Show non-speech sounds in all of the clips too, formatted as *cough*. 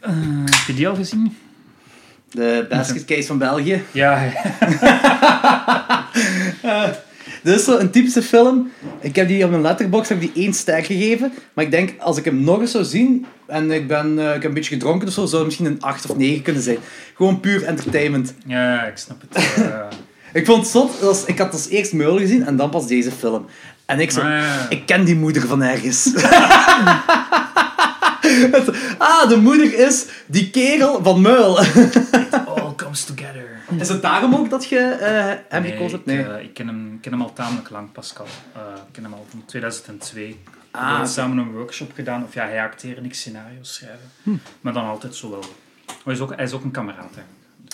Eh, heb je die al gezien? De basketcase van België. Ja, *laughs* Dit is zo'n typische film. Ik heb die op mijn letterbox heb ik die één ster gegeven. Maar ik denk, als ik hem nog eens zou zien... En ik ben eh, ik heb een beetje gedronken of zo, zou het misschien een 8 of 9 kunnen zijn. Gewoon puur entertainment. ja ik snap het. eh. Ik vond het zot. dat was- ik had als eerst Meul gezien en dan pas deze film. En ik zo... Maar- eh, Ik ken die moeder van ergens. *laughs* ah, de moeder is die kerel van Meul. all comes together. Is het daarom ook dat je eh, hem Nee, gekozen hebt? ik, Nee. eh, ik ken hem, ik ken hem al tamelijk lang, Pascal. Eh, ik ken hem al van 2002. Ah, we oké. hebben samen een workshop gedaan. Of ja, hij acteerde, ik scenario's schrijven. Maar dan altijd zo wel. Hij is ook, hij is ook een kameraad, hè.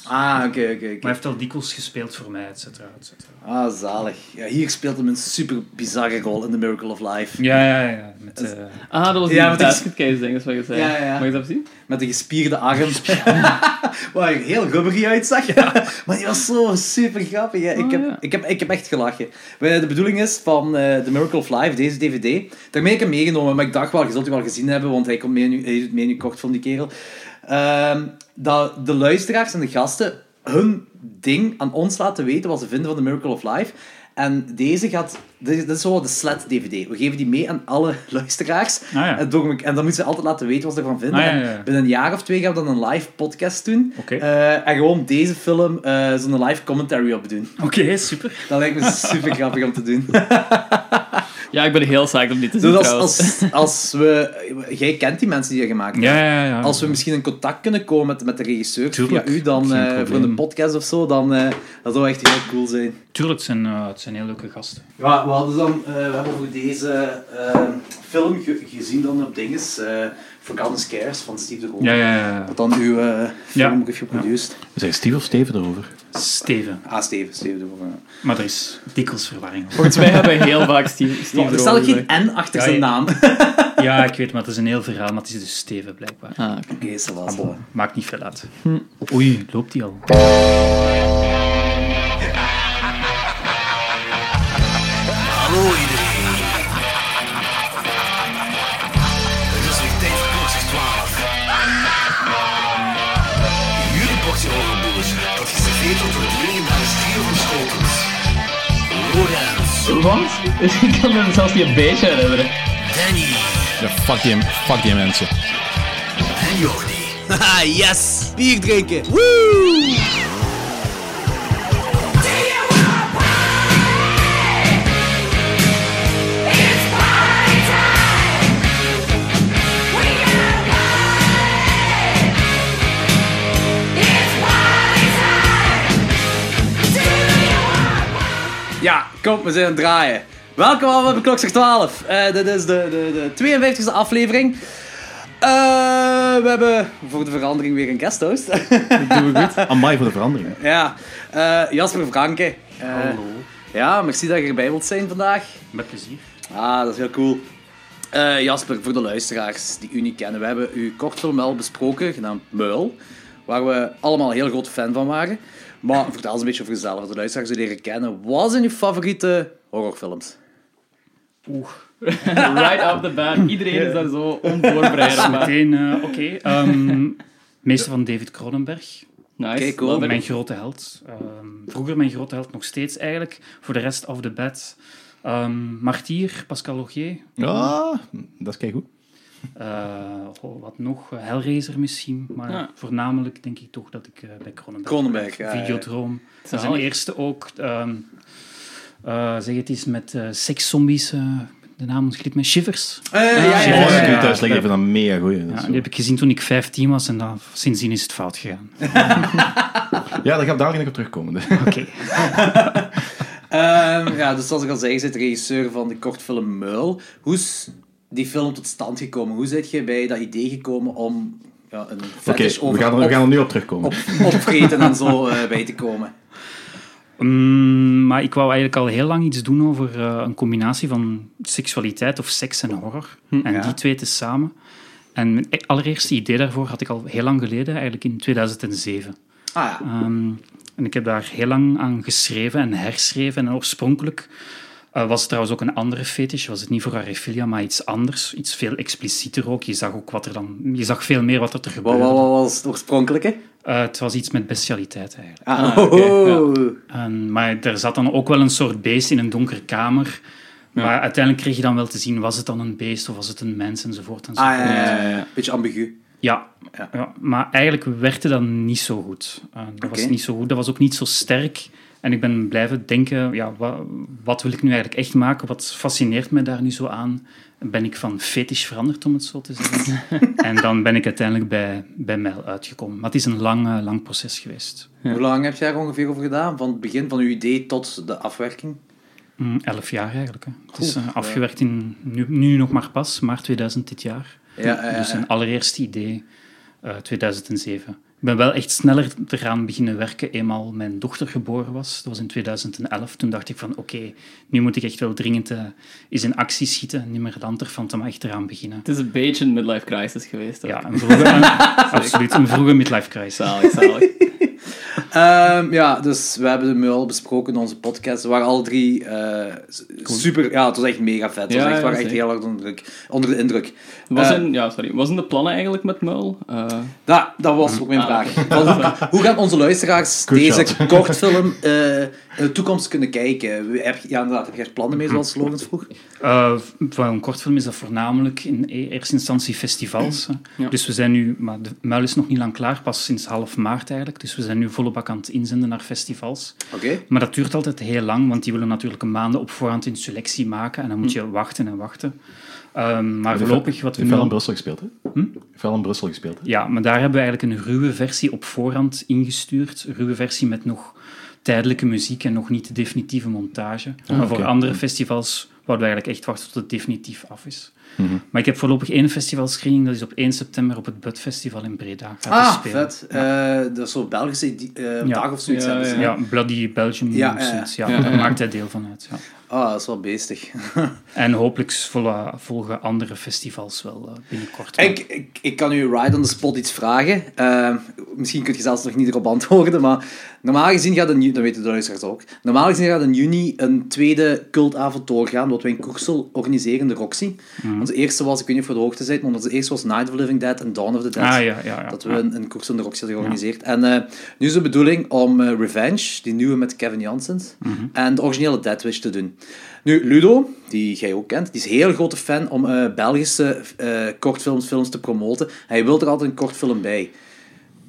Ah, oké, oké. oké. Maar hij heeft al dikwijls gespeeld voor mij, et cetera, et cetera. Ah, zalig. Ja, hier speelt hem een super bizarre rol in The Miracle of Life. Ja, ja, ja. Met, eh, Ah, dat was Ja, die want ik- basketcase ding, dat is wat je zei. Ja, ja, ja. Mag je dat zien? Met een gespierde *laughs* arm. *laughs* Waar hij er heel rubbery uitzag. *laughs* maar die was zo super grappig. hè. Oh, ik, heb, ja. ik, heb, ik heb echt gelachen. Maar De bedoeling is van eh, The Miracle of Life, deze DVD. Daarmee heb ik hem meegenomen. Maar ik dacht wel, je zult die wel gezien hebben. Want hij, komt mee nu, hij doet mee nu kort van die kerel. Ehm, dat de luisteraars en de gasten hun ding aan ons laten weten wat ze vinden van The Miracle of Life. En deze gaat... Dit is, dit is zo wat de SLED-DVD. We geven die mee aan alle *laughs* luisteraars. Ah, ja. en, door- en dan moeten ze altijd laten weten wat ze ervan vinden. Ah, ja, En ja, ja. Binnen een jaar of twee gaan we dan een live podcast doen. Oké. Eh, en gewoon deze film eh, zo'n live commentary op doen. Oké, super. *laughs* Dat lijkt me super grappig om te doen. Ja, ik ben heel zaak om die te zien, Dus als, trouwens. als, als we... Jij kent die mensen die je gemaakt hebben. Ja, ja, ja. Als we misschien in contact kunnen komen met, met de regisseur via Tuurlijk, u, dan geen eh, voor probleem. een podcast of zo, dan eh, dat zou echt heel cool zijn. Tuurlijk, het zijn, eh, het zijn heel leuke gasten. Ja, we, hadden dan, eh, we hebben voor deze eh, film ge- gezien dan op dinges, eh Forgotten Scares van Steve de Roo. Ja, ja, ja. Dat dan uw eh Ja. film heeft geproduceerd. Zijn Steve of Steven erover? Steven. Ah, Steven, Steven de Roo, ja. Maar er is dikwijls verwarring. over. Volgens mij hebben we heel vaak Steve, *laughs* Steve Er erover staat ook geen gezegd. N achter Ja, zijn ja. naam. Ja, ik weet, maar het is een heel verhaal. Maar het is dus Steven, blijkbaar. Ah, oké. *laughs* Oké, ze was wel. Maakt niet veel uit. Oei, loopt die al? Hallo iedereen. Het is weer tijd voor Proxy 12. *laughs* Jullie Proxy Horrorboers, dat geserveerd wordt door het legendarische stier van Schotens. Lorenz, Wat? *laughs* Ik kan me zelfs niet een beetje herinneren. Danny Ja, fuck die, fuck die mensen. en Jordi. Haha, yes! Bier drinken! Ja, kom, we zijn aan het draaien. Welkom allemaal bij Klokslag 12. Eh, dit is de, de, de 52e aflevering. Eh, we hebben voor de verandering weer een guesthost. Doen we goed? Amai voor de verandering. *laughs* ja, eh, Jasper Franke. Eh, Hallo. Ja, merci dat je erbij wilt zijn vandaag. Met plezier. Ah, dat is heel cool. Eh, Jasper, voor de luisteraars die u niet kennen, we hebben uw kortfilm wel besproken, genaamd Muil, waar we allemaal heel groot fan van waren. Maar vertel eens een beetje over jezelf, dat de luisteraars u leren kennen. Wat zijn uw favoriete horrorfilms? Oeh. Right off the bat. Iedereen is daar zo onvoorbereid op. maar- Meteen, eh, oké. ehm, meester van David Cronenberg. Nice. Oké, cool. love it. Mijn grote held. Ehm, vroeger mijn grote held, nog steeds eigenlijk. Voor de rest of the bed. Ehm Martier, Pascal Logier. Ah, dat is kijk goed. Eh, oh, wat nog? Eh, Hellraiser misschien. Maar Ja. voornamelijk denk ik toch dat ik eh, bij Cronenberg... Cronenberg, ja, ja. Videodroom. Zalig. Zijn eerste ook. ehm, eh, zeg het eens met eh sekszombies. eh, de naam ontglipt me. Shivers. Eh, ja, Oh, ja, ja, dat ja. is ja, goed, dat is ja. lekker even een mega goeie. Dat is Ja, zo. die heb ik gezien toen ik 15 was en dan, sindsdien is het fout gegaan. Ja, daar ga ik dadelijk nog op *laughs* terugkomen. Oké. Ehm, ja, dus zoals ik al zei, je bent regisseur van de kortfilm Muil. Hoe is die film tot stand gekomen? Hoe zit je bij dat idee gekomen om ja, een Oké, fetish we, over gaan er- we op, gaan er nu op terugkomen. op, opvreten en zo eh, bij te komen? Mm, maar ik wou eigenlijk al heel lang iets doen over eh, een combinatie van seksualiteit of seks en horror. en ja. die twee tezamen. En mijn e- allereerste idee daarvoor had ik al heel lang geleden, eigenlijk in 2007. Ah ja. Ehm, en ik heb daar heel lang aan geschreven en herschreven. En oorspronkelijk eh, Eh, was trouwens ook een andere fetish, was het niet voor arafilia, maar iets anders. Iets veel explicieter ook. Je zag ook wat er dan... Je zag veel meer wat er te Wat, gebeuren. wat, wat was het oorspronkelijke? Eh, het was iets met bestialiteit eigenlijk. *laughs* Ah, oké, oh. En, maar er zat dan ook wel een soort beest in een donkere kamer. Maar uiteindelijk kreeg je dan wel te zien, was het dan een beest of was het een mens enzovoort. enzovoort. Ah, ja, ja, ja, ja. Beetje ambigu. Ja. Ja. Ja. maar eigenlijk werkte dat niet zo goed. Eh, dat was Oké. niet zo goed, dat was ook niet zo sterk. En ik ben blijven denken, ja, wat, wat wil ik nu eigenlijk echt maken? Wat fascineert mij daar nu zo aan? Ben ik van fetish veranderd, om het zo te zeggen? en dan ben ik uiteindelijk bij, bij Mel uitgekomen. Maar het is een lang, eh, lang proces geweest. Hoe lang heb jij er ongeveer over gedaan? Van het begin van uw idee tot de afwerking? Mm, elf jaar eigenlijk. Hè. Het is eh, afgewerkt in, nu, nu nog maar pas, maart 2000 dit jaar. Ja, ja, dus ja. een allereerste idee, eh, 2007. Ik ben wel echt sneller eraan beginnen werken, eenmaal mijn dochter geboren was. Dat was in 2011. Toen dacht ik van, oké, nu moet ik echt wel dringend eh, eens in actie schieten. Niet meer dan ervan, maar echt eraan beginnen. Het is een beetje een midlife crisis geweest. ook. Ja, een vroege, *laughs* een- absoluut, een vroege midlife crisis. Zalig, zalig. Ehm, ja, dus we hebben hem al besproken in onze podcast. We waren alle drie eh, s- super... Ja, het was echt mega vet. Het Ja, was echt, ja, we waren echt zeker. heel erg onder de indruk. Onder de indruk. Was Eh, in, ja, sorry. Was in de plannen eigenlijk met Muil? Eh, Ja, Nou, dat was ook mijn Ah, vraag. Van hoe, hoe gaan onze luisteraars Good deze shot. kortfilm eh, in de toekomst kunnen kijken? We- Heb, je- ja, inderdaad. Heb jij er plannen mee, zoals Logans vroeg? Eh, Voor een kortfilm is dat voornamelijk in e- eerste instantie festivals. hè. Ja. Dus we zijn nu, maar de muil is nog niet lang klaar, pas sinds half maart eigenlijk. Dus we zijn nu volle bak aan het inzenden naar festivals. Oké. Maar dat duurt altijd heel lang, want die willen natuurlijk een maanden op voorhand hun selectie maken. En dan moet je wachten en wachten. Ehm, maar voorlopig wat we Veel in nu... Brussel gespeeld, hè? Veel in Brussel gespeeld, hè? Ja, maar daar hebben we eigenlijk een ruwe versie op voorhand ingestuurd. Een ruwe versie met nog tijdelijke muziek en nog niet de definitieve montage. maar voor oké. andere festivals wouden we eigenlijk echt wachten tot het definitief af is. Maar ik heb voorlopig één festivalscreening, dat is op 1 september op het Bud Festival in Breda. Gaat die Ah, spelen. vet. Eh, dat is zo'n Belgische die- eh, Ja. dag of zoiets Ja, hebben ze. Ja, Bloody Belgium Ja, ja, ja, ja. Ja, daar maakt hij deel van uit. Ja. Ah, dat is wel beestig. *laughs* En hopelijk volle- volgen andere festivals wel eh, binnenkort. Ik, ik, ik kan u right on the spot iets vragen. Eh, misschien kunt je zelfs nog niet erop antwoorden, maar normaal gezien gaat in juni, dat weten de luisteraars ook, normaal gezien gaat in juni een tweede cultavond doorgaan, wat wij in Koersel organiseren, in de Roxy. Mhm. Onze eerste was, ik weet niet of je op de hoogte bent, maar onze eerste was Night of the Living Dead en Dawn of the Dead. Ah, ja, ja, ja. Dat we een, een koers in de Roxy hadden georganiseerd. En eh, nu is de bedoeling om eh, Revenge, die nieuwe met Kevin Janssens, Mhm. en de originele Deadwish te doen. Nu, Ludo, die jij ook kent, die is een heel grote fan om eh, Belgische eh kortfilms films te promoten. Hij wil er altijd een kortfilm bij.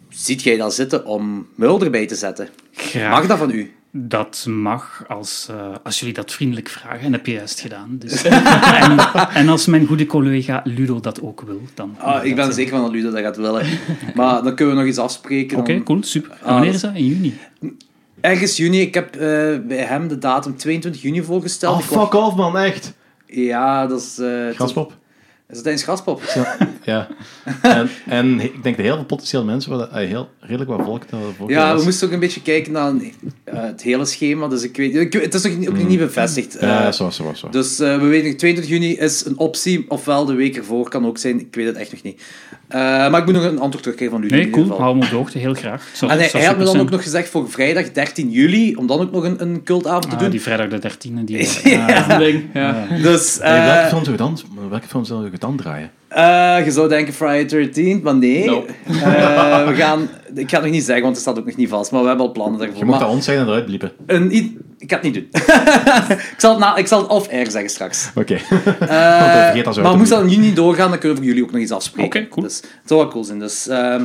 Ziet jij dat zitten om Mulder erbij te zetten? Graag. Mag dat van u? Dat mag als, eh, als jullie dat vriendelijk vragen. En dat heb je juist gedaan. *laughs* Dus. en, en als mijn goede collega Ludo dat ook wil, dan. Ah, ik ben dat, eh. zeker van dat Ludo dat gaat willen. *laughs* Maar dan kunnen we nog iets afspreken. Oké, dan- cool, super. En Ah, wanneer dat- is dat? In juni. Ergens juni, ik heb eh, bij hem de datum 22 juni voorgesteld. Oh, Ik wou- fuck off, man, echt. Ja, dat is... eh, Graspop. Is dat eens graspop? *laughs* Ja. en, en ik denk dat heel veel potentieel mensen, waar dat- eh, heel redelijk wat volk dat volk Ja, was. we moesten ook een beetje kijken naar eh, het hele schema. Dus ik weet, ik, weet- het is nog niet- ook nog niet bevestigd. Hmm. Ja, eh. zo, zo, zo. dus eh, we weten, nog, 22 juni is een optie, ofwel de week ervoor kan ook zijn. Ik weet het echt nog niet. Eh, maar ik moet nog een antwoord teruggeven van jullie. Nee, in ieder cool. geval. Hou me op de hoogte, heel graag. Zou- En hij, zou hij had me dan super ook nog gezegd voor vrijdag 13 juli, om dan ook nog een, een cultavond zijn. te Ah, doen. die vrijdag de 13e. *laughs* Die, dat is een ding. Ja. Dus Hey, eh, welke film zou je dan, welke film zou je dan draaien? eh, je zou denken Friday 13, maar nee. No. Nou. Eh, we gaan, ik ga het nog niet zeggen, want het staat ook nog niet vast. Maar we hebben al plannen daarvoor. Je mocht Oh, Maar- dat ons zijn en eruit bliepen. Een i- ik ga het niet doen. *laughs* ik, zal het na, ik zal het off-air zeggen straks. Oké. *laughs* Eh, dat vergeet dat zo maar uit moest te dat in juni doorgaan, dan kunnen we voor jullie ook nog iets afspreken. Oké, cool. Dus, het zou wel cool zijn. Dus, ehm,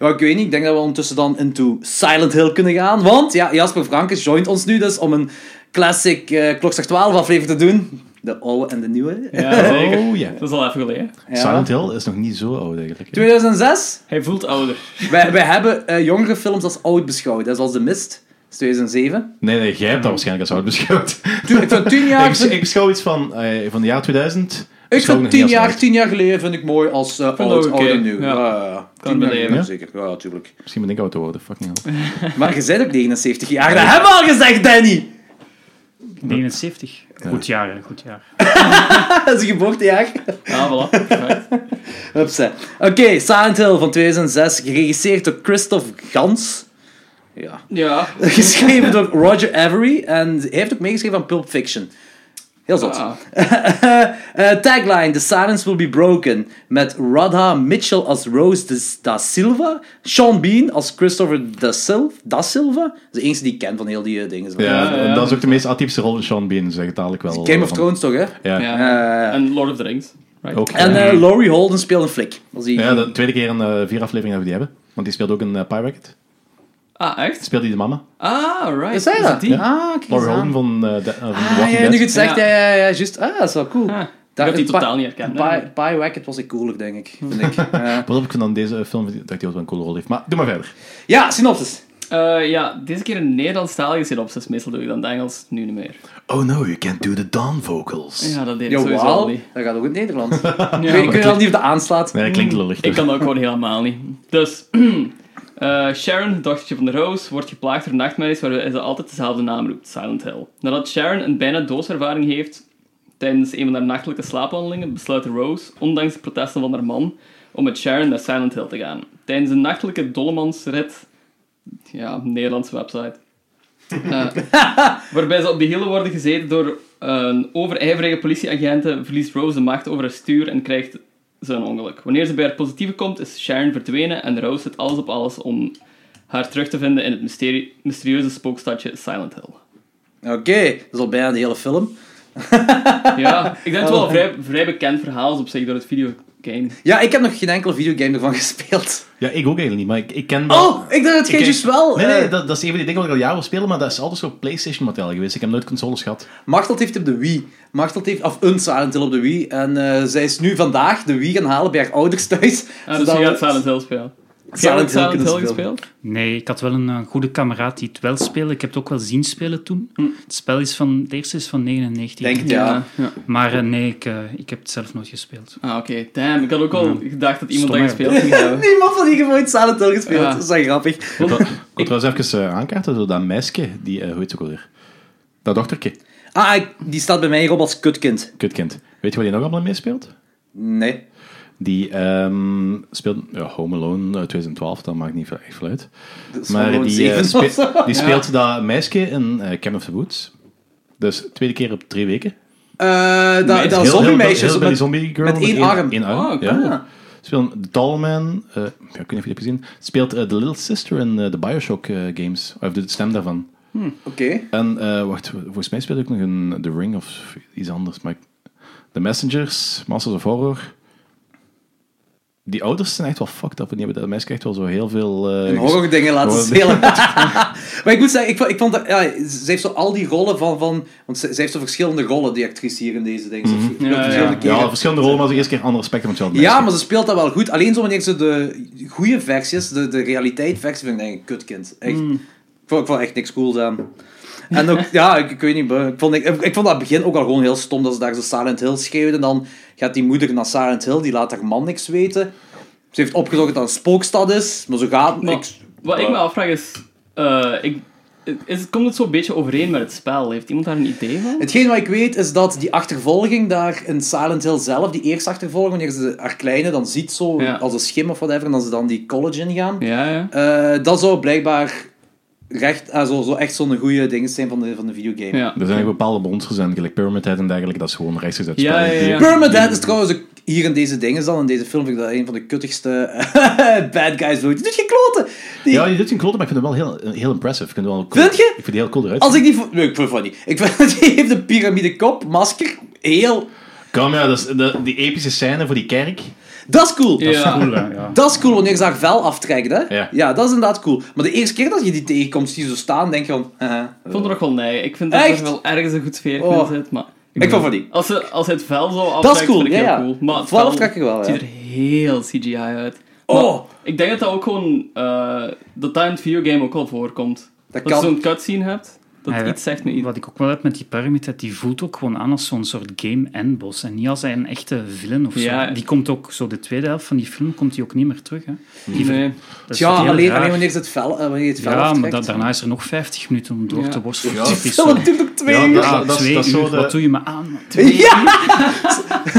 ja, ik weet niet, ik denk dat we ondertussen dan into Silent Hill kunnen gaan. Want ja, Jasper Frankes joint ons nu dus om een classic eh Klokslag 12 aflevering te doen. De oude en de nieuwe. ja, zeker. Oh, ja. Dat is al even geleden. Ja. Silent Hill is nog niet zo oud eigenlijk. hè? 2006? Hij voelt ouder. wij, wij hebben eh, jongere films als oud beschouwd. hè, Zoals De Mist, is 2007. Nee, nee, jij hebt dat waarschijnlijk als oud beschouwd. Tuurlijk, van 10 jaar... *laughs* ik, ik beschouw iets van, eh, van het jaar 2000. Ik beschouw vind nog niet 10 als jaar, oud. 10 jaar geleden vind ik mooi als eh oud, dat oké, oud en nieuw. ja. Ja, ja, ja. Kan 10 jaar beleven. geleden, Ja? zeker. Ja, natuurlijk. Misschien ben ik oud te worden, fucking hell. Maar je bent ook 79 jaar. Dat hebben we al gezegd, Danny! *laughs* 79. Goed jaar, hè, goed jaar. Dat is een geboortejaar. Ja, Ah, voilà. *laughs* Perfect. Hupsa. Oké, Silent Hill van 2006, geregisseerd door Christoph Gans. Ja. *laughs* Ja. Geschreven door Roger Avery en hij heeft ook meegeschreven aan Pulp Fiction. Heel zot. Ah. Eh, tagline: The silence will be broken. Met Radha Mitchell als Rose de- da Silva. Sean Bean als Christopher da, Sil da Silva. Dat is de enige die ik ken van heel die eh, dingen. Ja, ja, ja. dat is ook de meest atypische rol van Sean Bean, zeg het dadelijk wel. Game of Van- Thrones toch, hè? Ja. Ja, Eh. en Lord of the Rings. Right. ook. En eh, Laurie Holden speelt een flik. Als die... ja, de tweede keer een eh, vier afleveringen dat we die hebben. Want die speelt ook een uh, Pirate. Ah, echt? Speelt die de mama? Ah, right. Is hij Is dat? die? Ah, kijk eens Laurie Holden aan. van, eh, de, eh, van The Ah, Walking ja, nu Dead. goed zegt. Ja, Ja. ja, ja, ja, juist. Ah, dat is wel cool. Ah. Daar- Ik heb die Pi- totaal niet herkend, Pi- hè. Pi-Wacket was ik cooler, denk ik. Vind ik. *laughs* Eh, Wat heb ik van aan deze film? Dat ik die ook wel een coole rol heeft. Maar doe maar verder. ja, synopsis. Eh, ja, deze keer een Nederlandstalige synopsis. Meestal doe ik dan het Engels, nu niet meer. Oh no, you can't do the Dawn vocals. Ja, dat deed ik sowieso al Jawel, niet. dat gaat ook in het Nederlands. *laughs* Ja, Kun je- kun maar- je al niet op de aanslaat? Nee, dat klinkt lullig. Ik dus. kan dat ook gewoon helemaal niet. Dus, *clears throat* eh, Sharon, dochtertje van de Roos, wordt geplaagd door nachtmerries waarbij ze altijd dezelfde naam roept, Silent Hill. Nadat Sharon een bijna doodervaring heeft tijdens een van haar nachtelijke slaapwandelingen, besluit Rose, ondanks de protesten van haar man, om met Sharon naar Silent Hill te gaan. Tijdens een nachtelijke dollemansrit, ja, Nederlandse website, eh, waarbij ze op de hielen worden gezeten door een overijverige politieagenten, verliest Rose de macht over haar stuur en krijgt ze een ongeluk. Wanneer ze bij haar positieve komt, is Sharon verdwenen en Rose zet alles op alles om haar terug te vinden in het mysterie- mysterieuze spookstadje Silent *laughs* Hill. Oké, dat is al bijna de hele film. Ja, ik denk dat het wel Oh. een vrij, vrij bekend verhaal is op zich door het videogame. Ah, dus Ja, ik heb nog geen enkele videogame ervan *laughs* gespeeld. Ja, ik ook eigenlijk niet, maar ik, ik ken wel... Oh, ik dacht het Ik jij juist wel. Nee, eh, nee, dat, dat is een van die dingen wat ik al jaren wil spelen, maar dat is altijd zo PlayStation-model geweest. Ik heb nooit consoles gehad. Machteld heeft op de Wii. Machteld heeft, of een Silent Hill op de Wii. En eh, zij is nu vandaag de Wii gaan halen bij haar ouders thuis. Ah, dus zodat je we gaat Silent Hill spelen. Heb je ook Silent Hill Silent kunnen Hill spelen. gespeeld? Nee, ik had wel een eh, goede kameraad die het wel speelde. Ik heb het ook wel zien spelen toen. Het spel is van... Het eerste is van 99. Hm. Denk het, ja. ja. Maar eh, nee, ik, eh, ik heb het zelf nooit gespeeld. Ah, oké. Damn, ik had ook al gedacht dat iemand Stom, dat hè? gespeeld ging *laughs* hebben. Niemand van die heeft ooit Silent Hill gespeeld. Ja. Dat is wel grappig. Ik wil, ik wil trouwens even eh, aankaarten door dat meisje, die, eh, hoe heet ze ook alweer? Dat dochterke, Ah, ik- die staat bij mij hierop als kutkind. kutkind. Weet je wat die nog allemaal meespeelt? Nee. Die ehm, speelt ja, Home Alone uit 2012, dat maakt niet veel- echt veel uit. Dat is Maar gewoon die, eh, zeven spe- of *laughs* zo. die speelt dat meisje in eh, Camp of the Woods. Dus tweede keer op drie weken. Eh, dat- Meisjes. Dat Heel- heel- zombie-meisje. heel zo bij die met- zombie girl met één arm. ah. één Oh, cool. ja. Speelt The Dollman, eh, ja, ik weet niet of je dat hebt gezien, speelt eh, The Little Sister in eh, de Bioshock eh, games. Of de stem daarvan. Oké. En eh, wacht, volgens mij speelt ook nog een The Ring of iets anders. Maar ik- The Messengers, Masters of Horror. Die ouders zijn echt wel fucked up. En die hebben dat meisje echt wel zo heel veel... eh, Een ges- horror dingen laten Horror- spelen. *laughs* maar ik moet zeggen, ik vond, ik vond dat, ja, ze heeft zo al die rollen van, van want ze, ze heeft zo verschillende rollen, die actrice hier in deze dingen. Ze speelt ja. verschillende keren. Ja, verschillende rollen, maar ze eerst keer andere aspecten van hetzelfde Ja, meisje. maar ze speelt dat wel goed. Alleen zo wanneer ze de goede versies, de, de realiteit-versie, vind ik denk ik kutkind. Echt. Mm. Ik, vond, ik vond echt niks cools aan. En ook, ja, ik, ik weet niet, ik vond, ik, ik vond dat begin ook al gewoon heel stom dat ze daar zo Silent Hill schreeuwden. En dan gaat die moeder naar Silent Hill, die laat haar man niks weten. Ze heeft opgezocht dat het een spookstad is, maar zo gaat Maar niks. wat ik me afvraag is... eh, ik, is komt het zo'n beetje overeen met het spel? Heeft iemand daar een idee van? Hetgeen wat ik weet is dat die achtervolging daar in Silent Hill zelf, die eerste achtervolging, wanneer ze haar kleine dan ziet zo Ja. als een schim of whatever, en dan ze dan die college ingaan. Ja, ja. Eh, dat zou blijkbaar recht, ah, zo, zo echt zo'n goede dingen zijn van de, van de videogame. ja. Er zijn ook bepaalde monsters en gelijk Pyramid Head en dergelijke, dat is gewoon rechtstreeks uit het Ja, spel. ja, ja. Pyramid Head is trouwens ook hier in deze dingen dan, in deze film vind ik dat een van de kuttigste eh, *laughs* bad guys ooit. Die doet geen kloten! Die- Ja, die doet geen kloten, maar ik vind hem wel heel, heel impressive. Ik vind, hem wel cool. Vind je? Ik vind die heel cool eruit. als ik die... vo- Nee, ik vind het niet. Ik vind, *laughs* die heeft een piramide kop, masker, heel... Kom ja, dat is de, die epische scène voor die kerk. Dat is cool! Ja. Cool, hè, ja. Dat is cool, wanneer ze haar vel aftrekt, hè? Ja. dat is inderdaad cool. Maar de eerste keer dat je die tegenkomt, die zo staan, denk je van... eh, Ik vond het nog wel nee. Ik vind dat Echt? er wel ergens een goed sfeer Oh. in zit, maar... ik vond van die. Als, ze, als hij het vel zo aftrekt, Dat is cool, vind ja, ik heel ja. cool. Maar het Vooral vel aftrek ik wel, ja. ziet er heel CGI uit. Oh. Maar ik denk dat dat ook gewoon... eh, dat dat in het videogame ook al voorkomt. Dat Dat, kan. je zo'n cutscene hebt, dat Ja, ja. iets zegt met iets. Wat ik ook wel heb met die Pyramid Head, die voelt ook gewoon aan als zo'n soort game-endboss. En niet als hij een echte villain of zo. Ja. Die komt ook, zo de tweede helft van die film, komt die ook niet meer terug. Hè. Die ver- Nee. dat is Ja, heel alleen, raar. alleen wanneer ze het vel, eh, wanneer je het vel Ja, aftrekt. maar da- daarna is er nog 50 minuten om door Ja. te worstelen. Ja. Dat *laughs* Die is zo- film duurt ook twee Ja, uur. dat- dat- twee dat is zo uur, de- wat doe je me aan? man? *laughs* Ja!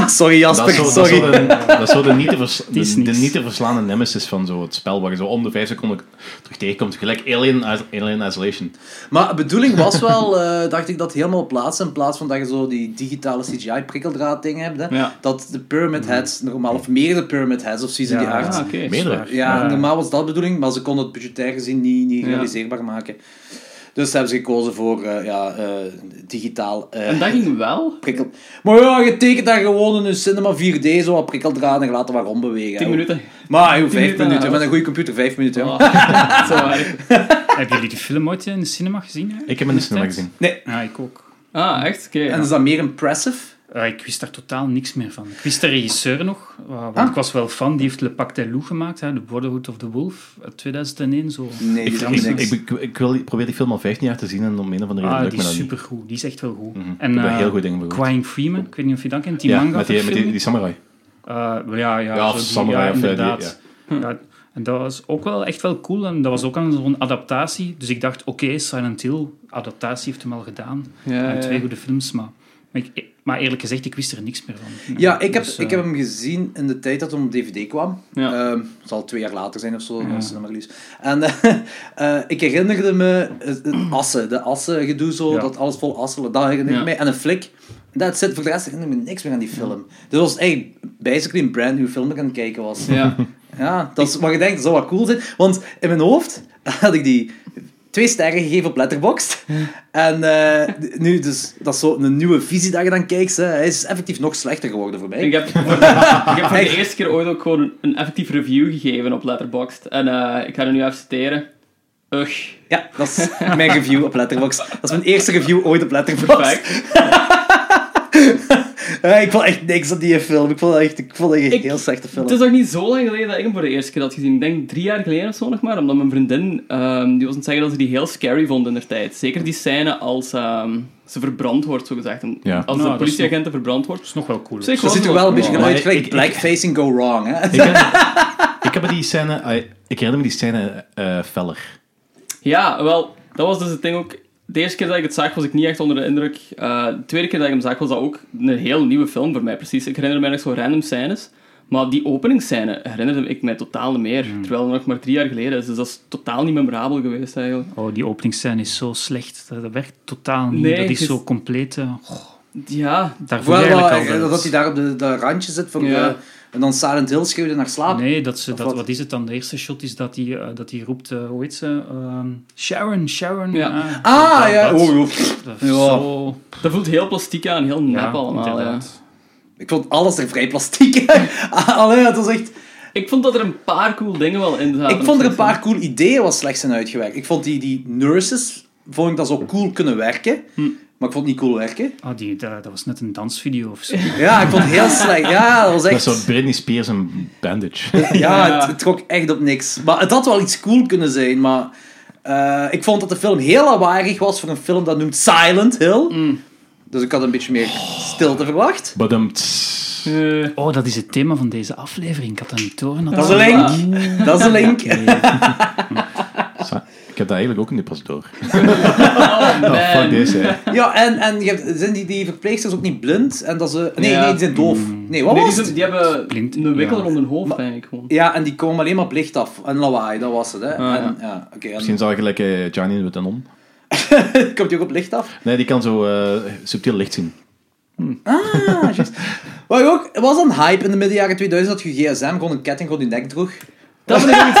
Sorry Dat is Jasper, zo, dat is sorry. zo de, dat is zo de, niet, te vers- is de, de niks. niet te verslaande nemesis van zo het spel, waar je zo om de vijf seconden terug tegenkomt. Gelijk Alien, Is- Alien Isolation. Maar de bedoeling setting was wel, eh, dacht ik, dat helemaal plaatsen. In plaats van dat je zo die digitale CGI-prikkeldraad-dingen hebt. Hè, Ja. Dat de Pyramid Heads, normaal, of meerdere Pyramid Heads of Season Ja. die aard. Ah, Ja, oké. Meerdere. zwaar. ja, Ja. normaal was dat de bedoeling, maar ze konden het budgetair gezien niet, niet Ja. realiseerbaar maken. Dus hebben ze gekozen voor eh, ja, eh, digitaal. eh, *laughs* En dat ging wel. prikkel. Maar ja, je tekent daar gewoon in een Cinema 4D zo wat prikkeldraad en je laat er wat rondbewegen. 10 hè. minuten. Maar joh, Tien vijf minuten, minuten. ja. Met een goede computer, vijf minuten. Oh, *laughs* joh. zo waar. Hebben jullie die film ooit in de cinema gezien? eigenlijk? Ik heb hem in de cinema gezien. Nee. Ja, ik ook. Ah, echt? Oké. En is dat meer impressive? Eh, ik wist daar totaal niks meer van. Ik wist de regisseur nog, eh, want Ah. ik was wel fan. Die heeft Le Pacte Loup gemaakt, hè, The Brotherhood of the Wolf, uit 2001. Zo. Nee, Ik, die Frans ik, is ik, niks. ik, ik wil, die- probeer die film al 15 jaar te zien en om een of andere reden Ah, lukt die me is dat niet. Mhm. supergoed. Die is echt wel goed. Ik En heb daar eh, heel goede dingen voor gehoord. Crying Freeman, ik weet niet of je dat kent. Die ja, manga met die, met die, verfilming. die samurai. Eh, wel ja, ja, Ja, zo of Samurai ja, of, eh, die- inderdaad. Ja, en dat was ook wel echt wel cool. En dat was ook aan zo'n adaptatie. Dus ik dacht, oké, Silent Hill, adaptatie heeft hem al gedaan. Ja, Eh, ja, twee ja. goede films, maar, maar, ik, maar eerlijk gezegd, ik wist er niks meer van. Ja, ik heb, Dus, eh, ik heb hem gezien in de tijd dat hij op DVD kwam. Ja. Ehm, het zal twee jaar later zijn of zo, als cinema release. En *laughs* eh, eh, ik herinnerde me het- het assen, de assen gedoe zo, Ja. dat alles vol assen, dat herinner ik Ja. mij. En een flik. Dat zit voor de rest herinner ik me niks meer aan die film. Dit was echt basically een brand nieuw film dat ik aan het kijken was. *laughs* Ja. Ja, dat is wat je denkt, dat zou wat cool zijn. Want in mijn hoofd had ik die twee sterren gegeven op Letterboxd. En eh, nu, dus, dat is zo een nieuwe visie dat je dan kijkt. Hè. Hij is effectief nog slechter geworden voor mij. Ik heb, voor de, ik heb voor de eerste keer ooit ook gewoon een effectief review gegeven op Letterboxd. En eh, ik ga er nu even citeren. Ugh. Ja, dat is mijn review op *laughs* Letterboxd. Dat is mijn eerste review ooit op Letterboxd. Perfect. Eh, ik vond echt niks aan die film. Ik vond dat echt ik vond dat echt een Ik- heel slechte film. Het is nog niet zo lang geleden dat ik hem voor de eerste keer had gezien. Ik denk drie jaar geleden of zo nog maar. Omdat mijn vriendin, ehm, die was aan het zeggen dat ze die heel scary vond in haar tijd. Zeker die scène als ehm, ze verbrand wordt, zo gezegd. Ja. Als Nou, de dat is politieagent verbrand wordt. dat is nog wel cool. Zeker. dat ziet er wel een beetje Wow. uit, Maar gelijk ik- ik- Blackfacing Go Wrong. Hè? Ik, heb, ik heb die scène... eh, ik herinner me die scène eh feller. Ja, wel, dat was dus het ding ook. De eerste keer dat ik het zag, was ik niet echt onder de indruk. Eh, de tweede keer dat ik hem zag, was dat ook een heel nieuwe film voor mij, precies. Ik herinner me nog zo random scènes. Maar die openingsscène herinnerde ik mij totaal niet meer. Terwijl dat nog maar drie jaar geleden is. Dus dat is totaal niet memorabel geweest, eigenlijk. Oh, die openingsscène is zo slecht. Dat, dat werkt totaal niet. Nee, dat het is is- zo compleet... eh, goh, Ja, daar voel je *laughs* Wel, wel, eigenlijk al eh, dat dat- hij daar op de, de randje zit. Voor, Ja. eh, en dan Silent Hill schreeuwde naar slaap. Nee, dat ze, Ah, Of dat, wat? wat is het dan? De eerste shot is dat hij, eh, dat hij roept, eh, hoe heet ze? Ehm, Sharon, Sharon. Ja. eh, Ah, dat- ja. dat- Oh, joh. Dat Ja. is zo... dat voelt heel plastiek aan, heel nep Ja, allemaal. Ja. inderdaad. Ik vond alles er vrij plastiek *laughs* uit. Allee, het was echt... Ik vond dat er een paar cool dingen wel in zaten. Ik vond er een paar cool ideeën wat slecht zijn uitgewerkt. Ik vond die, die nurses, vond ik dat zo cool kunnen werken. Maar ik vond het niet cool werken. Ah, die, dat, dat was net een dansvideo of zo. Ja, ik vond het heel slecht. Ja, dat was Dat echt... is zo Britney Spears en *laughs* Bandage. Ja, Ja. het, het trok echt op niks. Maar het had wel iets cool kunnen zijn, maar... eh, ik vond dat de film heel lawaaiig was voor een film dat noemt Silent Hill. Dus ik had een beetje meer stilte verwacht. Badum. Eh, Oh, dat is het thema van deze aflevering. Ik had dat niet door. en Dat is een link. Dat is een link. *laughs* Sa- Ik heb dat eigenlijk ook in de pas *laughs* door. *laughs* oh man. Oh, fuck deze. hè. Ja, en, en je hebt, zijn die, die verpleegsters ook niet blind? En dat ze... Nee, Ja. Mm. nee, die zijn doof. Nee, wat Nee, die, was het? zijn- die hebben Blind, een wikkel ja. rond hun hoofd, eigenlijk. Gewoon. Ja, en die komen alleen maar op licht af. En lawaai, dat was het. Hè. Ah, en, ja. oké en- Misschien zou ik gelijk eh, Johnny with the Non. *laughs* komt die ook op licht af? Nee, die kan zo eh, subtiel licht zien. Ah, juist. Wat ik ook, er was een hype in de midden jaren 2000 dat je gsm gewoon een ketting rond je nek droeg. Dat vind ik iets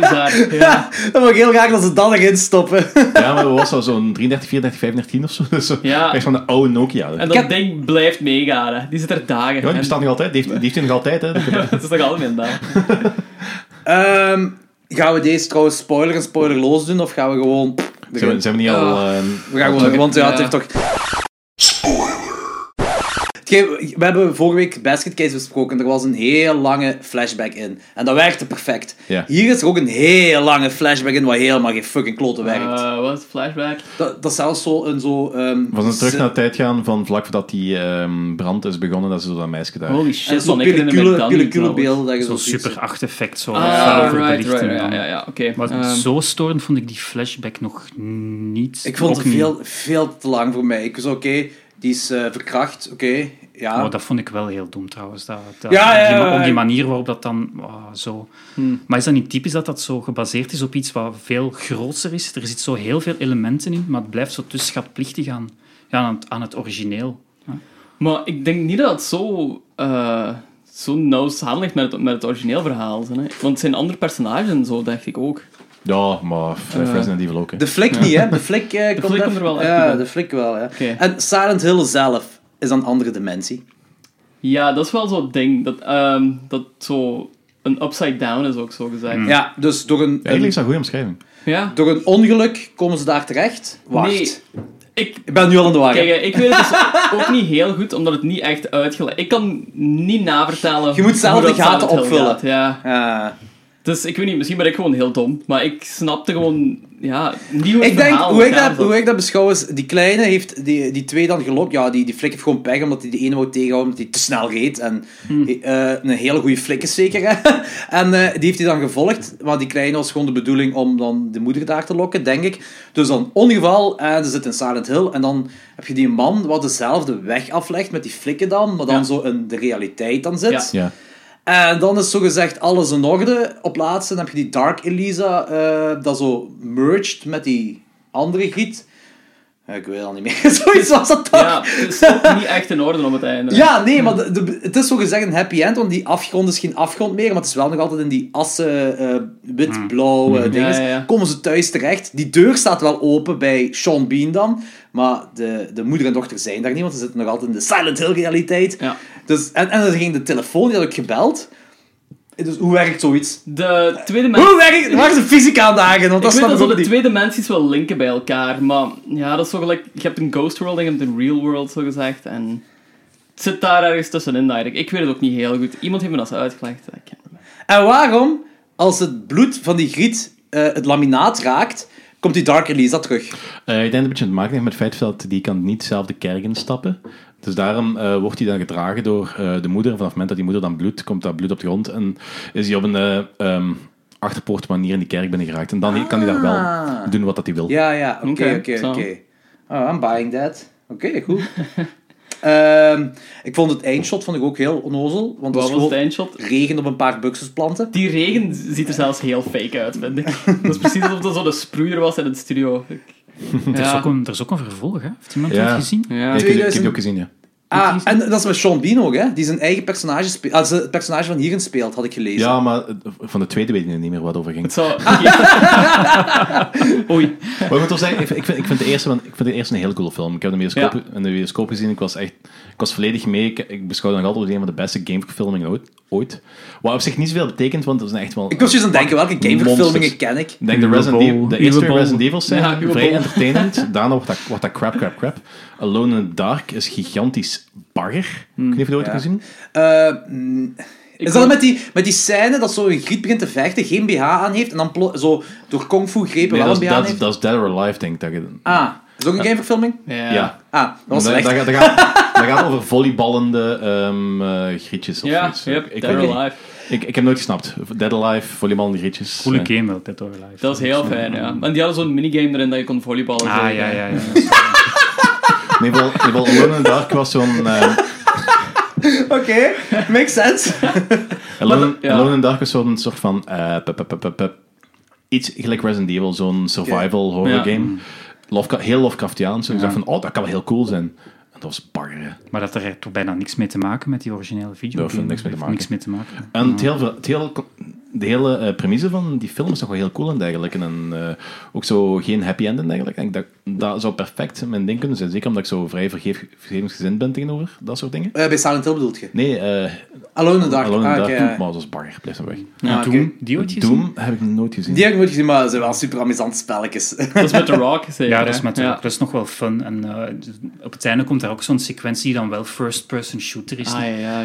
*laughs* bizar. Ja. Dat vond ik heel graag dat ze dat erin stoppen. Ja, maar we was al zo'n 33, 34, 35, 10 of zo. *laughs* Dus zo Ja. Echt van de oude Nokia. hè. En dat heb- ding blijft meegaan. hè. Die zit er dagen. Ja, die En- bestaat nog altijd. Die heeft, die heeft die nog altijd. Hè. dat is toch allemaal daar. *laughs* Ehm, gaan we deze trouwens spoiler en spoilerloos doen? Of gaan we gewoon... Zijn we, zijn we niet al... Ah. eh, Oh. We gaan gewoon... Want ja, het Ja. heeft toch... Spoiler! We hebben vorige week Basket Case besproken. Er was een heel lange flashback in. En dat werkte perfect. Ja. Hier is er ook een heel lange flashback in waar helemaal geen fucking klote werkt. Eh, wat is flashback? Dat, dat is zelfs zo een zo... ehm, we zijn terug ze- naar de tijd gaan van vlak voordat die ehm, brand is begonnen, dat ze zo dat meisje daar... Holy en shit, Zo'n man. Ik herinner me dat niet pellicule trouwens. beelden. dat je Zo'n zo ziet. super acht-effect, zo. Ah, fel voor right, right, belichting ja, dan. ja, ja, oké. Maar Ehm, zo storend vond ik die flashback nog niet. Ik vond Ook het niet. veel, veel te lang voor mij. Ik was oké, die is eh, verkracht, oké. Ja. Oh, dat vond ik wel heel dom trouwens. Dat, dat, Ja, ja, die- ja, ja. Op die manier waarop dat dan ah, zo. Maar is dat niet typisch dat dat zo gebaseerd is op iets wat veel groter is? Er zit zo heel veel elementen in, maar het blijft zo te schatplichtig aan, ja, aan, het, aan het origineel. Maar ik denk niet dat het zo, eh, zo nauw samenligt met het, met het origineel verhaal. Hè? Want het zijn andere personages en zo, dacht ik ook. Ja, maar uh, Resident Evil ook. Hè. Eh, De flik niet, hè? De flik, *laughs* eh, komt, flik er- komt er wel echt Ja, bij. de flik wel, ja. Oké. En Silent Hill zelf is een andere dimensie. Ja, dat is wel zo'n ding. Dat, ehm, dat zo een upside down is ook zo gezegd. Ja, dus door een, Hm. Eigenlijk is dat een goede omschrijving. Ja? door een ongeluk komen ze daar terecht. Wacht. Nee, ik, Ik ben nu al in de war. hè. kijk, eh, ik weet het dus *laughs* ook niet heel goed, omdat het niet echt uitgelegd Ik kan niet navertellen. Je moet hoe zelf de dat gaten Silent Hill opvullen. gaat, ja. Ah. Dus ik weet niet, misschien ben ik gewoon heel dom. Maar ik snapte gewoon, ja, niet hoe het ik denk, verhaal hoe ik, elkaar dat, zat. hoe ik dat beschouw is, die kleine heeft die, die twee dan gelokt. Ja, die, die flik heeft gewoon pech, omdat hij de ene wou tegenhouden, omdat hij te snel reed. En Hmm. eh, eh, een hele goede flik is zeker, hè. *laughs* En eh, die heeft hij dan gevolgd. Maar die kleine was gewoon de bedoeling om dan de moeder daar te lokken, denk ik. Dus dan ongeval, en ze zit in Silent Hill. En dan heb je die man wat dezelfde weg aflegt met die flikken dan, maar dan Ja. zo in de realiteit dan zit. Ja. Ja. En Eh, dan is zogezegd alles in orde. Op laatste dan heb je die Dark Elisa, eh, dat zo merged met die andere giet. Eh, Ik weet al niet meer. *laughs* Zoiets was dat toch? Ja, het is ook niet echt in orde om het einde. Ja, nee, maar de, de- het is zogezegd een happy end, want die afgrond is geen afgrond meer, maar het is wel nog altijd in die assen, eh wit-blauwe dingen. Mm. Ja, ja, ja. Komen ze thuis terecht. Die deur staat wel open bij Sean Bean dan, maar de, de moeder en dochter zijn daar niet, want ze zitten nog altijd in de Silent Hill-realiteit. Ja. Dus, en, en dan ging de telefoon, die had ik gebeld. Dus hoe werkt zoiets? De tweede mensen... Hoe werkt... Waar is de fysica aan de hagen? Want Ik dat weet snap dat ik zo ook de niet. twee dimensies wel linken bij elkaar, maar ja, dat is zo gelijk... Je hebt een ghost world en je hebt een real world, zo gezegd, en... Het zit daar ergens tussenin, eigenlijk. Ik weet het ook niet heel goed. Iemand heeft me dat zo uitgelegd. Ik ken het niet. En waarom, als het bloed van die griet eh, het laminaat raakt, komt die Dark Elisa terug? Eh, ik denk dat het een beetje te maken heeft met het feit dat die kan niet zelf de kerk instappen. Dus daarom eh, wordt hij dan gedragen door eh, de moeder. Vanaf het moment dat die moeder dan bloedt, komt dat bloed op de grond. En is hij op een eh, ehm, achterpoort manier in die kerk binnengeraakt. En dan Ah. kan hij daar wel doen wat dat hij wil. Ja, ja, oké, Oké, oké, zo. oké. Oh, I'm buying that. Oké, *laughs* goed. Ehm, ik vond het eindshot vond ik ook heel onnozel, want het was Wat was het gewoon eindshot? regen op een paar buxusplanten. Die regen ziet er zelfs heel fake uit, vind ik. Dat is precies alsof dat zo'n sproeier was in het studio. Ik- Er, is Ja. ook een, er is ook een vervolg, hè? Heeft iemand Ja. dat gezien? Ja, Ja. ik, ik heb die 2000 ook gezien, ja. Ah, en dat is met Sean Bean ook, hè? Die zijn eigen personage speelt. Ah, het personage van hierin speelt, had ik gelezen. Ja, maar eh, van de tweede weet ik niet meer wat over ging. Het zou... oké. Oei. Maar ik moet toch zeggen, ik, ik, vind, ik, vind de eerste, wel- ik vind de eerste een heel coole film. Ik heb de bioscoop, in de bioscoop gezien. Ik was echt ik was volledig mee. Ik, ik beschouw dat nog altijd als een van de beste gameverfilmingen ooit, ooit. Wat op zich niet zoveel betekent, want dat is echt wel... Ik was juist aan het denken, welke gameverfilmingen Monsters. ken ik? Ik denk de, Resident Uwe Boll. Evil, de eerste Uwe twee Boll. Resident Evils zijn Ja, Uwe vrij Boll. *laughs* entertainend. Daarna wordt dat, wordt dat crap, crap, crap. Alone in the Dark is gigantisch bagger. Ik weet niet of je dat ooit hebt gezien. Eh, mm, is dat ook. met die, met die scène dat zo'n griet begint te vechten, geen BH aan heeft, en dan plo- zo door kung fu grepen Nee, wel dat, een is, BH aan dat, is, heeft? dat is Dead or Alive, denk ik. Dat je- Ah, is dat ook een gameverfilming? Ja. ja. Ah, dat was dat, slecht. dat gaat, dat, gaat, dat gaat over volleyballende ehm eh, grietjes of Ja, zoiets. yep, ik, Dead weet or niet. Alive. Ik, ik heb nooit gesnapt. Dead Alive, volleyballende grietjes. Coole Eh, game wel, Dead or Alive. Dat is eh, heel fijn, *laughs* ja. En die hadden zo'n minigame erin dat je kon volleyballen. Ah, ja, zo. ja, ja. ja. In ieder geval- in ieder geval, Alone in the Dark was zo'n... eh, *laughs* Oké, makes sense. Alone, ja. Alone in the Dark is zo'n soort van... eh, pup, pup, pup, pup, pup. iets gelijk Resident Evil, zo'n survival horror Ja. game. Lovecraft, heel Lovecraftiaans. Dus ik dacht van, oh, dat kan wel heel cool zijn. En dat was bagger, hè. Maar dat heeft toch bijna niks mee te maken met die originele video. Daar heeft niks mee te maken. Niks mee te maken. En het heel, veel- het heel, de hele eh, premisse van die film is nog wel heel cool en eigenlijk. En eh, ook zo geen happy end en eigenlijk. En ik dacht, dat zou perfect mijn ding kunnen zijn. Zeker omdat ik zo vrij vergeef, vergevingsgezind ben tegenover dat soort dingen. Eh, bij Silent Hill bedoelt je? Nee, eh Alone in the Dark. Alone in Ah, the Dark, Hm, oké, ja. maar dat is bagger. Blijf dan weg. Ah, en oké. Doom, die ooit gezien? Doom heb ik nooit gezien. Die heb ik nooit gezien, maar ze zijn wel super amusante spelletjes. *laughs* Dat is met The Rock, zeker. Ja, hè? dat is, met, dat is nog wel fun. En eh, op het einde komt daar ook zo'n sequentie die dan wel first-person shooter is. Ah, ja, ja.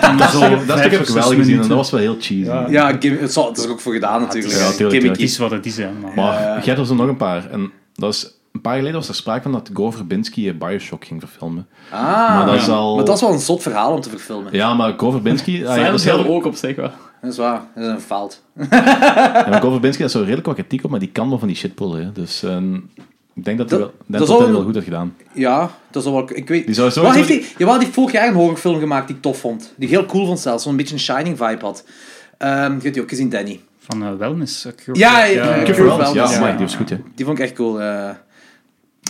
Dan dat zo stuk heb- vijf dat stuk of heb ik zes wel gezien en minuten. dat was wel heel cheesy. ja, game, het zal- het is er ook voor gedaan natuurlijk. Ja, tuurlijk, Het Gimmicky. is wat het is, hè. Maar, Eh, Maar jij hebt er zo nog een paar. En dat is, een paar jaar geleden was er sprake van dat Gore Verbinski eh, Bioshock ging verfilmen. Ah, Maar dat is ja. al- maar dat is wel een zot verhaal om te verfilmen. Ja, maar *laughs* Gore Verbinski... ah, ja, dat Silent is heel- Hill ook op zich wel. Dat is waar, dat is een fout. Ja, maar Gore Verbinski, daar is zo redelijk wat kritiek op, maar die kan wel van die shit pullen. hè. Dus ehm, Ik denk dat hij Dat- wel, ik denk dat dat hij zou- wel goed had gedaan. Ja, dat is wel... Ik weet... Die zou sowieso- Wat heeft die... Ja, die heeft vorig jaar een horrorfilm gemaakt die ik tof vond. Die ik heel cool vond zelfs. Zo'n beetje een Shining-vibe had. Ehm je hebt die ook gezien, Danny. Van eh, Wellness. eh, Cure. Ja, ja, ja. ja. Cure Cure for Wellness, Wellness, ja, ja. amai, die was goed, hè. Die vond ik echt cool. eh.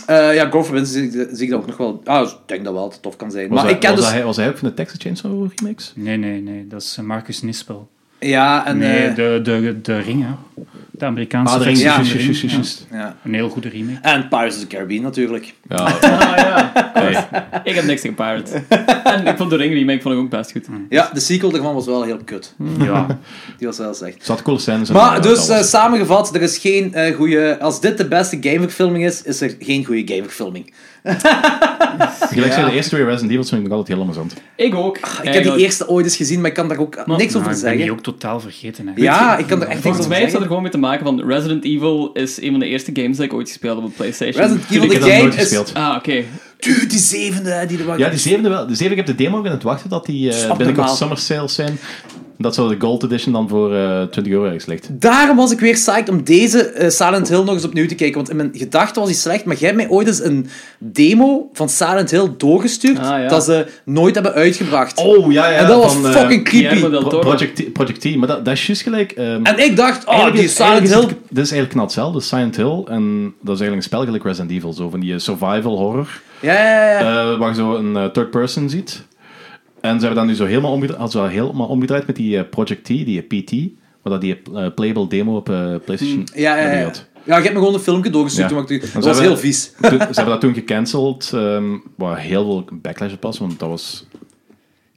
Eh, ja, Go for Wins zie, ik- zie ik dat ook nog wel... Ah, ik denk dat wel dat het tof kan zijn. Was, maar hij, ik ken was, dus... hij, was hij ook van de Texas Chainsaw Remix? Nee, nee, nee. Dat is eh, Marcus Nispel. Ja, en... Nee, eh, de, de, de ring, hè. De Amerikaanse Ah, de versie ja, van juist, de juist, Ring, juist, ja. *laughs* juist. ja. Een heel goede remake. En Pirates of the Caribbean, natuurlijk. *laughs* Ja, Ah, ja. hey. Ik heb niks gepaard. En ik vond de ring remake vond ik ook best goed. Ja, de sequel daarvan was wel heel kut. *laughs* Ja. Die was wel slecht. Er zaten coole scènes in. Maar eh, dus eh, alles. samengevat, er is geen eh goede. Als dit de beste gameverfilming is, is er geen goede gameverfilming. eh, Gelijk zijn de eerste twee Resident Evils vind ik nog altijd heel amusant. Ik ook. Ah, Eh, Ik heb die eerste ooit eens gezien, maar ik kan daar ook niks Nou, over ik ben die zeggen. ook totaal vergeten, eigenlijk. Ja, ik kan er echt niks Volgens over mij heeft dat zeggen. er gewoon mee te maken van Resident Evil is een van de eerste games die ik ooit gespeeld heb op PlayStation. Resident Evil Ik de heb dat game nooit is. gespeeld. Ah, oké. Dude, die zevende hè, die er was. Ja, die zevende wel. De zevende, ik heb de demo ook in het wachten dat die eh Abnormaal. binnenkort summer sales zijn. Dat zou de gold edition dan voor eh 20 euro ergens ligt. Daarom was ik weer psyched om deze eh, Silent Hill nog eens opnieuw te kijken. Want in mijn gedachten was die slecht, maar jij hebt mij ooit eens een demo van Silent Hill doorgestuurd Ah, ja. dat ze nooit hebben uitgebracht. Oh, ja, ja. en dat was van, eh, fucking creepy. Guillermo del Pro- Toro. Project, T- Project T, maar dat, dat is juist gelijk. ehm, En ik dacht, oh, eigenlijk die is- eigenlijk Silent is het- Hill. Dit is eigenlijk knap hetzelfde, Silent Hill. En dat is eigenlijk een spel gelijk Resident Evil, zo van die eh, survival horror. Ja, ja, ja. eh, waar je zo een eh, third person ziet. En ze hebben dat nu zo helemaal omgedraaid, hadden ze wel helemaal omgedraaid met die eh, Project T, die eh, PT. Waar dat die eh, playable demo op eh, PlayStation Mm, Ja, ja, ja. had. Ja, ik heb me gewoon een filmpje doorgestuurd. Ja. toen ik- Dan Dat was zijn we- heel vies. Toen- ze hebben dat toen gecanceld, ehm, waar heel veel backlash op was, want dat was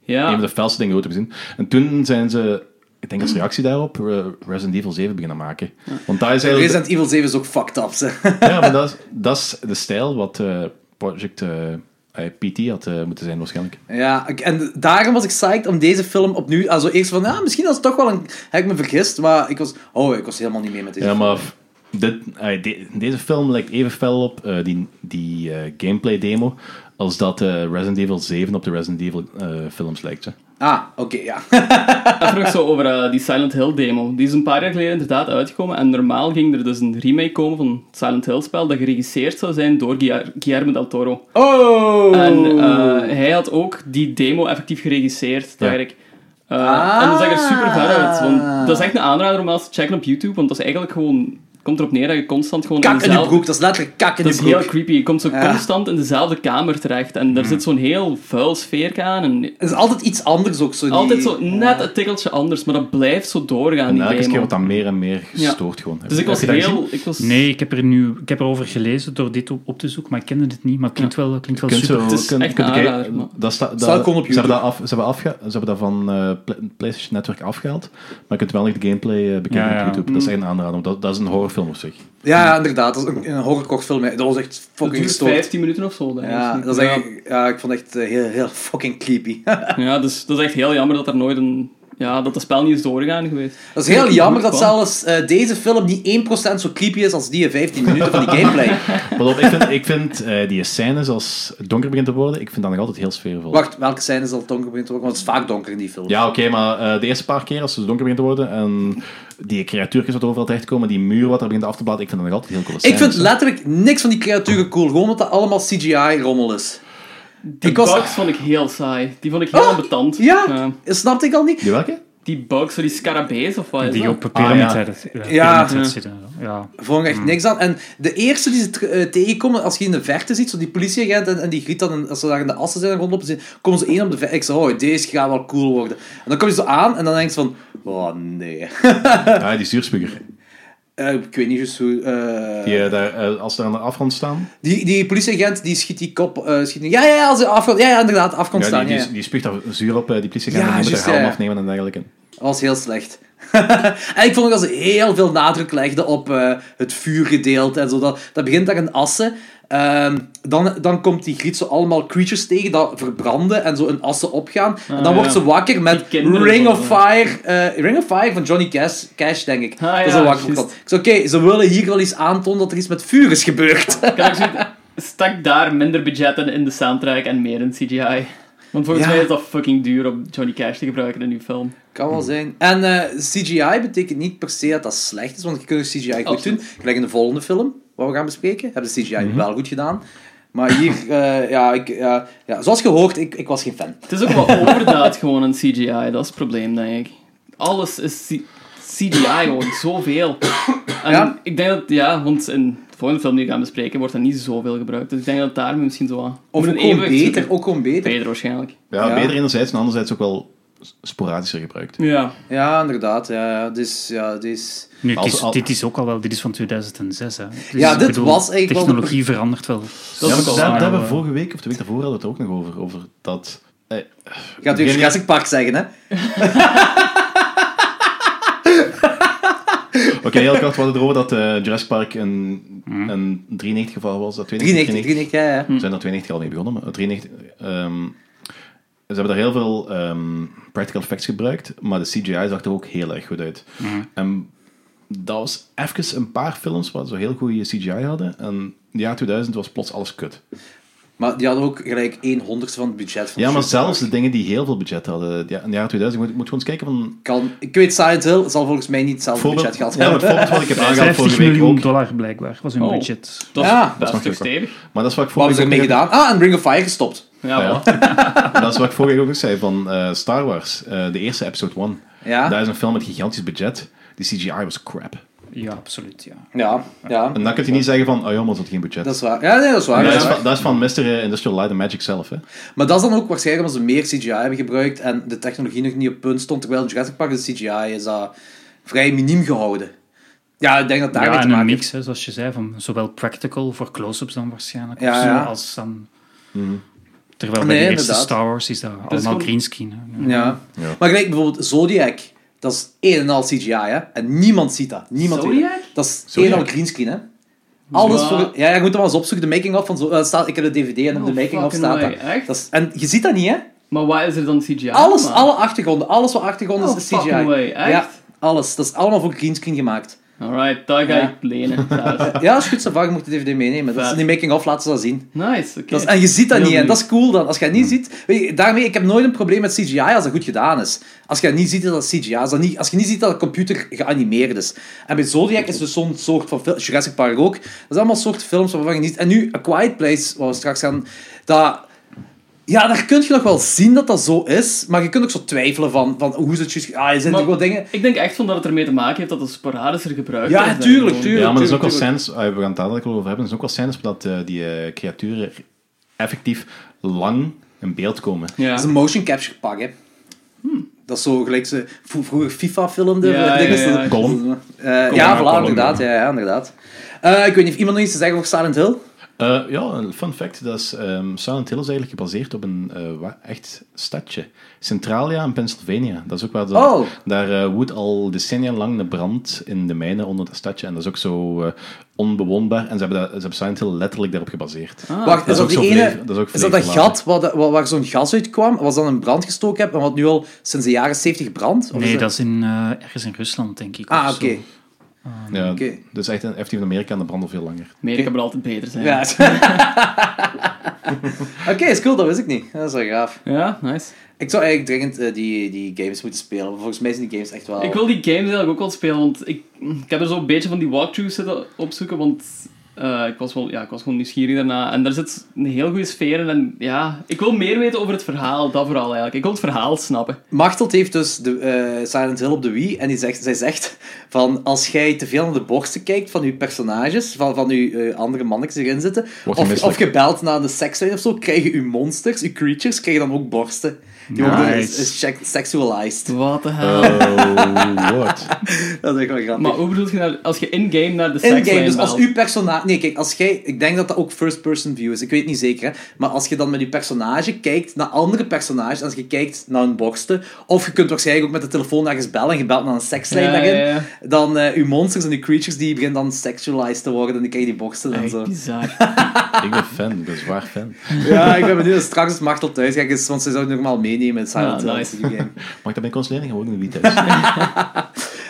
Ja. een van de felste dingen ooit te gezien. En toen zijn ze, ik denk Hmm. als reactie daarop, eh, Resident Evil 7 beginnen maken. Want daar is eigenlijk... Resident Evil 7 is ook fucked up. Ze. Ja, maar dat is, dat is de stijl wat eh, Project eh, eh, PT had eh, moeten zijn waarschijnlijk. *laughs* Ja, ik- en daarom was ik psyched om deze film opnieuw... Also, eerst van, ja, misschien was het toch wel een... Heb ik me vergist, maar ik was... Oh, ik was helemaal niet mee met deze Ja, film. maar f- dit, eh, de- deze film lijkt even fel op eh, die, die eh, gameplay demo als dat eh, Resident Evil 7 op de Resident Evil eh, films lijkt. Hè. Ah, oké, ja. *laughs* Even nog zo over eh, die Silent Hill demo. Die is een paar jaar geleden inderdaad uitgekomen. En normaal ging er dus een remake komen van het Silent Hill spel dat geregisseerd zou zijn door Guilla- Guillermo del Toro. Oh! En eh, hij had ook die demo effectief geregisseerd, Ja. dacht ik. Eh, En dat zag Ah. er super ver uit. Want dat is echt een aanrader om eens te checken op YouTube. Want dat is eigenlijk gewoon... komt erop neer dat je constant gewoon Kak in je dezelfde- broek, dat is letterlijk kak in Dat je is heel broek. creepy. Je komt zo Ja. Mm. constant in dezelfde kamer terecht. En daar zit zo'n heel vuil sfeer aan. En Het is altijd iets anders ook, zo die... altijd zo net een tikkeltje anders. Maar dat blijft zo doorgaan, En die elke demo. keer wordt dat meer en meer gestoord gewoon. Heb Dus je- ik was heb je dat gezien? heel... Ik was... Nee, ik heb, er nu, ik heb erover gelezen door dit op, op te zoeken, maar ik kende dit niet. Maar het klinkt wel, klinkt wel Kunt super. zo- Het is kunt- echt kunt een kijken. aanrader, man. dat sta, dat, Staat gewoon op Ze hebben YouTube. dat, af, ze hebben afge, ze hebben dat van eh, Pla- PlayStation Network afgehaald, maar je kunt wel nog de gameplay eh, bekijken Ja, op ja. YouTube. Dat is echt een aanrader, want dat, dat is een horrorfilm op zich. Ja, ja, inderdaad. Dat is een, een horrorkortfilm. hè. Dat was echt Het fucking duurt gestoord. 15 minuten of zo. denk ik. Ja, dat is echt... Ja, ik vond het echt eh, heel, heel fucking creepy. Ja, dus dat is echt heel jammer dat er nooit een... Ja, dat het spel niet is doorgegaan geweest. Dat is heel Ik jammer moet dat wel. zelfs eh, deze film niet 1% zo creepy is als die 15 minuten van die gameplay. Pas op, ik vind, ik vind eh, die scènes als het donker begint te worden, ik vind dat nog altijd heel sfeervol. Wacht, welke scène is al donker begint te worden? Want het is vaak donker in die film. Ja, oké, maar eh, de eerste paar keer als het donker begint te worden en die creatuurtjes wat overal terechtkomen, die muur wat er begint af te bladen, ik vind dat nog altijd heel cool. Ik vind letterlijk niks van die creaturen cool. Gewoon omdat dat allemaal CGI-rommel is. Die Ik was- bugs vond ik heel saai. Die vond ik heel Ah, ambetant. Ja, snapte ik al niet. Die welke? Die bugs, zo die scarabees of wat is Die dat? op Pyramid Ah, ja. Head ja. Ja. Pyramid Head Ja. zitten. Ja. Vond ik echt niks aan. En de eerste die ze ter- eh, tegenkomen, als je in de verte ziet, zo die politieagent en, en die griet dan, en als ze daar in de assen zijn rondlopen, zien, komen ze één op de verte. Ik zei, oh, deze gaat wel cool worden. En dan kom je zo aan en dan denk je van, oh nee. Ja, Ah, die zuurspuger. Eh, ik weet niet juist hoe... eh, Die, eh, daar, eh, als ze aan de afgrond staan, Die, die politieagent die schiet die kop. eh, schiet die- ja, ja, ja, als hij afkomt. Ja, ja, inderdaad, af kon ja, staan. die, Ja, die, ja. die spuugt daar zuur op, eh, die politie gaan Ja, en die moet juist, haar helm ja. afnemen en dergelijke. Dat was heel slecht. *laughs* en ik vond ook dat ze heel veel nadruk legden op eh, het vuurgedeelte en zo. Dat, dat begint daar in Assen. Ehm, dan, dan komt die griet zo allemaal creatures tegen dat verbranden en zo in Assen opgaan. en dan Ah, wordt ja. ze wakker met Die kinderen Ring of zo, Fire. eh, Ring of Fire van Johnny Cash, Cash denk ik. Ah, dat is ja, een wakker juist. van. Ik zei, oké, ze willen hier wel iets aantonen dat er iets met vuur is gebeurd. Kan ik zoiets- Stak daar minder budgetten in de soundtrack en meer in CGI. Want volgens Ja. mij is dat fucking duur om Johnny Cash te gebruiken in uw film. Kan Hm. wel zijn. En eh, CGI betekent niet per se dat dat slecht is, want je kunt CGI goed Absoluut. doen. Gelijk in de volgende film. wat we gaan bespreken. Hebben ze CGI Mhm. wel goed gedaan. Maar hier, *laughs* eh, ja, ik, ja, ja, zoals gehoord, ik, ik was geen fan. Het is ook *laughs* wel overdaad gewoon een CGI, dat is het probleem, denk ik. Alles is C- CGI gewoon, zoveel. En Ja. ik denk dat, ja, want in de volgende film die we gaan bespreken, wordt dat niet zoveel gebruikt. Dus ik denk dat daarmee misschien zo aan. Of ook gewoon beter, ook gewoon beter. Beter waarschijnlijk. Ja, Ja. beter enerzijds en anderzijds ook wel s- sporadischer gebruikt. Ja. Ja, inderdaad. Ja, ja, dus, ja, dus... Nu, het Als- is, al- dit is ook al wel, dit is van 2006. Hè. Dus Ja, ik dit was eigenlijk wel de Technologie verandert wel. Ja, maar is daar, wel daar waar, hebben we eh. vorige week of de week daarvoor hadden we het er ook nog over. Over dat. eh, Ik ga het weer Geniaal. Jurassic Park zeggen, hè. Oké, heel kort, we hadden het erover dat eh, Jurassic Park een, een 93 geval was. Dat 93, 93, ja, ja. Hmm. zijn er 92 al mee begonnen, maar 93... ehm, ze hebben daar heel veel ehm, practical effects gebruikt, maar de CGI zag er ook heel erg goed uit. Hmm. En dat was even een paar films waar ze heel goede CGI hadden. En in het jaar 2000 was plots alles kut. Maar die hadden ook gelijk 1 honderdste van het budget van Ja, maar Jurassic zelfs de Park. dingen die heel veel budget hadden. Ja, in het jaar 2000, je moet, moet gewoon eens kijken van... Kan, ik weet, Silent Hill zal volgens mij niet hetzelfde budget gehad ja, maar het hebben. voorbeeld *laughs* wat ik heb aangehaald 50 vorige week miljoen ook. dollar blijkbaar was hun Oh. budget. Dat Ja, is dat best mag stuk ook wel. stevig. Maar dat is wat ik Wat hebben vorige ze week ermee ook- gedaan? Ah, en Ring of Fire gestopt. Ja, Ja. voilà. En *laughs* dat is wat ik vorige week ook zei van eh, Star Wars, eh, de eerste episode 1. Ja. Daar is een film met gigantisch budget. Die CGI was crap. Ja, absoluut. Ja. Ja, ja. En dan kun je niet zeggen van, oh ja, maar het had geen budget. Dat is waar. Ja, nee, dat is waar. dat, dat is is waar. van, dat is van Mr. Industrial Light and Magic zelf, hè. Maar dat is dan ook waarschijnlijk omdat ze meer CGI hebben gebruikt en de technologie nog niet op punt stond, terwijl in Jurassic Park de CGI is dat vrij miniem gehouden. Ja, ik denk dat daarmee Ja, te en een maken mix, hè, zoals je zei, van zowel practical voor close-ups dan waarschijnlijk, Ja, of zo, ja. als dan... Mhm. Terwijl bij Nee, de eerste inderdaad. Star Wars is dat allemaal gewoon- greenscreen. hè. heeft. Ja. Ja. Maar gelijk bijvoorbeeld Zodiac, dat is één en al CGI, hè. En niemand ziet dat. Niemand weet Zodiac? dat. Dat is één Zodiac? en al greenscreen, hè. Alles Ja. voor... Ja, ja, je moet dat maar eens opzoeken. De making-of van... Zo, eh, staat, ik heb de DVD en op Oh, de making-of fucking staat dat. way. Echt? dat is, en je ziet dat niet, hè. Maar wat is er dan CGI? Alles, man? alle achtergronden, alles wat achtergronden Oh, is, is CGI. fucking way, echt? Ja, alles. Dat is allemaal voor greenscreen gemaakt. Alright, daar ga Ja. ik *laughs* lenen. thuis. Ja, als je goed Savage moet je de DVD meenemen. Dat is Vet. in die making-of laten ze dat zien. Nice, oké. Dat is, en je ziet dat Heel niet, en leuk. dat is cool dan. Als je het niet ziet... Weet je, daarmee, ik heb nooit een probleem met CGI als dat goed gedaan is. Als je het niet ziet dat dat CGI is. Als, dat niet, als je niet ziet dat de computer geanimeerd is. En bij Zodiac is dus zo'n soort van film... Jurassic Park ook. Dat is allemaal soort films waarvan je niet... En nu A Quiet Place, waar we straks gaan... Dat... Ja, daar kun je nog wel zien dat dat zo is. Maar je kunt ook zo twijfelen van... van hoe is het juist... Ah, er zijn Maar- toch wel dingen... Ik denk echt van dat het ermee te maken heeft dat het sporadischer gebruikt Ja, wordt. tuurlijk, Gewoon. tuurlijk. Ja, maar er is ook wel tuurlijk, scènes, eh, we gaan het daar dadelijk wel over hebben, er is ook wel scènes dat eh, die eh, creaturen effectief lang in beeld komen. Ja. Dat is een motion capture pak, hè. Dat is zo gelijk ze vro- vroeger FIFA filmden. Ja, eh, dingen. ja, ja. Column. Eh, ja, voilà, Column, inderdaad. Ja, ja, inderdaad. Eh, ik weet niet of iemand nog iets te zeggen over Silent Hill? Eh, ja, een fun fact, dat is, ehm, Silent Hill is eigenlijk gebaseerd op een eh, wa- echt stadje. Centralia in Pennsylvania. Dat is ook waar de- Oh. daar eh, woedt al decennia lang de brand in de mijnen onder dat stadje. En dat is ook zo eh, onbewoonbaar. En ze hebben, dat, ze hebben Silent Hill letterlijk daarop gebaseerd. Wacht, is dat dat, is ook die zo ene... verleven- dat is ook is dat dat verleven gat waar, dat- waar, waar zo'n gas uit kwam? Was dat een brand gestoken heb en wat nu al sinds de jaren 70 brandt? Of Nee, dat is in, eh, ergens in Rusland, denk ik. Ah, of oké. zo. Ja, Oké. Dus echt, een- effectief in Amerika en de brand al veel langer. Amerika wil altijd beter zijn. Ja. *laughs* oké, is cool, dat wist ik niet. Dat is wel gaaf. Ja, nice. Ik zou eigenlijk dringend eh, die, die games moeten spelen. maar Volgens mij zijn die games echt wel... Ik wil die games eigenlijk ook wel spelen, want ik, ik heb er zo'n beetje van die walkthroughs zitten opzoeken, want eh, ik, was wel, ja, ik was gewoon nieuwsgierig daarna. En daar zit een heel goede sfeer in. En ja, ik wil meer weten over het verhaal, dat vooral eigenlijk. Ik wil het verhaal snappen. Machteld heeft dus de, eh, Silent Hill op de Wii en die zegt, zij zegt van als jij te veel naar de borsten kijkt van je personages, van, van je eh, andere mannetjes die erin zitten, Word je of, misselijk. of je belt naar de sekslijn of zo, krijgen je monsters, je creatures, krijgen dan ook borsten. Die worden Nice. is, is check- sexualized. Wat de hel. Oh, lord. Dat is echt wel grappig. maar hoe bedoel je nou, als je in-game naar de In game, sekslijn dus als belt? uw personage... Nee, kijk, als jij... Ik denk dat dat ook first-person view is, ik weet niet zeker, hè. Maar als je dan met je personage kijkt naar andere personages, als je kijkt naar hun borsten, of je kunt waarschijnlijk ook met de telefoon ergens bellen en je belt naar een sekslijn Ja, daarin, ja, ja. dan eh uw monsters en uw creatures, die beginnen dan sexualized te worden en dan krijg je die borsten en Echt *laughs* zo. bizar. ik ben fan, ik ben zwaar fan. Ja, ik ben benieuwd. als Straks als Martel thuis gaat, is, want ze zou het normaal meenemen in Silent Ja, Hill. Ah, nice. die game. *laughs* Mag ik dat bij ons leren? Gewoon in de Wii thuis.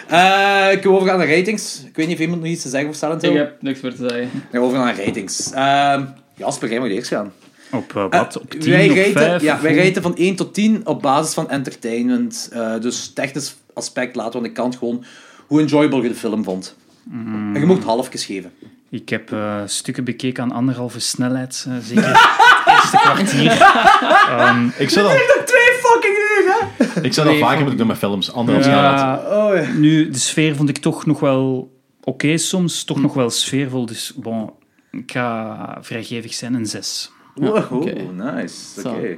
Eh, kunnen we overgaan naar ratings? Ik weet niet of iemand nog iets te zeggen over Silent Hill. Ik heb niks meer te zeggen. Ja, overgaan naar ratings. Ehm Jasper, jij mag eerst gaan. Op eh, wat? Op Eh, 10, wij op raten, 5? Ja, wij raten van 1 tot 10 op basis van entertainment. Eh, dus technisch Mm. aspect laten we aan de kant gewoon hoe enjoyable je de film vond. En je mocht halfjes geven. Ik heb eh, stukken bekeken aan anderhalve snelheid, eh, zeker het *laughs* eerste kwartier. Ehm, Ik zou dat, Twee fucking uur, hè? ik zou dat vaker moeten doen met films. Anderhalf jaar later. ja, Oh, ja. nu, de sfeer vond ik toch nog wel oké soms, toch nog wel sfeervol. Dus bon, ik ga vrijgevig zijn, een zes. Wow, oké. Oh, nice. Oké. Zo.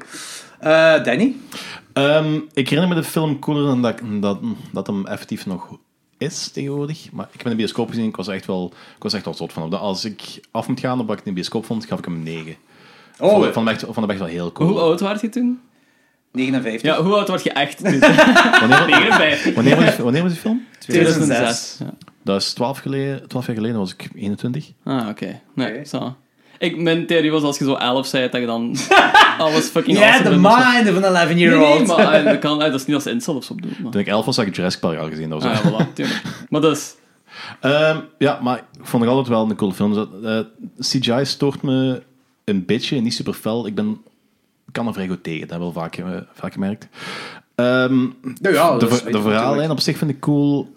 Eh, Danny? Ehm, ik herinner me de film cooler dan dat, dat, dat hem effectief nog is tegenwoordig. Maar ik heb hem in de bioscoop gezien. Ik was echt wel, ik was echt wel zot van. op dat. Als ik af moet gaan op wat ik in de bioscoop vond, gaf ik hem 9. Oh, vond, vond, hem echt, vond hem echt wel heel cool. Hoe oh. oud was je toen? 59. Ja, hoe oud was je *laughs* echt Dus toen? Wanneer, 59. wanneer, was, wanneer was die film? 2006. Ja. Dat is 12, geleden, 12 jaar geleden, was ik 21. Ah, oké. Nee, Oké. zo. Ik, mijn theorie was als je zo 11 zei, dat je dan *laughs* alles fucking Ja, awesome de vindt of zo. mind of an 11-year-old. Nee, nee, maar eh, dat, kan, eh, dat is niet als insult of zo bedoeld. Maar. Toen ik 11 was, had ik Jurassic Park al gezien. Dat was Ah, *laughs* ja, voilà, tuurlijk. Maar dus, Ehm, ja, maar ik vond het altijd wel een coole film. Dus dat, eh, CGI stoort me een beetje, niet super fel. Ik ben, ik kan er vrij goed tegen, dat hebben we wel vaak, eh, vaak gemerkt. Ehm, Nou ja, dat de, is- ver- de verhaallijn op zich vind ik cool.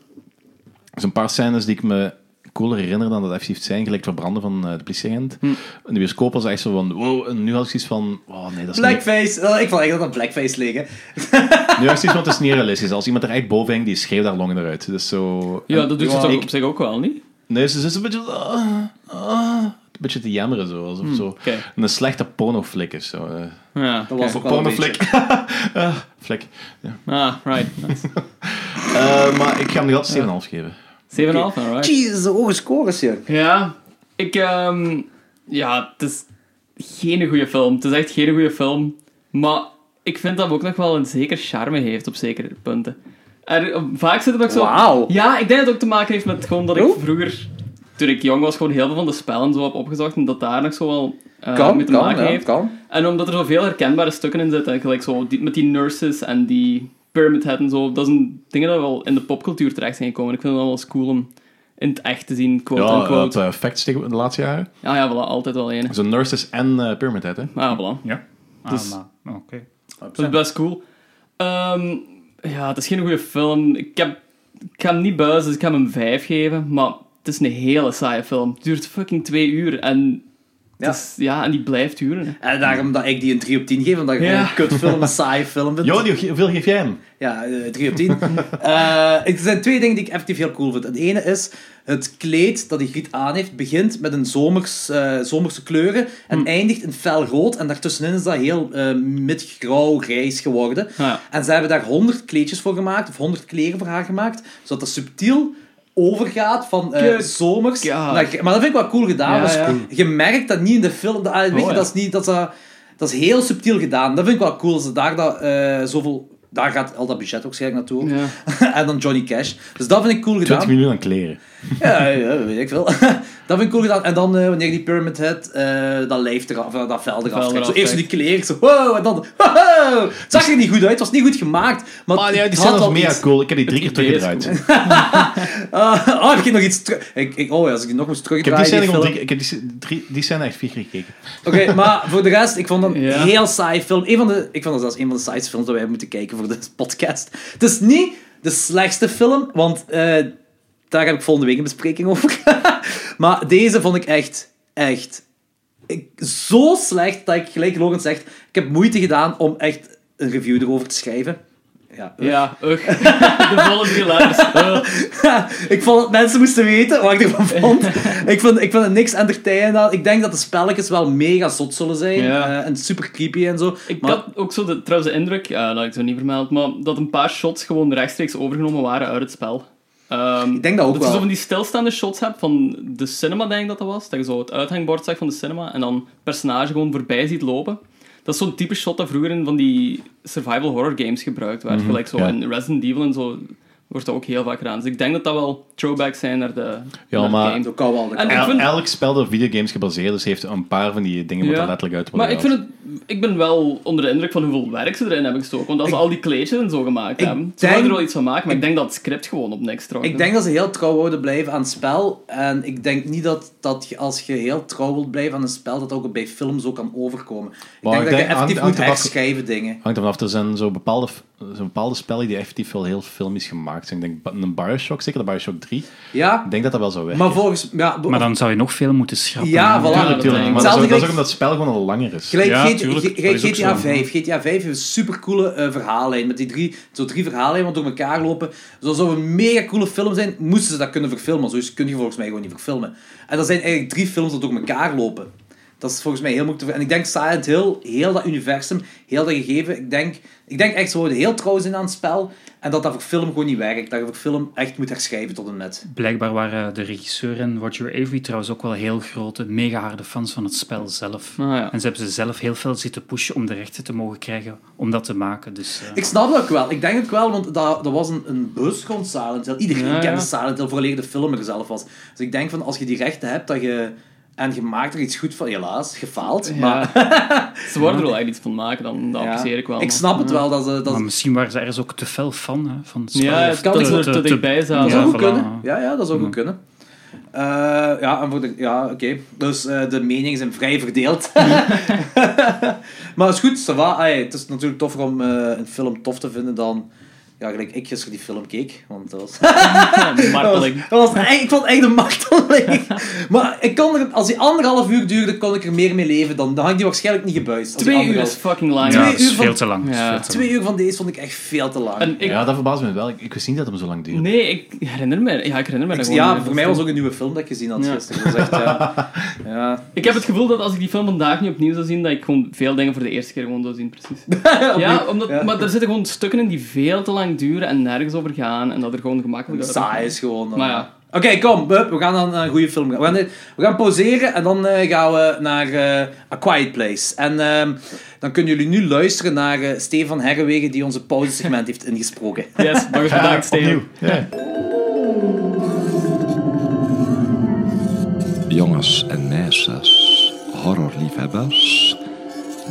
Er zijn een paar scènes die ik me cooler herinner dan dat effectief zijn, gelijk het verbranden van eh, de Hm. politieagent. In de bioscoop was echt zo van, wow, en nu had ik zoiets van, oh nee, dat is niet... Blackface. Oh, ik vond eigenlijk dat dat blackface leek, hè. Nu had ik zoiets van, het is niet realistisch. Als iemand er echt boven hangt, die schreeuwt daar longen eruit. Dus zo... ja, dat doet ze Ja, toch ik- op zich ook wel, niet? Nee, ze is een beetje... ah, ah, een beetje te jammeren, zo. Alsof zo Hmm, oké. Een slechte pornoflik is, zo. eh. Ja, Dat was oké. ook wel een pornoflik. beetje- *laughs* Eh, flik. Ja. Ah, right. *laughs* Nice. 7,5, Eh, maar ik ga hem nog altijd 7,5 geven. alright. Jezus, de ogen scores, joh. Ja, ik... ehm, ja, het is geen goede film. Het is echt geen goede film. Maar ik vind dat hem ook nog wel een zeker charme heeft op zekere punten. Er, eh, vaak zit het ook zo... Wauw. Ja, ik denk dat het ook te maken heeft met gewoon dat ik Oeh. vroeger... Toen ik jong was, gewoon heel veel van de spellen zo heb opgezocht. En dat daar nog zo wel eh, Kan, mee te kan, maken ja, heeft. kan. En omdat er zoveel herkenbare stukken in zitten, gelijk zo die, met die nurses en die pyramid head en zo, dat zijn dingen die wel in de popcultuur terecht zijn gekomen. Ik vind het wel eens cool om in het echt te zien, quote Ja, eh, unquote. het eh, facts tegen de laatste jaren. Ah ja, voilà, altijd wel ene. Zo'n nurses en eh pyramid head, hè. Ah, voilà. Ja. Ah, Dus- maar, oké. Oh. Dat is best cool. Ehm, ja, het is geen goede film. Ik, heb, ik ga hem niet buizen, dus ik ga hem een 5 geven. Maar het is een hele saaie film. Het duurt fucking twee uur en, het Ja. is- ja, en die blijft duren. hè. En Eh, daarom dat ik die een 3 op 10 geef, omdat ik Ja. gewoon een kutfilm, een saaie film vind. Jo, die- hoeveel geef jij hem? Ja, eh, 3 op 10. Eh, er zijn twee dingen die ik effectief heel cool vind. Het ene is, het kleed dat die Griet aan heeft, begint met een zomers, eh, zomerse kleuren en eindigt in fel rood. En daartussenin is dat heel eh midgrauw-grijs geworden. Ah ja. En ze hebben daar 100 kleedjes voor gemaakt, of 100 kleren voor haar gemaakt, zodat dat subtiel overgaat van eh, Kut. zomers Ja. naar gr- Maar dat vind ik wel cool gedaan. Ja, want ja. Oh, Je merkt dat niet in de film. Dat, ah, weet je, ja. dat is niet... Dat is, eh, dat is heel subtiel gedaan. Dat vind ik wel cool. Dat ze daar dat, eh, zoveel... Daar gaat al dat budget waarschijnlijk naartoe. Ja. *laughs* en dan Johnny Cash. Dus dat vind ik cool 20 gedaan. miljoen aan kleren. Ja, ja, weet *laughs* ik veel. dat vind ik cool gedaan. En dan eh, wanneer die Pyramid Head eh, dat lijf eraf, eh, dat vel eraf Vel trekt. Zo eraf eerst die trekt. kleren, zo wow, en dan wow, wow. Het zag er niet goed uit, het was niet goed gemaakt. Maar, Ah, Maar ja, het die had scène was wel Ah, mega iets. cool. Ik heb die drie keer Het idee is teruggedraaid. cool. Ah, *laughs* oh, heb je nog iets terug... Ik, ik, oh, ja, als ik die nog moest Ik heb die terugdraaien... scène gewoon film- drie keer- ik heb die scène- drie- die scène echt vier keer gekeken. Oké, *laughs* maar voor de rest, ik vond dat een Ja. heel saai film. Eén van de, ik vond dat zelfs een van de saaiste films dat wij moeten kijken voor deze *laughs* podcast. Het is niet de slechtste film, want eh, daar heb ik volgende week een bespreking over. *laughs* maar deze vond ik echt, echt ik- zo slecht dat ik, gelijk Logan zegt, ik heb moeite gedaan om echt een review erover te schrijven. Ja, Ja, ugh. De volle drie letters. Ugh. ik vond dat mensen moesten weten wat ik *laughs* ervan vond. ik, vond ik vond het niks entertainend aan. Ik denk dat de spelletjes wel mega zot zullen zijn. Ja. eh, en super creepy en zo. Ik maar- had ook zo de, trouwens de indruk, eh, dat had ik zo niet vermeld, maar dat een paar shots gewoon rechtstreeks overgenomen waren uit het spel. Ehm, Ik denk dat ook je wel. zo van die stilstaande shots hebt van de cinema, denk ik dat dat was. Dat je zo het uithangbord zag van de cinema en dan het personage gewoon voorbij ziet lopen. Dat is zo'n type shot dat vroeger in van die survival horror games gebruikt Mhm, werd. Gelijk zo ja. in Resident Evil en zo wordt dat ook heel vaak gedaan. Dus ik denk dat dat wel throwbacks zijn naar de, Ja, naar de maar- game. Dat kan wel. dat kan En ik wel. El- vind- elk spel dat op videogames gebaseerd is, heeft een paar van die dingen wat Ja. er letterlijk uit worden Maar ik vind gehaald. het ik ben wel onder de indruk van hoeveel werk ze erin hebben gestoken. Want als ze al die kleedjes en zo gemaakt ik hebben. Ze willen denk- er wel iets van maken, maar ik denk dat het script gewoon op niks trouwt. Ik denk dat ze heel trouw houden blijven aan het spel. En ik denk niet dat, dat je, als je heel trouw wilt blijven aan een spel, dat ook bij films ook kan overkomen. Ik Maar denk ik dat je denk- hangt- effectief moet hangt er af- herschrijven dingen. Hangt ervan af, er zijn zo bepaalde, f- er zijn bepaalde spellen die effectief wel heel filmisch gemaakt zijn. Ik denk ba- een Bioshock, zeker de Bioshock 3, Ja, ik denk dat dat wel zou werken. maar volgens... Ja, bo- Maar dan zou je nog veel moeten schrappen. Ja, voilà. Ja, Tuurlijk, denk ik. maar dat is, ook, Hetzelfde dat is ook gelijk- omdat het spel gewoon al langer is. Gelijk Ja, G- tuurlijk, G- dat is ook GTA zo. 5. GTA 5 heeft een supercoole eh, verhaallijn. Met die drie, zo drie verhaallijnen wat door elkaar lopen. Zo zou een mega coole film zijn, moesten ze dat kunnen verfilmen. Zo is- kun je volgens mij gewoon niet verfilmen. En dat zijn eigenlijk drie films dat door elkaar lopen. Dat is volgens mij heel moeilijk te ver- En ik denk Silent Hill, heel dat universum, heel dat gegeven. Ik denk, ik denk echt, ze worden heel trouw zijn aan het spel. En dat dat voor film gewoon niet werkt. Dat je voor film echt moet herschrijven tot een net. Blijkbaar waren de regisseur en Roger Avery trouwens ook wel heel grote, mega harde fans van het spel zelf. Ah, ja. En ze hebben ze zelf heel veel zitten pushen om de rechten te mogen krijgen om dat te maken. Dus, eh, Ik snap dat ook wel. Ik denk het wel, want dat, dat was een, een bus rond Silent Hill. Iedereen Ja, ja. kende Silent Hill, vooraleer de film er zelf was. Dus ik denk van, als je die rechten hebt, dat je... En je maakt er iets goed van, helaas, gefaald. Maar *laughs* Ze worden er wel echt iets van maken, dan, dat ja, apprecieer ik wel. *laughs* Ik snap het wel, dat ze... Dat maar ze- misschien waren ze ergens ook te fel van, hè, van het spel. Ja, Of het kan te- dat ze er te- te te- dichtbij dat zaten. zou Ja, goed voilà. kunnen. Ja, ja, dat zou goed kunnen. Eh, ja, en voor de- ja oké. Dus eh, de meningen zijn vrij *laughs* verdeeld. *laughs* maar het is goed, ça va. Ai, het is natuurlijk toffer om eh, een film tof te vinden dan... Ja, gelijk ik gisteren die film keek. Want dat was... *laughs* Marteling. Oh, Dat was, dat was echt- ik vond het echt een *laughs* marteling. maar ik kon er, als die anderhalf uur duurde, kon ik er meer mee leven. Dan, dan had ik die waarschijnlijk niet gebuist. als die Twee uur is anderhalf- fucking lang. Ja, Twee dat is uur van- veel te lang. dat is Ja. veel te lang. Twee uur van deze vond ik echt veel te lang. En ik, Ja, dat verbaast me wel. Ik, ik wist niet dat hem zo lang duurde. Nee, ik herinner me. Ja, ik herinner me Ik- dat gewoon. ja, Eh, voor mij was ook een nieuwe film dat ik gezien had Ja. gisteren. Dat is echt, *laughs* ja. ja. Ik heb het gevoel dat als ik die film vandaag nu opnieuw zou zien, dat ik gewoon veel dingen voor de eerste keer gewoon zou zien, *laughs* precies. ja, omdat, ja. maar er zitten gewoon stukken in die veel te lang duren en nergens over gaan en dat er gewoon gemakkelijk uit- Saai is gewoon. dan. Maar ja. Oké, kom, hup, we gaan dan naar een goede film gaan. We gaan, we gaan pauzeren en dan eh, gaan we naar eh, A Quiet Place. En ehm, dan kunnen jullie nu luisteren naar eh, Stefan Herrewegen, die onze pauzesegment heeft ingesproken. Yes, nog eens Ja, bedankt, Steven. opnieuw. Ja. Jongens en meisjes, horrorliefhebbers.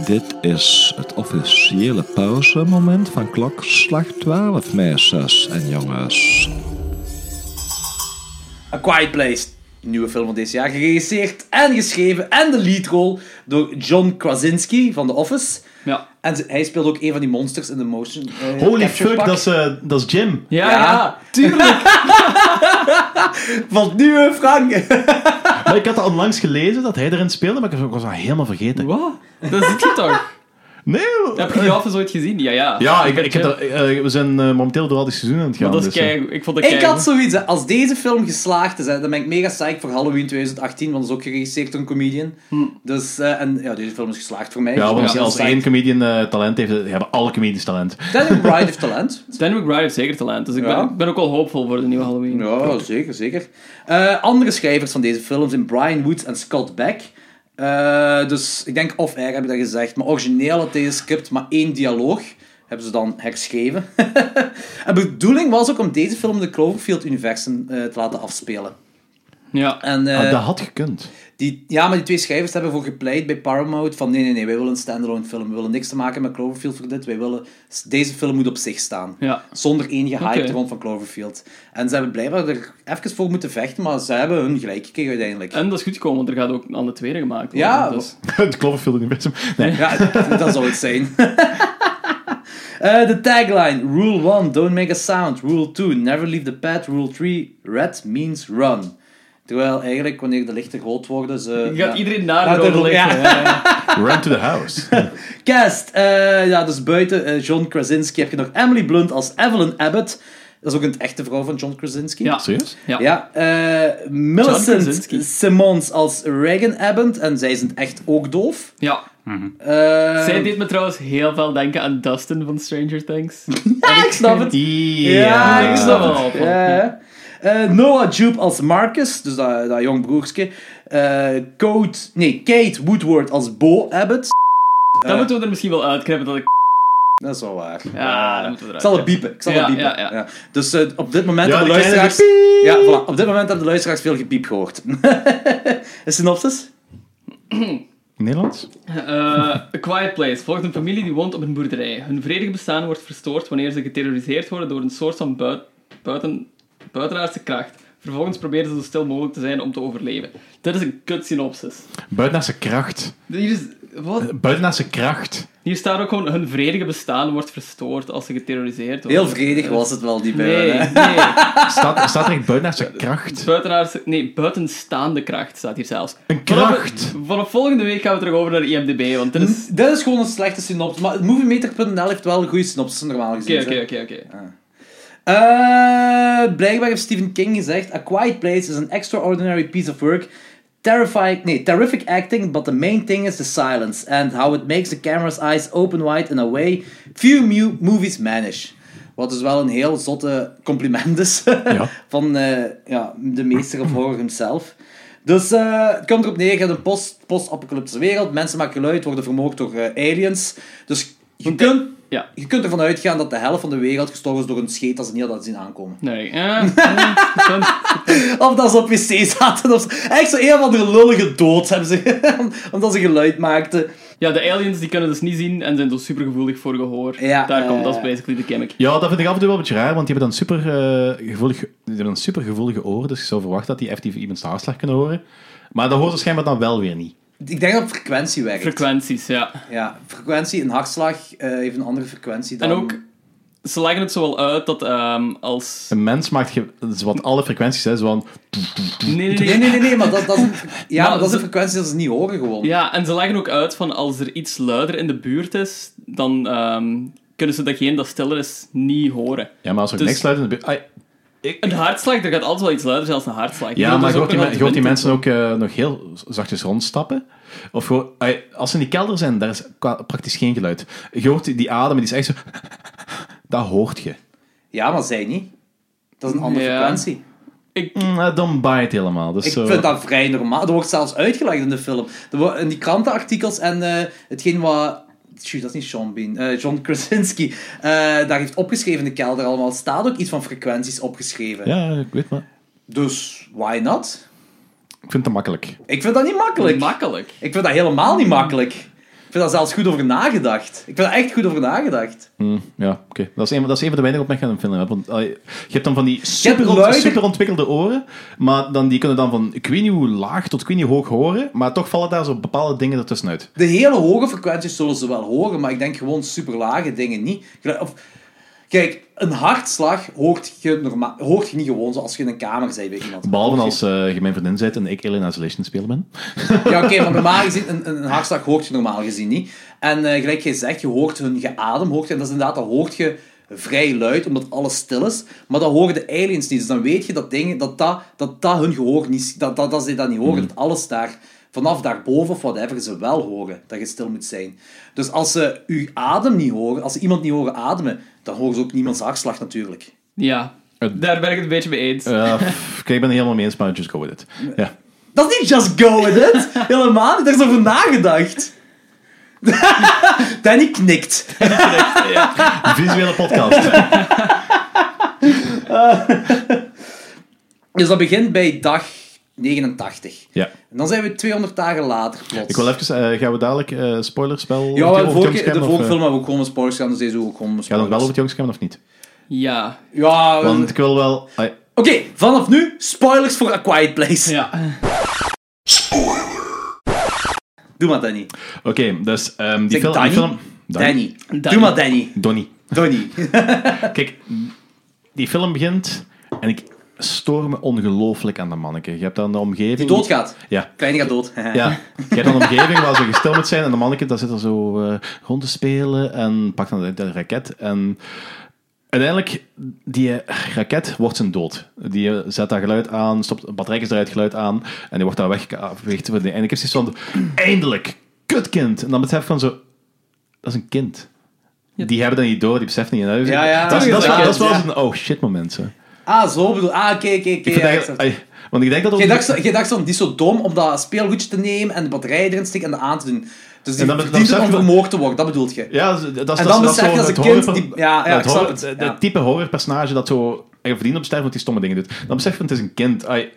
Dit is het officiële pauzemoment van klokslag 12, meisjes en jongens. A Quiet Place. Nieuwe film van dit jaar, geregisseerd en geschreven en de leadrol door John Krasinski van The Office. Ja. En ze- hij speelt ook een van die monsters in de motion. eh, Holy capture fuck, pak. dat is, eh, dat is Jim. Ja, Ja. ja, tuurlijk. Van het eh, nieuwe *laughs* Frank. Maar ik had dat onlangs gelezen dat hij erin speelde, maar ik was dat helemaal vergeten. Wat? Dat zit je toch? Nee, Heb je die Office ooit gezien? Ja, ja. Ja, ik, ik heb dat, eh, we zijn eh, momenteel door al die seizoenen aan het gaan. Maar dat is dus, eh, kei... Ik vond dat ik kei... had zoiets, hè. als deze film geslaagd is, hè, dan ben ik mega psyched voor Halloween 2018, want dat is ook geregisseerd door een comedian. Hm. Dus, eh, en ja, deze film is geslaagd voor mij. Dus ja, want Ik als- ben heel als psyched. één comedian eh, talent heeft, eh, hebben alle comedians talent. Danny Bride heeft talent. Danny McBride heeft zeker talent, dus ik Ja. ben, ik ben ook wel hoopvol voor de nieuwe Halloween. Ja, zeker, zeker. Eh, andere schrijvers van deze film zijn Brian Woods en Scott Beck. Eh, dus ik denk off-air hebben dat gezegd. Maar origineel had deze script maar één dialoog. Hebben ze dan herschreven. *laughs* en bedoeling was ook om deze film in de Cloverfield-universum eh, te laten afspelen. Ja. En, eh, Ah, dat had gekund. *laughs* die, ja, maar die twee schrijvers hebben voor gepleit bij Paramount van nee, nee, nee, wij willen een standalone film. We willen niks te maken met Cloverfield voor dit. Wij willen, deze film moet op zich staan. Ja. Zonder enige hype Oké. rond van Cloverfield. En ze hebben blijkbaar er even voor moeten vechten, maar ze hebben hun gelijk gekregen uiteindelijk. En dat is goed gekomen, want er gaat ook een andere tweede gemaakt worden. Ja, dus. het Cloverfield-universum. Nee, Ja, *laughs* dat zou het zijn. *laughs* Eh, De tagline, rule 1, don't make a sound. Rule 2, never leave the pad. Rule 3, red means run. Terwijl eigenlijk, wanneer de lichten rood worden, ze... Je gaat ja. iedereen naar Ja, de dat- rode lichten, ja. ja, ja. Run to the *laughs* house. Cast, eh, ja, dus buiten eh, John Krasinski heb je nog Emily Blunt als Evelyn Abbott. Dat is ook een echte vrouw van John Krasinski. Ja. Serieus? Ja. Ja, eh, John Millicent Krasinski. Simmons als Reagan Abbott. En zij is in het echt ook doof. ja. Eh, Zij deed me trouwens heel veel denken aan Dustin van Stranger Things. ja, ik snap het. Ja, ik snap het. Oh, fuck. Ja. Eh, Noah Jupe als Marcus, dus dat, dat jong broertje. Eh, Code, nee, Kate Woodward als Bo Abbott. Dat moeten we er misschien wel uitknippen dat ik... Dat is wel waar. Ja, Eh, dat moeten we Ik eruit. zal het piepen. Ik zal Ja, het piepen. ja, ja. Dus eh, op dit moment Ja, hebben de die kleine luisteraars... Ja, voilà. *laughs* Op dit moment hebben de luisteraars veel gepiep gehoord. Een synopsis? Nederlands? Eh, A Quiet Place volgt een familie die woont op een boerderij. Hun vredig bestaan wordt verstoord wanneer ze geterroriseerd worden door een soort van buit- buiten, buitenaardse kracht. Vervolgens proberen ze zo stil mogelijk te zijn om te overleven. Dit is een kut synopsis. Buitenaardse kracht. Hier, is, wat? Buitenaardse kracht. Hier staat ook gewoon hun vredige bestaan wordt verstoord als ze geterroriseerd worden. Heel vredig was het wel, die bij Nee, hen, hè. nee. *laughs* Staat, staat er echt buitenaardse kracht? Buitenaardse... Nee, buitenstaande kracht staat hier zelfs. Een kracht! Vanaf, vanaf volgende week gaan we terug over naar IMDb, want dit is... Hm, Dat is gewoon een slechte synopsis. Maar Moviemeter.nl heeft wel een goede synopsis normaal gezien. Oké, hè. oké, oké, oké. Eh, blijkbaar heeft Stephen King gezegd: A Quiet Place is an extraordinary piece of work. Terrifying, nee, terrific acting, but the main thing is the silence and how it makes the camera's eyes open wide in a way few mu- movies manage. Wat dus wel een heel zotte compliment is Ja. van eh, ja, de meester of horror hemzelf. Dus eh, het komt erop neer, je hebt een post- post-apocalyptische wereld, mensen maken geluid, worden vermoord door eh, aliens. Dus je kunt, Ja. je kunt ervan uitgaan dat de helft van de wereld gestorven is door een scheet als ze niet hadden zien aankomen. Nee, eh, eh, punt. Of dat ze op wc zaten. Of zo. Echt zo een van de lullige dood hebben ze. *laughs* omdat ze geluid maakten. Ja, de aliens die kunnen dus niet zien en zijn dus supergevoelig voor gehoor. Ja, Daar eh, komt, dat is basically de gimmick. Ja, dat vind ik af en toe wel een beetje raar, want die hebben dan super, eh, gevoelig, die hebben dan super gevoelige oren, dus je zou verwachten dat die effectief iemands haarslag kunnen horen. Maar dat hoort ze schijnbaar dan wel weer niet. Ik denk dat frequentie werkt. Frequenties, ja. ja, frequentie, een hartslag eh, heeft een andere frequentie dan... En ook, ze leggen het zo wel uit dat ehm, als... Een mens maakt, ge- dat is wat alle frequenties zijn, zo van... Nee, nee, Nee, nee. nee, nee, nee, maar dat, *laughs* dat is een, ja, Maar maar dat is een ze- frequentie dat ze niet horen gewoon. Ja, en ze leggen ook uit van als er iets luider in de buurt is, dan ehm, kunnen ze datgene dat stiller is niet horen. Ja, maar als er Dus- niks luidt in de bu- Ai, Een hartslag, er gaat altijd wel iets luider zijn als een hartslag. Ik Ja, bedoel, maar dat is je ook hoort die, nog men- je altijd wind. hoort die mensen ook eh, nog heel zachtjes rondstappen. Of gewoon, ai, als ze in die kelder zijn, daar is qua- praktisch geen geluid. Je hoort die- die adem, en die is echt zo... *laughs* Dat hoort je. Ja, maar zij niet. Dat is een andere Ja. frequentie. Mm, eh, don't buy it helemaal. Dus Ik zo- vind dat vrij normaal. Dat wordt zelfs uitgelegd in de film. Er wo- in die krantenartikels en eh, hetgeen wat... Tjoe, dat is niet Sean Bean. eh, John Krasinski. eh, daar heeft opgeschreven in de kelder allemaal. Staat ook iets van frequenties opgeschreven. Ja, ik weet maar. Dus, why not? Ik vind het makkelijk. Ik vind dat niet makkelijk. Makkelijk. ik vind dat helemaal niet makkelijk. Ik vind daar zelfs goed over nagedacht. Ik vind daar echt goed over nagedacht. Hm, ja, oké. Dat, is een- dat is een van de weinige opmerkingen aan een film. Hè. Want, ai, je hebt dan van die super, luider- super ontwikkelde oren, maar dan, die kunnen dan van ik weet niet hoe laag tot ik weet niet hoe hoog horen, maar toch vallen daar zo bepaalde dingen ertussenuit. De hele hoge frequenties zullen ze wel horen, maar ik denk gewoon superlage dingen niet. Gelijk- Of, kijk, een hartslag hoort je, norma- hoort je niet gewoon zoals je in een kamer bent bij iemand. Behalve als eh, je mijn vriendin bent en ik Alien Isolation spelen ben. Ja, oké, maar normaal gezien, een, een een hartslag hoort je normaal gezien niet. En eh, gelijk jij zegt, je hoort hun geadem, hoort je, en dat is inderdaad, dat hoort je vrij luid, omdat alles stil is. Maar dat horen de aliens niet, dus dan weet je dat dingen, dat dat, dat, dat hun gehoor niet, dat, dat, dat ze dat niet horen, dat alles daar, vanaf daarboven of whatever, ze wel horen, dat je stil moet zijn. Dus als ze uw adem niet horen, als ze iemand niet horen ademen, dan horen ze ook niemands hartslag natuurlijk. Ja, daar ben ik het een beetje mee eens. Eh, pff, kijk, ik ben het helemaal mee eens, maar just go with it. Ja. Dat is niet just go with it. Helemaal niet. Daar is over nagedacht. *laughs* Danny knikt. Visuele podcast. Dus dat begint bij dag 89. ja. En dan zijn we 200 dagen later plots. Ik wil even, eh, gaan we dadelijk eh, spoilers wel ja, over maar de het vorige, jongenscherm de of, vorige eh, film hebben we ook gewoon met spoilers gedaan, dus deze ook gewoon met Gaan we het spoilers. wel over het jongenscherm of niet? Ja, Ja, we- Want ik wil wel... ai, oké, vanaf nu spoilers voor A Quiet Place. *laughs* ja. Doe maar, Danny. Oké, dus ehm, die, Zeg, film, Danny? die film... Danny. Doe Danny. maar, Danny. *laughs* Donnie. *laughs* Donnie. Kijk, die film begint en ik stoor me ongelooflijk aan dat manneke. Je hebt dan de omgeving... Die doodgaat. Ja. Kleine gaat dood. Ja, *laughs* je hebt dan een omgeving waar ze gestil moet zijn en de manneke dat zit er zo eh, rond te spelen en pakt dan de, de raket en uiteindelijk die eh, raket wordt zijn dood. Die eh, zet daar geluid aan, stopt batterijtjes eruit geluid aan en die wordt daar weggeveegd. En ik heb zoiets van, eindelijk, kutkind. En dan besef ik van zo, dat is een kind. Die hebben dat niet door, die beseffen niet. En dat is- Ja, ja. dat, is, dat, is, wel- dat is wel eens Ja. een oh shit moment. Zo. Ik *laughs* Ah, zo bedoel Ah, oké, oké, oké. vind ja, ik eigenlijk- snap. ai, want ik denk dat... Jij ook- dacht, zo- jij dacht zo, die is zo dom om dat speelgoedje te nemen en de batterij erin te steken en dat aan te doen. Dus die En dan- dan verdient het besef om je dat- vermoord te worden, dat bedoelt je. Ja, dat, is- dat, is- En dat, dan is- dat besef je is als zo een het kind horror- die- ja, ja, dat ik snap horror- het, dat ja. type horrorpersonage dat zo... Hij verdient op sterven want hij stomme dingen doet. Dan besef je, het is een kind. Ai,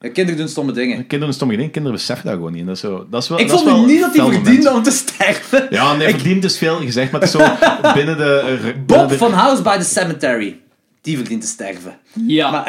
Ja, kinderen doen stomme dingen. Kinderen stomme dingen, kinderen beseffen dat gewoon niet. En dat is zo, dat is wel, Ik dat is vond nu wel niet dat fel hij moment. verdiende om te sterven. Ja, nee, Ik- verdiend is veel gezegd, maar het *laughs* is zo binnen de... eh, binnen Bob de- van House by the Cemetery. Die verdient te sterven. Ja.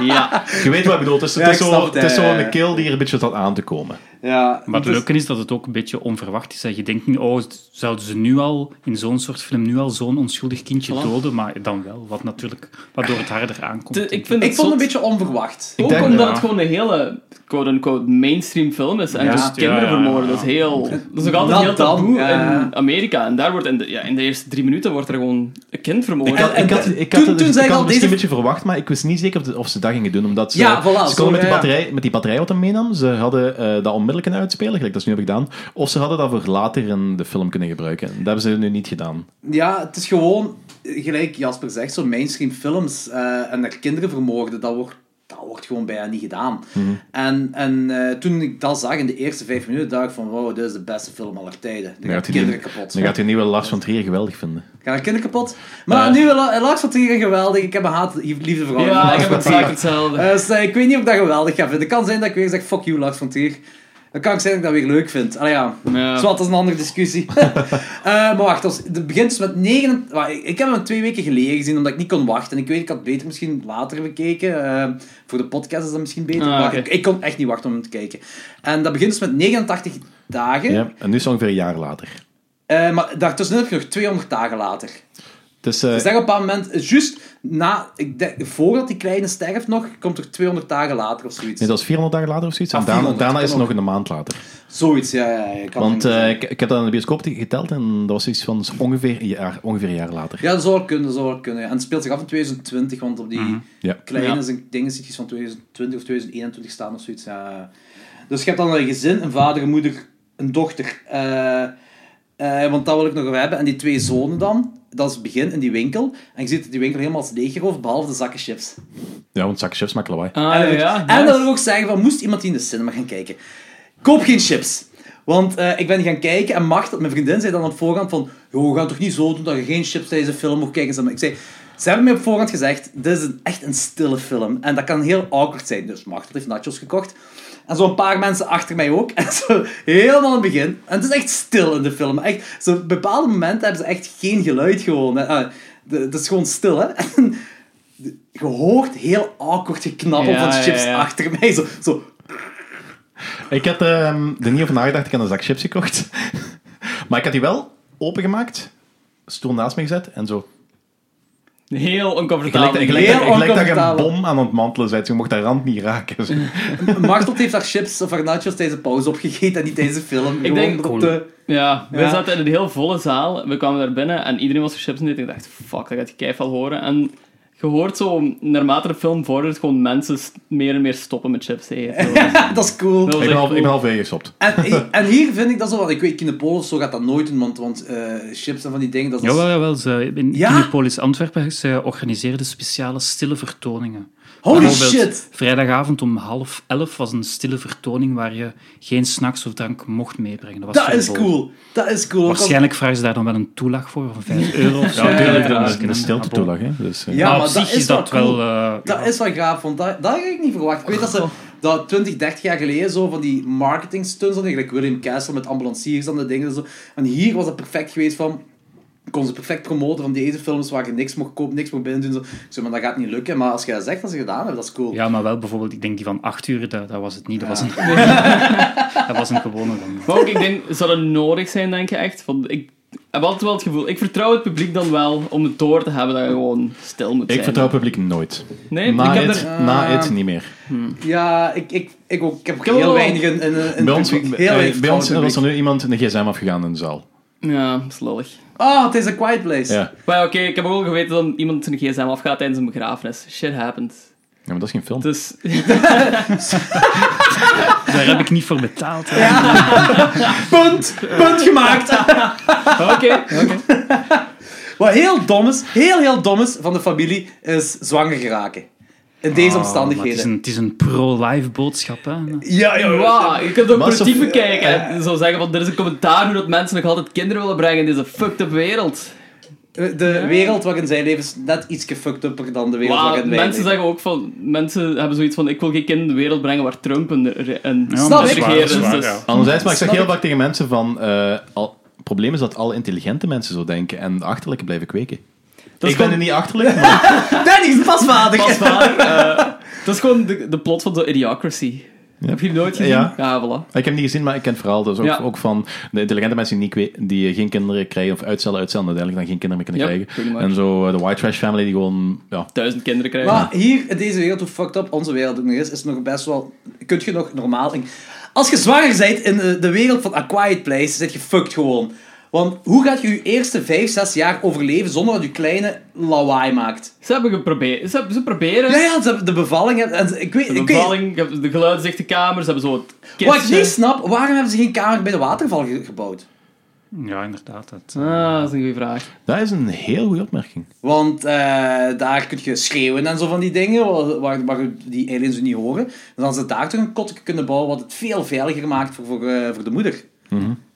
ja. Je weet wat ik bedoel, het is, Ja, het is ik zo, snap het, het is ja, zo ja, ja. een keel die er een beetje zat aan te komen. Ja, Maar het dus- leuke is dat het ook een beetje onverwacht is. Dat je denkt niet, oh, zouden ze nu al in zo'n soort film nu al zo'n onschuldig kindje doden? Maar dan wel, wat natuurlijk, waardoor het harder aankomt. De- denk ik ik vind het Ik vond het zot. een beetje onverwacht. Ook denk omdat dat- het gewoon een hele quote-unquote mainstream film is. En Ja, dus ja, kinderen ja, ja. vermoorden, dat is heel... Dat is nog altijd Dat heel dan, taboe ja. in Amerika. En daar wordt in de, ja, in de eerste drie minuten wordt er gewoon een kind vermoord. Ik had, ik had, ik toen- had, het- dus- toen ik zei ik al, had het misschien deze- een beetje verwacht, maar ik wist niet zeker of, de- of ze dat gingen doen. Omdat ze, Ja, voilà, ze konden zo, met, die ja, ja. batterij, met die batterij wat hem meenam, ze hadden eh, dat onmiddellijk kunnen uitspelen, gelijk dat ze nu hebben gedaan. Of ze hadden dat voor later in de film kunnen gebruiken. Dat hebben ze nu niet gedaan. Ja, het is gewoon, eh, gelijk Jasper zegt, zo mainstream films eh, en daar kinderen vermoorden, dat wordt, dat wordt gewoon bijna niet gedaan. Mhm. En, en eh, toen ik dat zag in de eerste vijf minuten, dacht ik van, wow, dit is de beste film aller tijden. Dan Dan gaat gaat, hij kinderen nu, kapot. dan gaat hij nieuwe Lars van Trier geweldig vinden. Gaan kinderen kapot? Maar nu, La- Lars van Trier, geweldig. Ik heb een haat, liefde vrouw. Eh. ja, *laughs* ik heb exact hetzelfde. Dus eh, ik weet niet of ik dat geweldig ga vinden. Het kan zijn dat ik weer zeg, fuck you, Lars van Trier. Het kan ook zijn dat ik dat weer leuk vind. Allee, ja. Ja. Zwat, dat is een andere *laughs* discussie. Eh, maar wacht, als- het begint dus met 9... wa- Ik ik heb hem twee weken geleden gezien, omdat ik niet kon wachten. En ik weet, ik had het beter misschien later bekeken. Eh, voor de podcast is dat misschien beter. Ah, maar oké. ik, ik kon echt niet wachten om hem te kijken. En dat begint dus met 89 dagen. Ja. En nu is het ongeveer een jaar later. Eh, maar daartussen heb je nog 200 dagen later. Dus, eh, Dus daar op een bepaald moment, eh, juist na, ik denk, voordat die kleine sterft nog, komt er 200 dagen later of zoiets. nee, dat is 400 dagen later of zoiets. Ah, en daarna, 400, daarna is kan het nog ook. een maand later. Zoiets, ja, ja, ja. ik kan Want het niet eh, zeggen. ik, ik heb dat in de bioscoop geteld en dat was iets van ongeveer een jaar, ongeveer een jaar later. Ja, dat zou wel kunnen, dat zou wel kunnen. ja. En het speelt zich af in 2020, want op die Ja. kleine Ja. zijn- dingen zit iets van 2020 of 2021 staan of zoiets. Ja. ja. Dus je hebt dan een gezin, een vader, een moeder, een dochter. eh, eh, want dat wil ik nog wel hebben. En die twee zonen dan, dat is het begin in die winkel. En je ziet dat die winkel helemaal als leeggeroofd, behalve de zakken chips. Ja, want zakken chips maken lawaai. Ah, En ja, nice. dat wil ik ook zeggen, van, moest iemand die in de cinema gaan kijken, koop geen chips. Want eh, ik ben gaan kijken en macht dat mijn vriendin zei dan op voorhand van joh, we gaan toch niet zo doen dat je geen chips tijdens een film moet kijken. Maar Ik zei, ze hebben mij op voorhand gezegd, dit is een, echt een stille film. En dat kan heel awkward zijn. Dus macht heeft nachos gekocht. En zo'n paar mensen achter mij ook. *laughs* En zo helemaal aan het begin. En het is echt stil in de film. Echt, zo, op bepaalde momenten hebben ze echt geen geluid gewoon. Eh, eh, de- Het is gewoon stil, hè. *laughs* En de- je hoort heel awkward geknabbel Ja, van ja, chips ja. achter mij. Zo, zo Ik had ehm, er niet over nagedacht. Ik had een zak chips gekocht. *laughs* maar ik had die wel opengemaakt, stoel naast me gezet en zo. Heel Gelijk, oncomfortabel. dat- gelijk, dat- Heel gelijk dat je een oncomfortabel. bom aan het mantelen bent. Je mocht de rand niet raken. Zo. Martelt heeft haar chips of haar nachos tijdens de pauze opgegeten en niet tijdens de film. Gewoon denk- op de... *laughs* Ja, wij Ja. zaten in een heel volle zaal. We kwamen daar binnen en iedereen was voor chips en ik dacht, fuck, dat gaat je keihard horen. En je hoort zo, naarmate de film vordert, gewoon mensen s- meer en meer stoppen met chips te eten. dat is cool. Dat Ik was ben, echt half, ik cool. ben halverwege gestopt. En, en hier vind ik dat zo, want ik weet, Kinepolis of zo gaat dat nooit doen, want, want eh, chips en van die dingen, dat is... Jawel, jawel. Ze, in Ja? Kinepolis Antwerpen ze organiseerden speciale stille vertoningen. Holy Bijvoorbeeld, shit! Vrijdagavond om half elf was een stille vertoning waar je geen snacks of drank mocht meebrengen. Dat, was Dat is verboden. cool. Dat is cool. Waarschijnlijk vragen ze daar dan wel een toelag voor van 5 euro of zo. Ja, tuurlijk, Eh, dat Dat is is een stilte toelag. Hè? Dus, eh, Ja, maar maar op dat zich is is wel dat cool. wel... eh, Dat ja. is wel gaaf, want dat, dat had ik niet verwacht. Ik weet dat ze dat 20, 30 jaar geleden zo van die marketing stunts hadden, gelijk William Castle met ambulanciers en de dingen en zo. En hier was dat perfect geweest van, kon ze perfect promoten van deze films waar je niks mocht kopen, niks mocht binnen doen. Zo. Ik zei, maar dat gaat niet lukken. Maar als je dat zegt, dat ze gedaan hebben, dat is cool. Ja, maar wel bijvoorbeeld, ik denk die van 8 uur, dat, dat was het niet. Dat, was, een, *laughs* dat was een gewone dan. Maar ook, ik denk, zou dat nodig zijn, denk je echt? Want ik heb altijd wel het gevoel, ik vertrouw het publiek dan wel om het door te hebben dat je gewoon stil moet zijn. ik vertrouw het publiek nooit. Nee, na, ik heb het, er... eh, na het niet meer. Ja, ik, ik, ik, ook, ik heb heb heel wel- weinig in, in, in- in Bij ons, het publiek. eh, Heel weinig bij ons vertrouwen in was het er nu iemand een gsm afgegaan in de zaal. Ja, slollig. publiek. Oh, het is een quiet place. Ja. Maar ja, oké, ik heb ook wel geweten dat iemand zijn gsm afgaat tijdens een begrafenis. Shit happens. Ja, maar dat is geen film. Dus, *laughs* Daar heb ik niet voor betaald. hè. Oh, Punt! Punt gemaakt! *laughs* oké. Wat heel dom is, heel heel dom is van de familie, is zwanger geraken. In deze Ah, Maar het, is omstandigheden. een, het is een pro-life boodschap. Hè. Ja, ja, Wauw, je kunt het ook Maar politiek zo- bekijken. Zo zeggen van, er is een commentaar hoe dat mensen nog altijd kinderen willen brengen in deze fucked up wereld. De wereld waarin zij leven is net iets fucked upper dan de wereld Maar waarin wij mensen leven. zeggen ook van... Mensen hebben zoiets van, ik wil geen kind in de wereld brengen waar Trump een... een- een Ja, Snap maar dat ik. is waar, dat is Dus- waar, dus- ja. Anderzijds, maar ik zeg Snap heel ik. vaak tegen mensen van... eh, al, het probleem is dat alle intelligente mensen zo denken en de achterlijke blijven kweken. Dat is ik ben er gewoon- niet achterlijk, maar... Dat is pasvaardig! Pas waar. eh, dat is gewoon de, de plot van de Idiocracy. Ja. Heb je die nooit gezien? Ja. voilà. *laughs* ik heb hem niet gezien, maar ik ken het verhaal. Dus ook, Ja. ook van de intelligente mensen die, niet kwe- die geen kinderen krijgen, of uitstellen, uitstellen, en uiteindelijk dan geen kinderen meer kunnen Ja, pretty krijgen. much. En zo eh, de white trash family die gewoon... Ja, Duizend kinderen *laughs* krijgen. Maar hier, in deze wereld, hoe fucked up onze wereld ook nog is, is nog best wel... Kun je nog normaal... in- Als je zwanger bent in de, de wereld van A Quiet Place, zit je fucked gewoon. Want hoe gaat je je eerste 5, 6 jaar overleven zonder dat je kleine lawaai maakt? Ze hebben geprobeerd... Ze, hebben- ze proberen... Ja, ja, ze hebben de bevalling... hebben- En, ze- ik weet, De ik weet- bevalling, je hebt de geluidsdichte kamers, ze hebben zo het wat ik kistje. niet snap, waarom hebben ze geen kamer bij de waterval ge- gebouwd? Ja, inderdaad. Dat, Ah, dat is een goede vraag. dat is een heel goede opmerking. Want eh, daar kun je schreeuwen en zo van die dingen, wa- waar, waar die aliens u niet horen. Dus dan ze daar toch een kotje kunnen bouwen, wat het veel veiliger maakt voor, voor, eh, voor de moeder.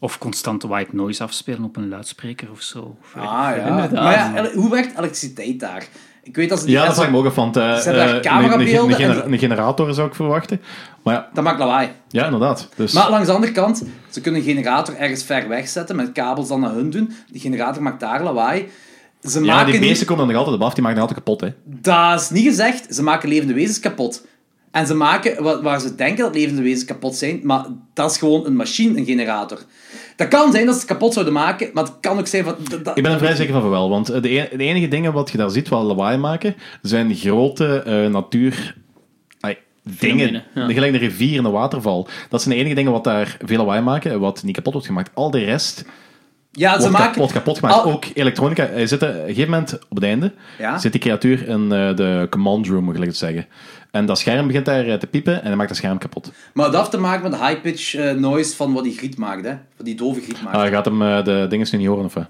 Of constant white noise afspelen op een luidspreker of zo. Of weet ik Ah veel. ja. Inderdaad. Maar ja, ele- hoe werkt elektriciteit daar? Ik weet dat ze die Ja, dat mensen- zag ik me ook af, want eh, Ze hebben daar eh, een- camerabeelden een, een, gener- en- een generator zou ik verwachten. Maar ja, dat maakt lawaai. ja inderdaad. Dus, Maar langs de andere kant, ze kunnen een generator ergens ver weg zetten, met kabels dan naar hun doen. Die generator maakt daar lawaai. Ze ja, maken die niet- beesten komen dan nog altijd op af, die maken nog altijd kapot, hè. Dat is niet gezegd. Ze maken levende wezens kapot. En ze maken wa- waar ze denken dat levende wezens kapot zijn, maar dat is gewoon een machine, een generator. Dat kan zijn dat ze het kapot zouden maken, maar het kan ook zijn van... dat- dat- Ik ben er vrij zeker van wel, want eh, de, e- de enige dingen wat je daar ziet wat lawaai maken, zijn grote eh, natuur... ai, dingen. Fenomenen, ja. De- Gelijk de rivier en de waterval. Dat zijn de enige dingen wat daar veel lawaai maken, en wat niet kapot wordt gemaakt. Al de rest ja, ze wordt maken... kapot, kapot gemaakt. Al- Ook elektronica. Hij zit er- op een gegeven moment, op het einde, Ja. zit die creatuur in eh, de command room, moet ik het zeggen. En dat scherm begint daar eh, te piepen en hij maakt dat scherm kapot. Maar dat heeft te maken met de high-pitch eh, noise van wat die griet maakt, hè. Wat die dove griet maakt. Ah, hij gaat hem eh, de dingen nu niet horen, of wat?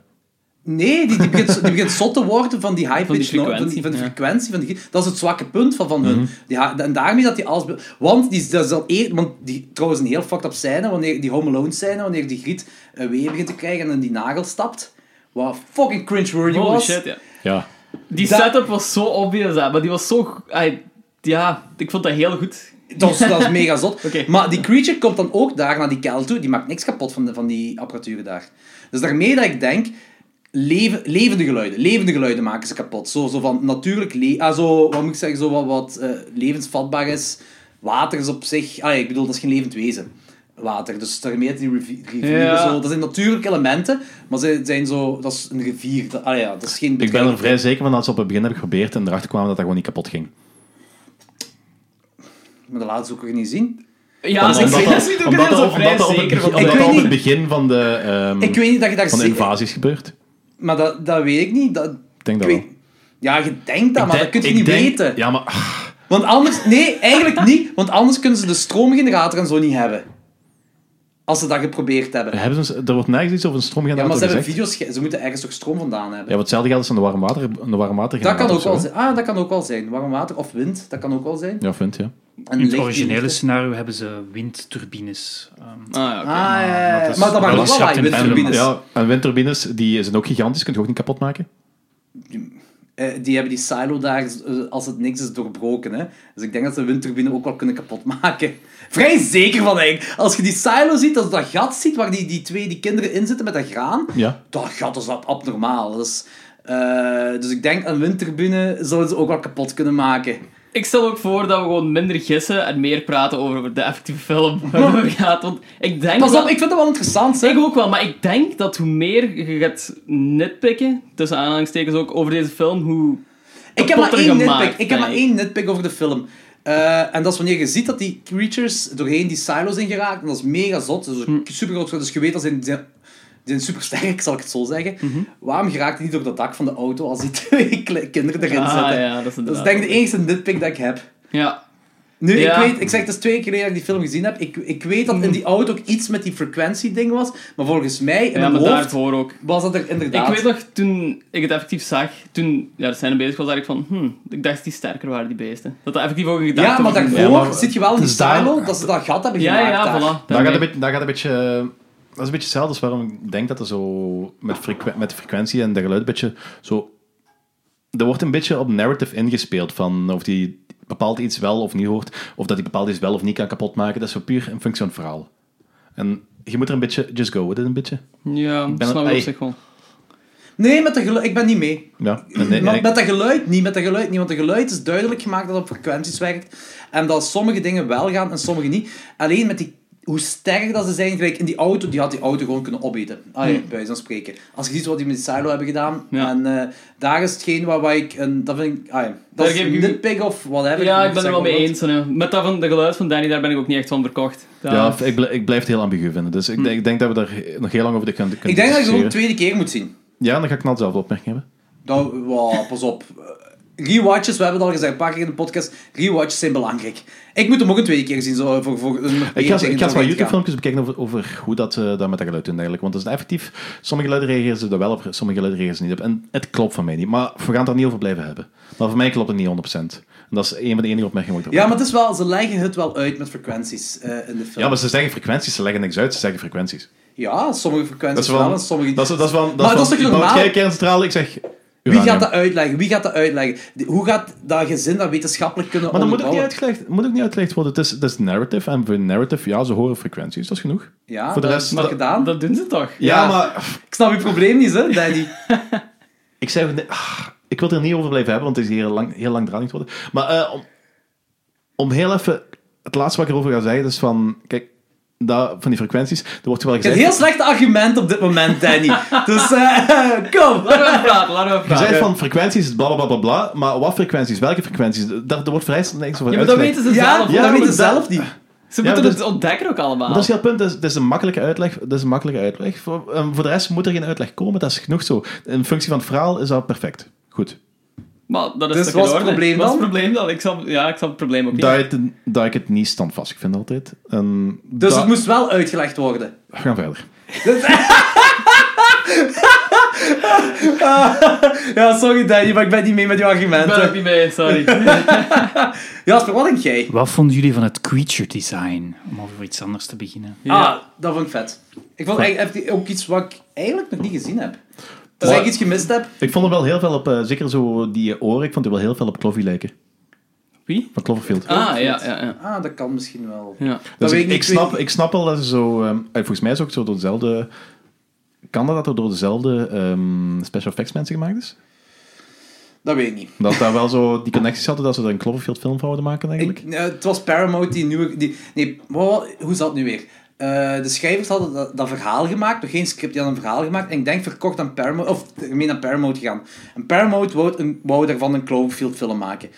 Nee, die, die, begint, die begint zot te worden van die Van die high-pitch noise, van, die- frequentie, van de ja. Mhm. frequentie. Van die, dat is het zwakke punt van, van hun. Die ha- en daarmee dat die alles... be- Want die, dat is dan eer, want die trouwens een heel fucked up scène, wanneer, die Home Alone scène, wanneer die griet een wee begint te krijgen en in die nagel stapt. Wat fucking cringe-worthy Holy was. shit, ja. Ja. Die Dat- setup was zo obvious, hè, maar die was zo... go- ai, ja, ik vond dat heel goed. Dat is, dat is mega zot. *laughs* Oké. Maar die creature komt dan ook daar naar die kelder toe. Die maakt niks kapot van, de, van die apparatuur daar. Dus daarmee dat ik denk... Leven, levende geluiden. Levende geluiden maken ze kapot. Zo, zo van natuurlijk... Le ah, zo, wat moet ik zeggen? Zo wat, wat eh, levensvatbaar is. Water is op zich... Ah, ja, ik bedoel, dat is geen levend wezen. Water. Dus daarmee dat die rivi- rivieren... Ja. Zo, dat zijn natuurlijke elementen. Maar ze zijn zo... Dat is een rivier. Dat, ah ja, dat is geen... Ik ben er vrij zeker van dat ze op het begin hebben geprobeerd en erachter kwamen dat dat gewoon niet kapot ging. Maar dat laten ze ook weer niet zien. Ja, *laughs* Omdat- ik omdat zie dat- dat ziet ook omdat heel dat- zo omdat vrij dat op het zeker begin- van. omdat Ik dat weet op het niet. begin van de, ehm, Ik weet niet dat je daar... van de ze- invasies gebeurt. Maar dat, dat weet ik niet. Dat, Ik denk dat Ik wel. weet- ja, je denkt dat, maar Ik dat kun je denk- niet ik denk- weten. Ja, maar ah, Want anders... Nee, eigenlijk niet. Want anders kunnen ze de stroomgenerator en zo niet hebben. Als ze dat geprobeerd hebben. Ja, hebben ze, er wordt nergens iets over een maar stroomgenerator ze hebben gezegd. video's... ge- Ze moeten ergens toch stroom vandaan hebben. Ja, wat hetzelfde geldt als aan de warm water, aan de warm water dat kan ook wel zijn. Ah, dat kan ook wel zijn. Warm water of wind, dat kan ook wel zijn. Ja, vind ja. En In het licht- originele licht- scenario hebben ze windturbines. ehm, Ah, ja, oké. Ah, ja, ja, ja. dat is- maar dat maakt dat ook is wel schrapt lawaai, in film, windturbines. ja. En windturbines, die zijn ook gigantisch, kun je ook niet kapot maken. Eh, die hebben die silo daar, eh, als het niks is, doorbroken. Hè? Dus ik denk dat ze de windturbine ook wel kunnen kapotmaken. *laughs* Vrij zeker van eigenlijk. Als je die silo ziet, als je dat gat ziet waar die, die twee die kinderen in zitten met dat graan, Ja. dat gat is ab- abnormaal. Dus, eh, dus ik denk een windturbine zouden ze ook wel kapot kunnen maken. Ik stel ook voor dat we gewoon minder gissen en meer praten over de effectieve *laughs* film *laughs* waarover het gaat. Want ik denk Pas dat- op, ik vind dat wel interessant. Hè? Ik ook wel, maar ik denk dat hoe meer je gaat nitpikken, tussen aanhalingstekens ook, over deze film, hoe... Ik heb maar kapotter één gemaakt, nitpick. Ik heb maar denk ik. één nitpick over de film. Eh, en dat is wanneer je ziet dat die creatures doorheen die silo's in geraakt. En dat is mega zot. Dus Hm. super groot. Dus je weet dat ze die zijn, die zijn super sterk, *laughs* zal ik het zo zeggen. Mhm. Waarom geraakt die niet door dat dak van de auto als die *laughs* twee kle- kinderen erin Ah, zitten? ja, dat is dat is inderdaad- denk ik de enige nitpick dat ik heb. Ja. Nu, Ja. Mhm. ik weet, ik zeg het is twee keer geleden dat ik die film gezien heb. Ik, ik weet dat in die auto ook iets met die frequentie-ding was. Maar volgens mij, in ja, mijn maar hoofd, daarvoor ook. was dat er Ik inderdaad... weet nog, toen ik het effectief zag, toen ja, de scène bezig was, dacht ik van, hmm, ik dacht die sterker waren, die beesten. Dat dat effectief ook een gedachte ja, maar was. daarvoor Ja, maar- zit je wel in die Dus daar- silo dat ze dat gat hebben Ja, gemaakt ja, daar. voilà. Daar daarmee. gaat een beetje, daar gaat een beetje dat is een beetje hetzelfde als waarom ik denk dat er zo met, frequ- met de frequentie en de geluid een beetje zo... Er wordt een beetje op narrative ingespeeld van of die bepaald iets wel of niet hoort, of dat die bepaald iets wel of niet kan kapotmaken. Dat is zo puur een functie van het verhaal. En je moet er een beetje just go with it, een beetje. Ja, dat ben- snap ik Ai. op zich wel. Nee, met dat geluid, ik ben niet mee. Ja. En, en- Maar en- met dat geluid niet, met dat geluid niet. Want het geluid is duidelijk gemaakt dat het op frequenties werkt. En dat sommige dingen wel gaan en sommige niet. Alleen met die, hoe sterk dat ze zijn, gelijk in die auto, die had die auto gewoon kunnen opeten. Allee, bij wijze van spreken. Als je ziet wat die met die silo hebben gedaan. Hmm. Ja. En eh, daar is hetgeen waar, waar ik, een, dat vind ik, ah ja, dat Daar is geef ik u- nitpick of whatever. Ja, ik Zeg ben er wel maar mee wat. eens. hè. Met dat van de geluid van Danny, daar ben ik ook niet echt van verkocht. Dat- ja, ik, bl- ik blijf het heel ambigu vinden. Dus ik, denk- ik denk dat we daar nog heel lang over kunnen Ik denk dat je het gewoon een tweede keer moet zien. Ja, dan ga ik knal zelf opmerking hebben. Dat, wow, pas op. Eh, Rewatches, we hebben het al gezegd een paar keer in de podcast. Rewatches zijn belangrijk. Ik moet hem ook een tweede keer zien. Zo, voor, voor een Ik ga, ik ga eens wat gaan. YouTube-filmpjes bekijken over, over hoe dat, eh dat met dat geluid doen eigenlijk. Want dat is effectief... Sommige geluiden reageren ze er wel op, sommige geluiden reageren ze niet op. En het klopt van mij niet. Maar we gaan het er niet over blijven hebben. Maar voor mij klopt het niet 100%. En dat is een van de enige opmerkingen die ik Ja, erover maar het is wel, ze leggen het wel uit met frequenties eh, in de heb. film. ja, maar ze zeggen frequenties. Ze leggen niks uit. Ze zeggen frequenties. Ja, sommige Dat frequenties is wel, wel... en sommige... Dat is, dat is wel... Dat Maar is dat is wel- toch ik bouw normaal? het kerncentrale, ik zeg... Wie gaat uranium. dat uitleggen? Wie gaat dat uitleggen? Die- hoe gaat dat gezin dat wetenschappelijk kunnen Maar dat moet ook niet onderbouwen? uitgelegd, moet ook niet uitgelegd worden. Het is, het is narrative. En voor narrative, ja, ze horen frequenties. Dat is genoeg. Ja, Voor de dat rest- is nog dat- gedaan. Dat doen ze toch? *laughs* Ja, Ja. maar Ik snap je probleem niet, hè, Daddy. *laughs* ik zei, ook net- ah, ik wil het er niet over blijven hebben, want het is hier lang, heel lang te worden. Maar eh, om, om heel even, het laatste wat ik erover ga zeggen is van, kijk, dat, van die frequenties, er wordt wel Een gezegd. heel slecht argument op dit moment, *laughs* Danny. Dus, eh, *laughs* kom. Laten we even praten, laten we even Je praten. zei van frequenties, is bla bla bla bla, maar wat frequenties, welke frequenties, daar, daar wordt vrij snel niks over Ja, maar dat uitgelegd. weten ze Ja, zelf. ja, dat dat weten ze zelf inderdaad. niet. Ze Ja, moeten maar het ontdekken ook allemaal. Maar dat is heel het punt, dat is, dat is een makkelijke uitleg. Dat is een makkelijke uitleg. Voor, eh, voor de rest moet er geen uitleg komen, dat is genoeg zo. In functie van het verhaal is dat perfect. Goed. Maar dat is Dus toch wat is in het orde? probleem Wat is dan? het probleem dan? Ik snap, ja, ik snap het probleem ook niet. Dat, ik het- dat ik het niet standvastig vind altijd. En Dus dat- het moest wel uitgelegd worden. We gaan verder. Ja, sorry Danny, maar ik ben niet mee met jouw Ik ben argumenten. het niet mee eens, sorry. Jasper, wat denk jij? Wat vonden jullie van het creature design? Om over iets anders te beginnen. Ja. Ah, dat vond ik vet. Ik vond eigenlijk ook iets wat ik eigenlijk nog niet gezien heb. Dus Maar- ik iets gemist heb. Ik vond er wel heel veel op, eh, zeker zo die eh, oren, ik vond er wel heel veel op Clovy lijken. Wie? Van Cloverfield. Ah, ja, ja, ja. Ah, dat kan misschien wel. ja. dat dus weet ik, ik niet, ik, snap, weet- ik snap wel dat ze zo... ehm, eh, volgens mij is ook zo door dezelfde... Kan dat dat er door dezelfde ehm, special effects mensen gemaakt is? Dat weet ik niet. Dat daar wel zo die connecties hadden dat ze er een Cloverfield film van zouden maken eigenlijk? Ik, eh, het was Paramount die nieuwe... Die, nee, wat- hoe zat het nu weer? Eh, de schrijvers hadden dat, dat verhaal gemaakt, nog geen script, die hadden een verhaal gemaakt. En ik denk verkocht aan Paramount, of ik meen aan Paramount gegaan. En Paramount wou, een, wou daarvan een Cloverfield film maken.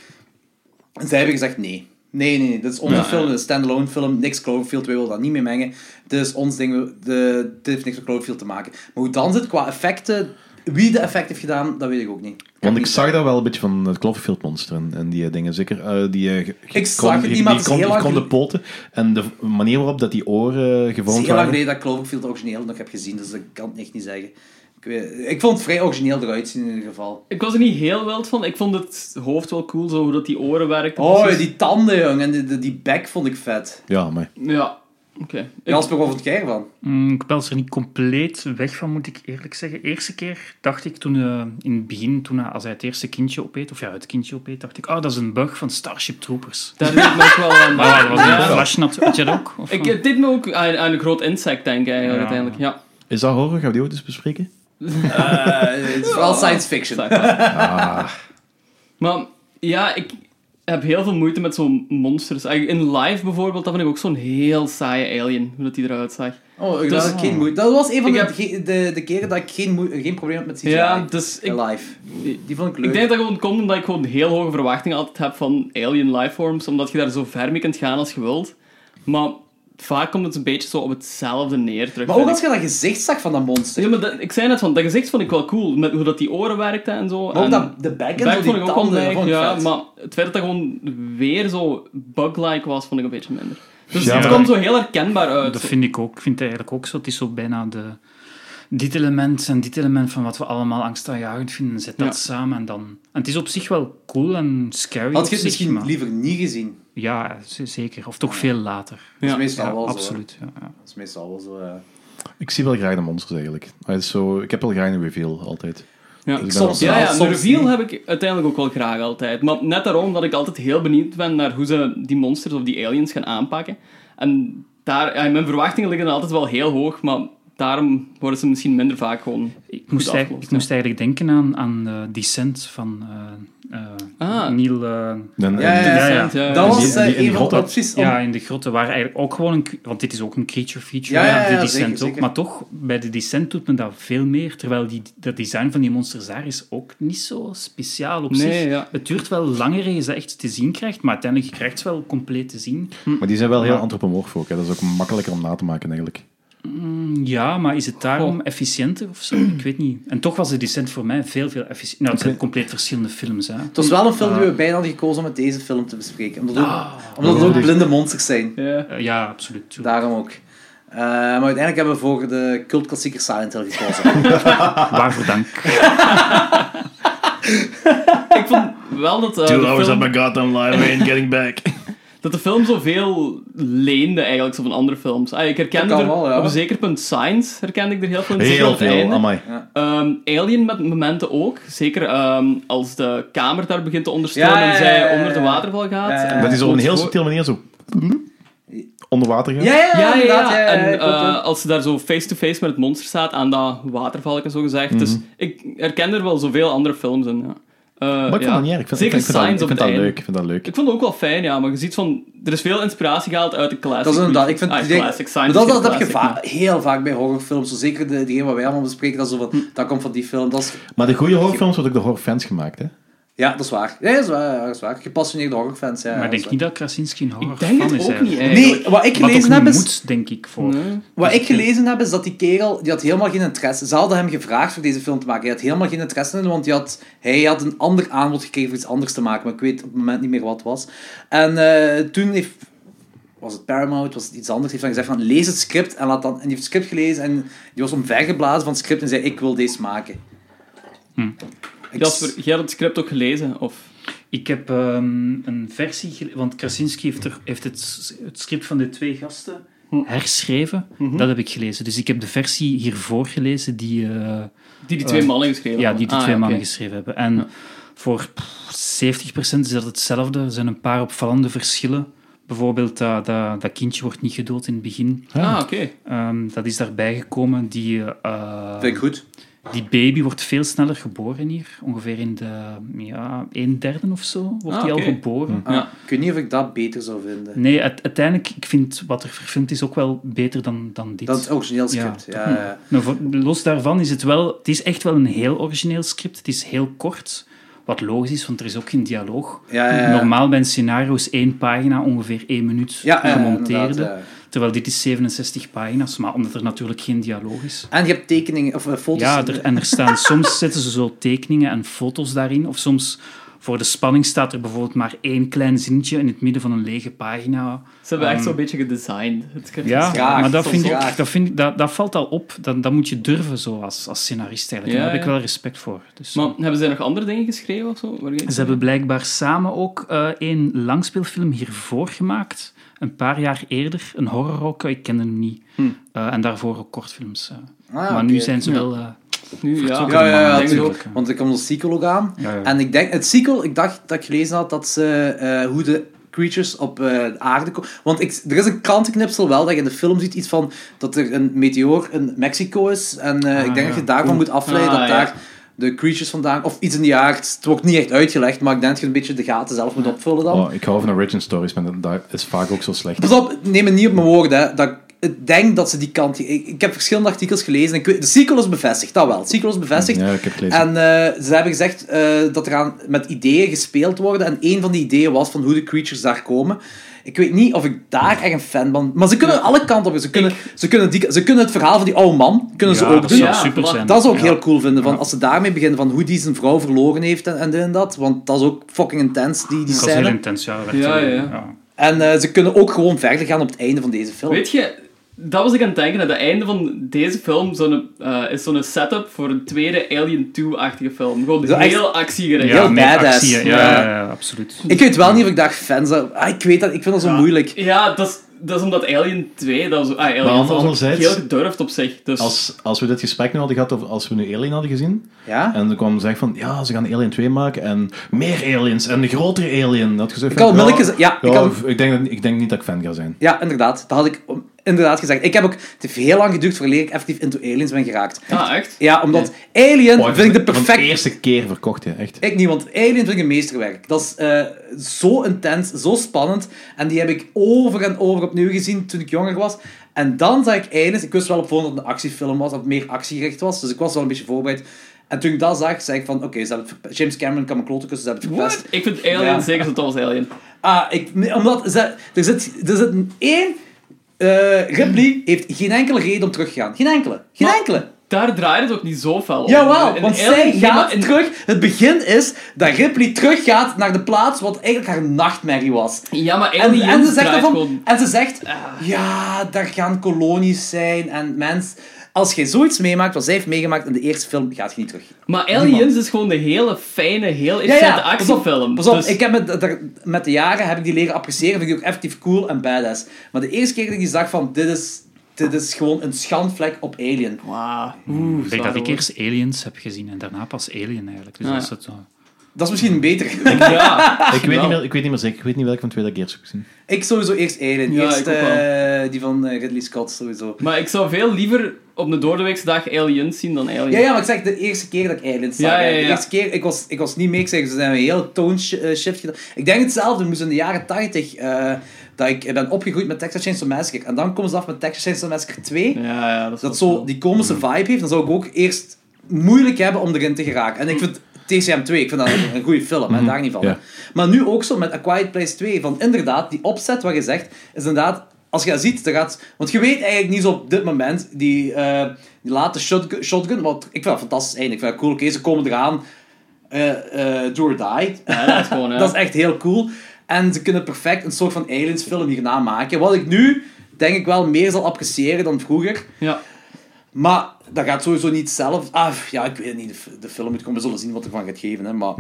En zij hebben gezegd nee. Nee, nee, nee. Dit is onze film, een standalone film. Niks Cloverfield, wij willen dat niet mee mengen. Dit is ons ding, we- de, dit heeft niks met Cloverfield te maken. Maar hoe dan zit qua effecten, wie de effect heeft gedaan, dat weet ik ook niet. Want ik zag daar wel een beetje van het Cloverfield monster en, en die eh, dingen. Zeker eh, die... eh, ge- Ik zag het niet, maar het is kon- heel lang kon de geleden- poten en de manier waarop dat die oren eh, Het is gevormd heel lang waren. geleden dat ik Cloverfield origineel nog heb gezien, dus dat kan ik echt niet zeggen. Ik, weet- ik vond het vrij origineel eruit zien in ieder geval. Ik was er niet heel wild van. Ik vond het hoofd wel cool, zo hoe dat die oren werkten. Oh, precies. die tanden, jong. En die, die, die bek vond ik vet. Ja, maar... Ja, oké. Ik- Jasper, wat vond jij ervan? Mm, ik was er niet compleet weg van, moet ik eerlijk zeggen. Eerste keer dacht ik toen, eh, in het begin, toen, hij- als hij het eerste kindje opeet, of ja, het kindje opeet, dacht ik, oh, dat is een bug van Starship Troopers. Daar deed ik me ook wel aan. Maar ja, dat was een Ja. flash natuurlijk. Had jij dat ook? Of, Ik, eh? het deed me ook aan, aan een groot insect denken, eigenlijk, Ja. uiteindelijk. Ja. Is dat horror? Gaan we die ook eens bespreken? Eh, het is vooral science fiction. Ah. Exact. Oh. *laughs* Maar ja, ik heb heel veel moeite met zo'n monsters. Eigenlijk, In live bijvoorbeeld, dat vind ik ook zo'n heel saaie alien, hoe dat die eruit zag. Oh, ik Dus- had geen moeite. Dat was een van de, Ik heb- ge- de, de keren dat ik geen, moe- geen probleem had met CGI. Ja, dus ik, Live. Die vond ik leuk. ik denk dat gewoon komt omdat ik gewoon heel hoge verwachtingen altijd heb van alien lifeforms, omdat je daar zo ver mee kunt gaan als je wilt. Maar vaak komt het een beetje zo op hetzelfde neer terug. maar ook vind als ik. je dat gezicht zag van dat monster. Ja, maar dat- ik zei net van, dat gezicht vond ik wel cool, met hoe dat die oren werkten en zo. Maar ook en dat, de bek en back zo, vond die ik ook wel tanden. leuk, vond ik ja, vet. maar het feit dat dat gewoon weer zo bug-like was, vond ik een beetje minder. Dus Ja, het maar- kwam zo heel herkenbaar uit. Dat vind ik ook. Ik vind het eigenlijk ook zo. Het is zo bijna de, dit element en dit element van wat we allemaal angstaanjagend vinden. Zet dat Ja. samen en dan... En het is op zich wel cool en scary. Had op je het zich, misschien maar- liever niet gezien? Ja, z- zeker. Of toch veel later. Dat is Ja. meestal Ja, wel zo. hè. absoluut. Ja, ja. Dat is meestal wel zo, eh. ja. Ik zie wel graag de monsters eigenlijk. Ah, het is zo, ik heb wel graag een reveal altijd. Ja. Dus ik ben soms wel- Ja, ja, Soms een reveal niet. heb ik uiteindelijk ook wel graag altijd. Maar net daarom dat ik altijd heel benieuwd ben naar hoe ze die monsters of die aliens gaan aanpakken. En daar, ja, mijn verwachtingen liggen dan altijd wel heel hoog, maar daarom worden ze misschien minder vaak gewoon... Ik moest, Goed eigenlijk- afgelost, ik moest eigenlijk denken aan, aan eh, Descent van eh, eh, Ah. Neil... eh, Dan, Ja, ja, ja. ja, Ja, ja. Dat Die- was die- eh, die in een van de grotten. opties om... ja, in de grotten waren eigenlijk ook gewoon een... cre- Want dit is ook een creature feature, Ja, ja, ja, ja, de Descent zeker, ook. zeker. Maar toch, bij de Descent doet men dat veel meer. Terwijl die, dat design van die monsters daar is ook niet zo speciaal op Nee, zich. ja. Het duurt wel langer eer je ze echt te zien krijgt. Maar uiteindelijk krijgt ze wel compleet te zien. Maar die zijn wel heel Ja. antropomorf ook. Hè. Dat is ook makkelijker om na te maken eigenlijk. Ja, maar is het daarom efficiënter of zo? Ik weet niet. En toch was de Descent voor mij veel, veel efficiënter. Nou, het zijn compleet verschillende films, hè. Het was wel een film die we bijna hadden gekozen om met deze film te bespreken. Omdat, Ah, ook, omdat het ook blinde monsters zijn. Ja. Eh, ja, absoluut. tuurlijk. Daarom ook. Eh, maar uiteindelijk hebben we voor de cultklassieker Silent Hill gekozen. Waarvoor dank. Ik vond wel dat, eh, de film, goddamn live ain't getting *laughs* back. dat de film zoveel leende eigenlijk zo van andere films. Ah, ik herkende Dat kan er wel, ja. op een zeker punt Signs, herkende ik er heel veel in. zeker aan Heel het veel, einde. amai. Ehm, Alien met momenten ook. Zeker ehm, als de kamer daar begint te ondersteunen Ja, ja, en ja, ja, zij ja. onder de waterval gaat. Ja, ja, ja. En Dat is op een heel ontwo- subtiele manier zo... Onder water gaan. ja, ja, *laughs* Ja, ja, inderdaad. ja. Ja, ja, En klopt, ja. eh, als ze daar zo face-to-face met het monster staat aan dat watervalken, zo gezegd. Dus Mhm. ik herken er wel zoveel andere films in. Ja. Eh, Maar ja. ik vond dat niet erg. Ik vind, Zeker ik vind dat, ik Signs op het vind dat einde. leuk. Ik vind dat leuk. Ik vond het ook wel fijn, ja, maar je ziet van... Er is veel inspiratie gehaald uit de classic. Dat is inderdaad, ik vind Ah, ik denk- classic science maar dat, is dat geen heb je classic, va- heel vaak bij horrorfilms. Zo zeker de, degene wat wij allemaal bespreken, dat, is zo Hm. van, dat komt van die film. Dat is, Maar de goede horrorfilms worden ook door horrorfans gemaakt. Hè. ja, dat is waar. Ja, dat is waar. ja, dat is waar. Gepassioneerde horrorfans. Ja, Maar ik dat is denk niet dat Krasinski een maar- horror Ik denk het is. ook eigenlijk. niet, waar. eigenlijk. Nee, wat ik Wat ook gelezen heb niet is... moet, denk ik, voor... Nee. Wat Dus ik gelezen heb, is dat die kerel, die had helemaal geen interesse... Ze hadden hem gevraagd voor deze film te maken. Hij had helemaal geen interesse in, want hij had, hij had een ander aanbod gekregen voor iets anders te maken. Maar ik weet op het moment niet meer wat het was. En eh, toen heeft... Was het Paramount? Was het iets anders? Heeft dan gezegd van, lees het script. En, laat dan, en die heeft het script gelezen en die was omvergeblazen van het script en zei, ik wil deze maken. Hm. Ik- Jasper, jij had het script ook gelezen, of... Ik heb ehm, een versie... gele- Want Krasinski heeft, er, heeft het, s- het script van de twee gasten Hm. herschreven. Mhm. Dat heb ik gelezen. Dus ik heb de versie hiervoor gelezen die... eh, Die die twee Eh, mannen geschreven ja, hadden. die de Ah, twee oké. mannen geschreven hebben. En voor pff, 70% is dat hetzelfde. Er zijn een paar opvallende verschillen. Bijvoorbeeld, dat, dat, dat kindje wordt niet gedood in het begin. Ah, oké. Ehm, dat is daarbij gekomen. Die, eh, Vind ik goed. die baby wordt veel sneller geboren hier. Ongeveer in de ja, een derde of zo wordt Ah, die oké. al geboren. Ah, Ja. Ik weet niet of ik dat beter zou vinden. Nee, het- uiteindelijk, ik vind wat er verfilmd is ook wel beter dan, dan dit. Dat is origineel script. Ja, Ja, toch? ja. Nou, voor- los daarvan is het wel... Het is echt wel een heel origineel script. Het is heel kort, wat logisch is, want er is ook geen dialoog. Ja, ja, ja. Normaal bij een scenario is één pagina ongeveer één minuut Ja, ja, gemonteerd. inderdaad, ja. Terwijl dit is 67 pagina's, maar omdat er natuurlijk geen dialoog is. En je hebt tekeningen, of eh, foto's. Ja, er, en er staan soms zetten ze zo tekeningen en foto's daarin. Of soms voor de spanning staat er bijvoorbeeld maar één klein zinnetje in het midden van een lege pagina. Ze hebben echt Ehm, zo'n beetje gedesigned. Het script. Ja, Graag, maar dat, soms vind graag. ik, dat, vind ik, dat, dat valt al op. Dat, dat moet je durven zo als, als scenarist eigenlijk. Ja, Daar heb ik ja. wel respect voor. Dus, Maar hebben ze nog andere dingen geschreven of zo? Waar je- Ze hebben blijkbaar samen ook eh één langspeelfilm hiervoor gemaakt. Een paar jaar eerder. Een horror ook. Ik kende hem niet. Eh, en daarvoor ook kortfilms. eh. maar Hm. Ah, oké. nu zijn ze Ja. wel... eh, nu, ja. Ja, ja, ja, Ik denk natuurlijk. ook. Want er komt een sequel ook aan. Ja, ja. En ik denk, het sequel, ik dacht dat ik gelezen had dat ze, eh, hoe de creatures op eh, de aarde komen. Want ik, er is een krantenknipsel wel dat je in de film ziet iets van dat er een meteoor in Mexico is. En eh, ik denk dat je daarvan moet afleiden Ah, dat ja. daar de creatures vandaan, of iets in die aard. Het wordt niet echt uitgelegd, maar ik denk dat je een beetje de gaten zelf moet opvullen dan. Oh, ik hou van origin stories, maar dat- dat is vaak ook zo slecht. Pas op, neem me niet op mijn woorden. Hè, dat ik denk dat ze die kant... Ik, ik heb verschillende artikels gelezen. En ik weet, de sequel is bevestigd, dat wel. De sequel is bevestigd. Ja, ik heb gelezen. En eh, ze hebben gezegd eh, dat er aan, met ideeën gespeeld worden. En een van die ideeën was van hoe de creatures daar komen. Ik weet niet of ik daar echt een fan van... Maar ze kunnen alle kanten op. Ze kunnen, ze kunnen, die, ze kunnen het verhaal van die oude man kunnen ze ja, ook dat doen. zou Ja, super maar zijn. Dat zou ik Ja. heel cool vinden, van, als ze daarmee beginnen, van hoe die zijn vrouw verloren heeft en, en dit en dat. Want dat is ook fucking intens, die, die Dat was heel scène. intens. Ja, dat werd, Ja, eh, ja. En eh, ze kunnen ook gewoon verder gaan op het einde van deze film. Weet je, dat was ik aan het denken. Aan het einde van deze film zo'n, eh, is zo'n setup voor een tweede Alien 2-achtige film. Gewoon Zo heel echt- actiegerijk. Ja, Heel meer badass. actie, hè. Ja, ja, ja, absoluut. Ik weet wel niet of ik daar fans aan... Ah, ik weet dat, ik vind dat zo moeilijk. Ja, dat is dat is omdat Alien 2, dat was, ah, Alien Maar dat was ook anderzijds- heel gedurfd op zich. Dus Als, als we dit gesprek nu hadden gehad, of als we nu Alien hadden gezien, Ja? en er kwam zeg van, ja, ze gaan Alien 2 maken, en meer aliens, en een grotere alien. Dat gezegd, Ik had onmiddellijk gezegd- ja, ik ik, had- ik, denk, dat- ik denk niet dat ik fan ga zijn. Ja, inderdaad. Dat had ik om- inderdaad gezegd. Ik heb ook te veel lang geduurd voordat ik effectief into aliens ben geraakt. ah, echt? Ja, omdat Alien vind ik de Van dus de perfecte... eerste keer verkocht, hè, echt. Ik niet, want Alien vind ik een meesterwerk. Dat is eh, zo intens, zo spannend. En die heb ik over en over opnieuw gezien toen ik jonger was. En dan zag ik Aliens. Ik wist wel op voorhand dat het een actiefilm was, dat het meer actiegericht was. Dus ik was wel een beetje voorbereid. En toen ik dat zag, zei ik van, oké, ze hebben het verpe- James Cameron kan mijn kloten kussen, ze hebben het verpest. What? Ik vind Alien Ja. zeker zo tof als Alien. Ah, ik, nee, omdat ze, er zit, er zit een- één... eh Ripley heeft geen enkele reden om terug te gaan. Geen enkele. Geen Maar- enkele. Daar draait het ook niet zo fel om. Jawel, In want Oh, Alien- zij nee, gaat maar in- terug. Het begin is dat Ripley teruggaat naar de plaats wat eigenlijk haar nachtmerrie was. Ja, maar En, Alien en, ze zegt draait daarvan- gewoon... en ze zegt, Ah. ja, daar gaan kolonies zijn en mens. Als je zoiets meemaakt wat zij heeft meegemaakt in de eerste film, gaat je niet terug. Maar Aliens is dus gewoon een hele fijne, heel interessante actiefilm. Pas op, pas Dus- op. ik heb met, daar- met de jaren heb ik die leren appreciëren. Vind ik die ook effectief cool en badass. Maar de eerste keer dat ik die zag van, dit is, dit is gewoon een schandvlek op Alien. Wauw. Hmm, Ik denk dat ik eerst Aliens heb gezien en daarna pas Alien eigenlijk. Dus Ah, dat ja. is het, eh, Dat is misschien beter. *laughs* Ja. Ik weet, niet meer, ik weet niet meer zeker, ik weet niet welke van twee dat ik eerst heb gezien. Ik sowieso eerst Alien. Ja, eerst ik ook wel. eh, die van eh, Ridley Scott sowieso. Maar ik zou veel liever op een doordeweekse dag Aliens zien dan Alien. Ja, ja, maar ik zeg de eerste keer dat ik Alien zag. Ja, ja, hè. De ja. eerste keer, ik was, ik was niet mee, ik zeg, ze zijn een hele tone shi- eh, shift gedaan. Ik denk hetzelfde, moest in de jaren 80 eh, dat ik ben opgegroeid met Texas Chainsaw Massacre. En dan komen ze af met Texas Chainsaw Massacre 2. Ja, ja, dat is dat wel zo die komische vibe heeft, dan zou ik ook eerst moeilijk hebben om erin te geraken. En ik vind TCM 2, ik vind dat een, een goede film, hè, daar niet van. ja. Maar nu ook zo met A Quiet Place 2, van inderdaad, die opzet wat je zegt, is inderdaad, als je dat ziet, dan gaat, want je weet eigenlijk niet zo op dit moment, die, eh die late shotgun, shotgun, want ik vind dat fantastisch einde, ik vind dat cool, oké, ze komen eraan, eh eh do or die, Ja, dat is gewoon, *laughs* hè. dat is echt heel cool. En ze kunnen perfect een soort van aliens film hierna maken, wat ik nu, denk ik wel, meer zal appreciëren dan vroeger. Ja. Maar dat gaat sowieso niet zelf. Ah, ja, ik weet niet. De, f- de film moet komen. We zullen zien wat ervan gaat geven. Hè, maar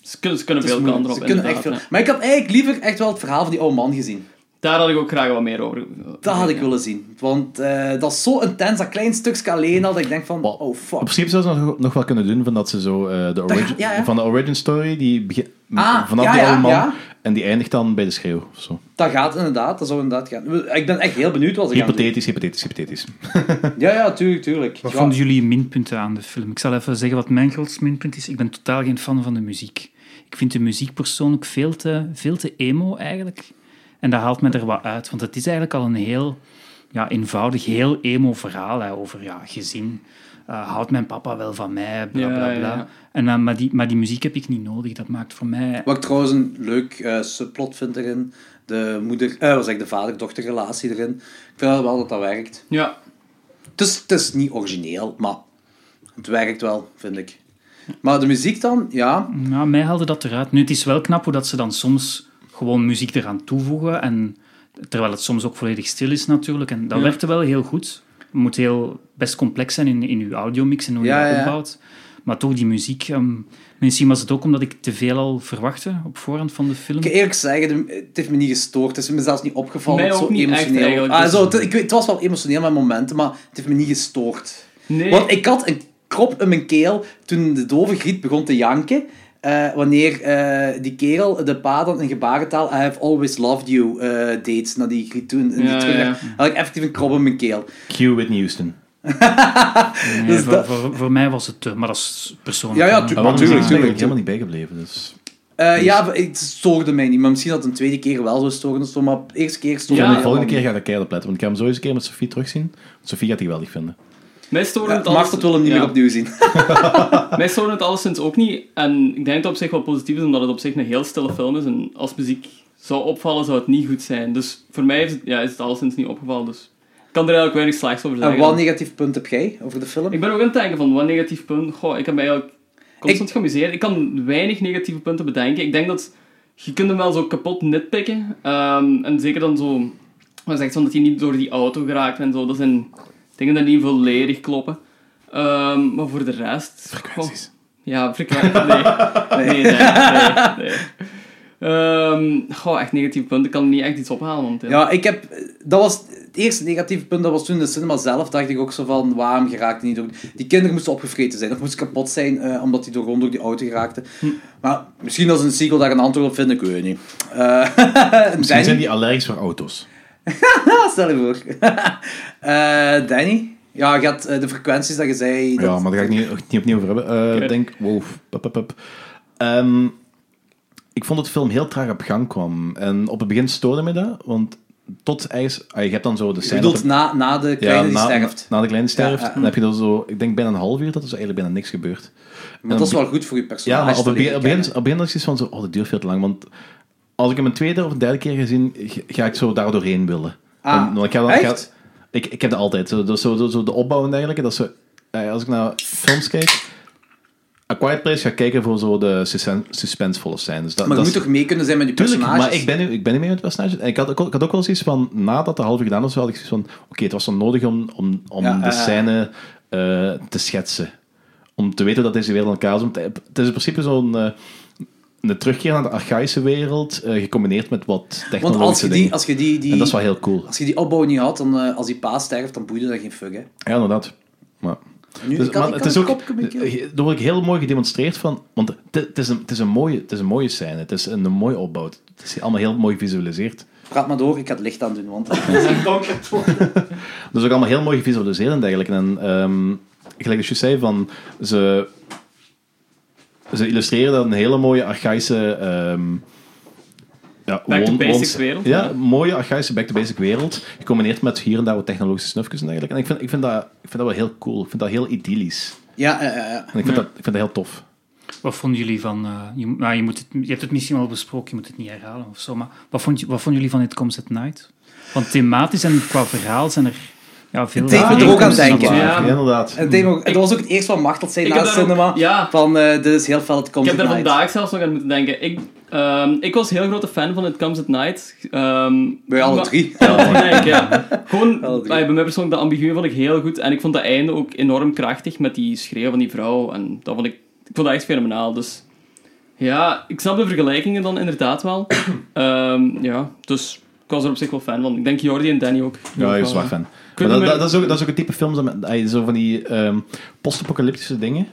Ze kunnen, ze kunnen het is Mhm. moeilijk. veel kanten op, Ze kunnen echt inderdaad, veel. hè. Maar ik had eigenlijk liever echt wel het verhaal van die oude man gezien. Daar had ik ook graag wat meer over. Dat had ik willen zien. Want eh, dat is zo intens, dat klein stukje alleen al, dat ik denk van, Wel, oh Op fuck. principe zou ze nog, nog wel kunnen doen van dat ze zo eh, de origin, ja, ja. van de origin story die begint Ah, vanaf ja, die ja, oude man ja. en die eindigt dan bij de schreeuw of zo. Dat gaat inderdaad, dat zou inderdaad gaan. Ik ben echt heel benieuwd wat ze gaan doen. Hypothetisch, hypothetisch, hypothetisch. Ja, ja, tuurlijk, tuurlijk. Wat Ja. vonden jullie minpunten aan de film? Ik zal even zeggen wat mijn grootste minpunt is. Ik ben totaal geen fan van de muziek. Ik vind de muziek persoonlijk veel te, veel te emo eigenlijk. En dat haalt me er wat uit, want het is eigenlijk al een heel ja, eenvoudig, heel emo verhaal hè, over ja, gezin. Eh, houdt mijn papa wel van mij, bla Ja, bla ja, bla. ja. En, dan- maar, die, maar die muziek heb ik niet nodig. Dat maakt voor mij Wat ik trouwens een leuk eh, subplot vind erin. De moeder, eh, wat zeg ik, de vader-dochterrelatie erin. Ik vind wel wel dat dat werkt. Ja. Het is, Dus het is niet origineel, maar het werkt wel, vind ik. Maar de muziek dan, ja. Mhm. Nou, mij haalde dat eruit. Nu, het is wel knap hoe dat ze dan soms gewoon muziek eraan toevoegen. En, terwijl het soms ook volledig stil is natuurlijk. En dat Ja. werkte wel heel goed. Het moet heel best complex zijn in, in uw audiomix en hoe Ja, je dat ja. opbouwt. Maar toch, die muziek... ehm, misschien was het ook omdat ik te veel al verwachtte op voorhand van de film. Ik kan eerlijk zeggen, de- het heeft me niet gestoord. Het is me zelfs niet opgevallen. Mij dat het ook zo niet echt emotioneel. eigenlijk, ah, dus- zo, het, ik weet, het was wel emotioneel met momenten, maar het heeft me niet gestoord. Nee. Want ik had een krop in mijn keel toen de dove griet begon te janken. eh, wanneer eh, die kerel de pa dan in gebarentaal I have always loved you eh deed naar die griet toen. En die Ja, terug, ja, ja. had ik effectief een krop in mijn keel. Q Whitney Houston. Ah, Nee, dus voor, dat- voor, voor mij was het te, maar dat is persoonlijk. Ja, ja, hè. tuurlijk. Maar Maar want die tuurlijk, is eigenlijk tuurlijk. helemaal niet bijgebleven. Dus. Eh, ja, maar het stoorde mij niet. Maar misschien dat het een tweede keer wel zou storen. of zo, Maar de eerste keer stoorde Ja, mij de volgende keer helemaal ga ik dat keihard opletten, want ik ga hem zo eens een keer met Sophie terugzien. Want Sophie gaat die geweldig vinden. Mij storen niet. het Ja, alles... Macht dat wil hem niet ja. meer opnieuw zien. Mij storen het alleszins ook niet. En ik denk dat het op zich wel positief is, omdat het op zich een heel stille film is. En als muziek zou opvallen, zou het niet goed zijn. Dus voor mij is het, ja, is het alleszins niet opgevallen. Dus ik kan er eigenlijk weinig slechts over En zeggen. wat negatief punt heb jij over de film? Ik ben ook aan het denken van, wat negatief punt? Goh, ik heb mij eigenlijk constant geamuseerd. Ik kan weinig negatieve punten bedenken. Ik denk dat, je kunt hem wel zo kapot nitpikken. Ehm, en zeker dan zo, wat zegt van dat hij niet door die auto geraakt en zo. Dat zijn dingen die niet volledig kloppen. Ehm, maar voor de rest... goh, Frequenties. ja, frequenties. Nee. Nee, nee, nee, nee. Ehm, goh, echt negatieve punten. Ik kan er niet echt iets ophalen momenteel. Ja, ik heb... eh, Dat was het eerste negatieve punt, dat was toen in de cinema zelf, dacht ik ook zo van, waarom geraakte niet door... Die kinderen moesten opgevreten zijn, of moesten kapot zijn, eh, omdat die door, gewoon door die auto geraakten. Hm. Maar misschien als een sequel daar een antwoord op vinden, ik weet niet. Eh, *laughs* Misschien Danny? zijn die allergisch voor auto's. Ah, stel je voor. *laughs* Eh, Danny? Ja, je had eh, de frequenties dat je zei... dat- Ja, maar daar ga ik niet, niet opnieuw over hebben. Eh, Ik Oké. denk, wow, pup, pup, pup. Ehm, ik vond dat de film heel traag op gang kwam. En op het begin stoorde me dat, want tot eigenlijk... ah, je hebt dan zo de Je scène... bedoelt dat- na, na de kleine die na, eh, sterft. Na de kleine sterft. Ja, ja. Dan heb je dan zo, ik denk bijna een half uur, dat is eigenlijk bijna niks gebeurd. Maar En dat is op- wel goed voor je personage. Ja, maar op te het begin, leren op het begin, kennen. op het begin dacht ik zoiets van zo, oh, dat duurt veel te lang. Want als ik hem een tweede of een derde keer gezien, g- ga ik zo daar doorheen willen. Ah, Want- want ik, ga dan- ik ga- echt? ik, ik heb dat altijd. Zo, dus zo, zo, zo de opbouw en dergelijke. Dat ze, eh, als ik naar films kijk, A Quiet Place ga ik kijken voor zo de susen- suspensevolle scènes. Dat, Maar je dat moet is- toch mee kunnen zijn met je eh, Tuurlijk, personages? maar ik ben, nu, ik ben nu mee met het personage. En ik had, ook, ik had ook wel zoiets van, nadat de halve gedaan was, had ik zoiets van, oké, het was dan nodig om, om, om Ja, de eh. scène eh, te schetsen. Om te weten dat deze wereld aan elkaar is. Want eh, Het is in principe zo'n eh, een terugkeer naar de archaïsche wereld, eh, gecombineerd met wat Want technologische als je, die, dingen. als, je die, die, En dat is wel heel cool. als je die opbouw niet had, dan, eh, als die pa sterft, dan boeide dat geen fuck, hè. Ja, inderdaad. Maar... Nu, Dus, ik kan, maar ik het kan is een ook, kopje met je- eh, er wordt heel mooi gedemonstreerd van, want het- het is een, het is een, mooie, het is een mooie scène, het is een, een mooie opbouw, het is allemaal heel mooi gevisualiseerd. Praat maar door, ik ga het licht aan doen, want eh, het is hier donker. het wordt- Dat is ook allemaal heel mooi gevisualiseerd en dergelijke. En ehm, gelijk als je zei, van, ze, ze illustreren dat een hele mooie archaïsche... ehm ja, Back to woon- basics woons- wereld, Ja, ja. mooie archaïsche back-to-basic wereld. Gecombineerd met hier en daar wat technologische snufjes en dergelijke. En ik vind, ik, vind dat, ik vind dat wel heel cool. Ik vind dat heel idyllisch. Ja, eh, eh, eh. En ik vind, dat, ik vind dat heel tof. Wat vonden jullie van... eh, je, nou, je, moet het, je hebt het misschien al besproken, je moet het niet herhalen of zo, maar wat, vond, je- wat vonden jullie van It Comes at Night? Want thematisch en qua verhaal zijn er ja, veel... Het deed me er ook aan overeenkomsten denken. waar. Ja. inderdaad. En Demo, dat was ook het eerste wat Martel zei Ik na heb het daar ook- cinema. ja. Van, eh, dit is heel fel, het komt Ik heb daar uit. vandaag zelfs nog aan moeten denken. Ik, ehm, ik was heel grote fan van It Comes at Night. Ehm, Bij alle maar- drie. Ja, dat denk ik, ja. Gewoon, Alle drie. ah, bij mij persoonlijk, dat ambigu vond ik heel goed. En ik vond dat einde ook enorm krachtig met die schreeuw van die vrouw. En dat vond ik, ik vond dat echt fenomenaal. Dus ja, ik snap de vergelijkingen dan inderdaad wel. Ehm, ja, dus ik was er op zich wel fan van. Ik denk Jordi en Danny ook. Ja, ik Ook ben wel, zwaar ja. fan. Kun Maar je dat, me- dat, dat is ook, dat is ook het type films, dat, met- ah, zo van die ehm, post-apocalyptische dingen,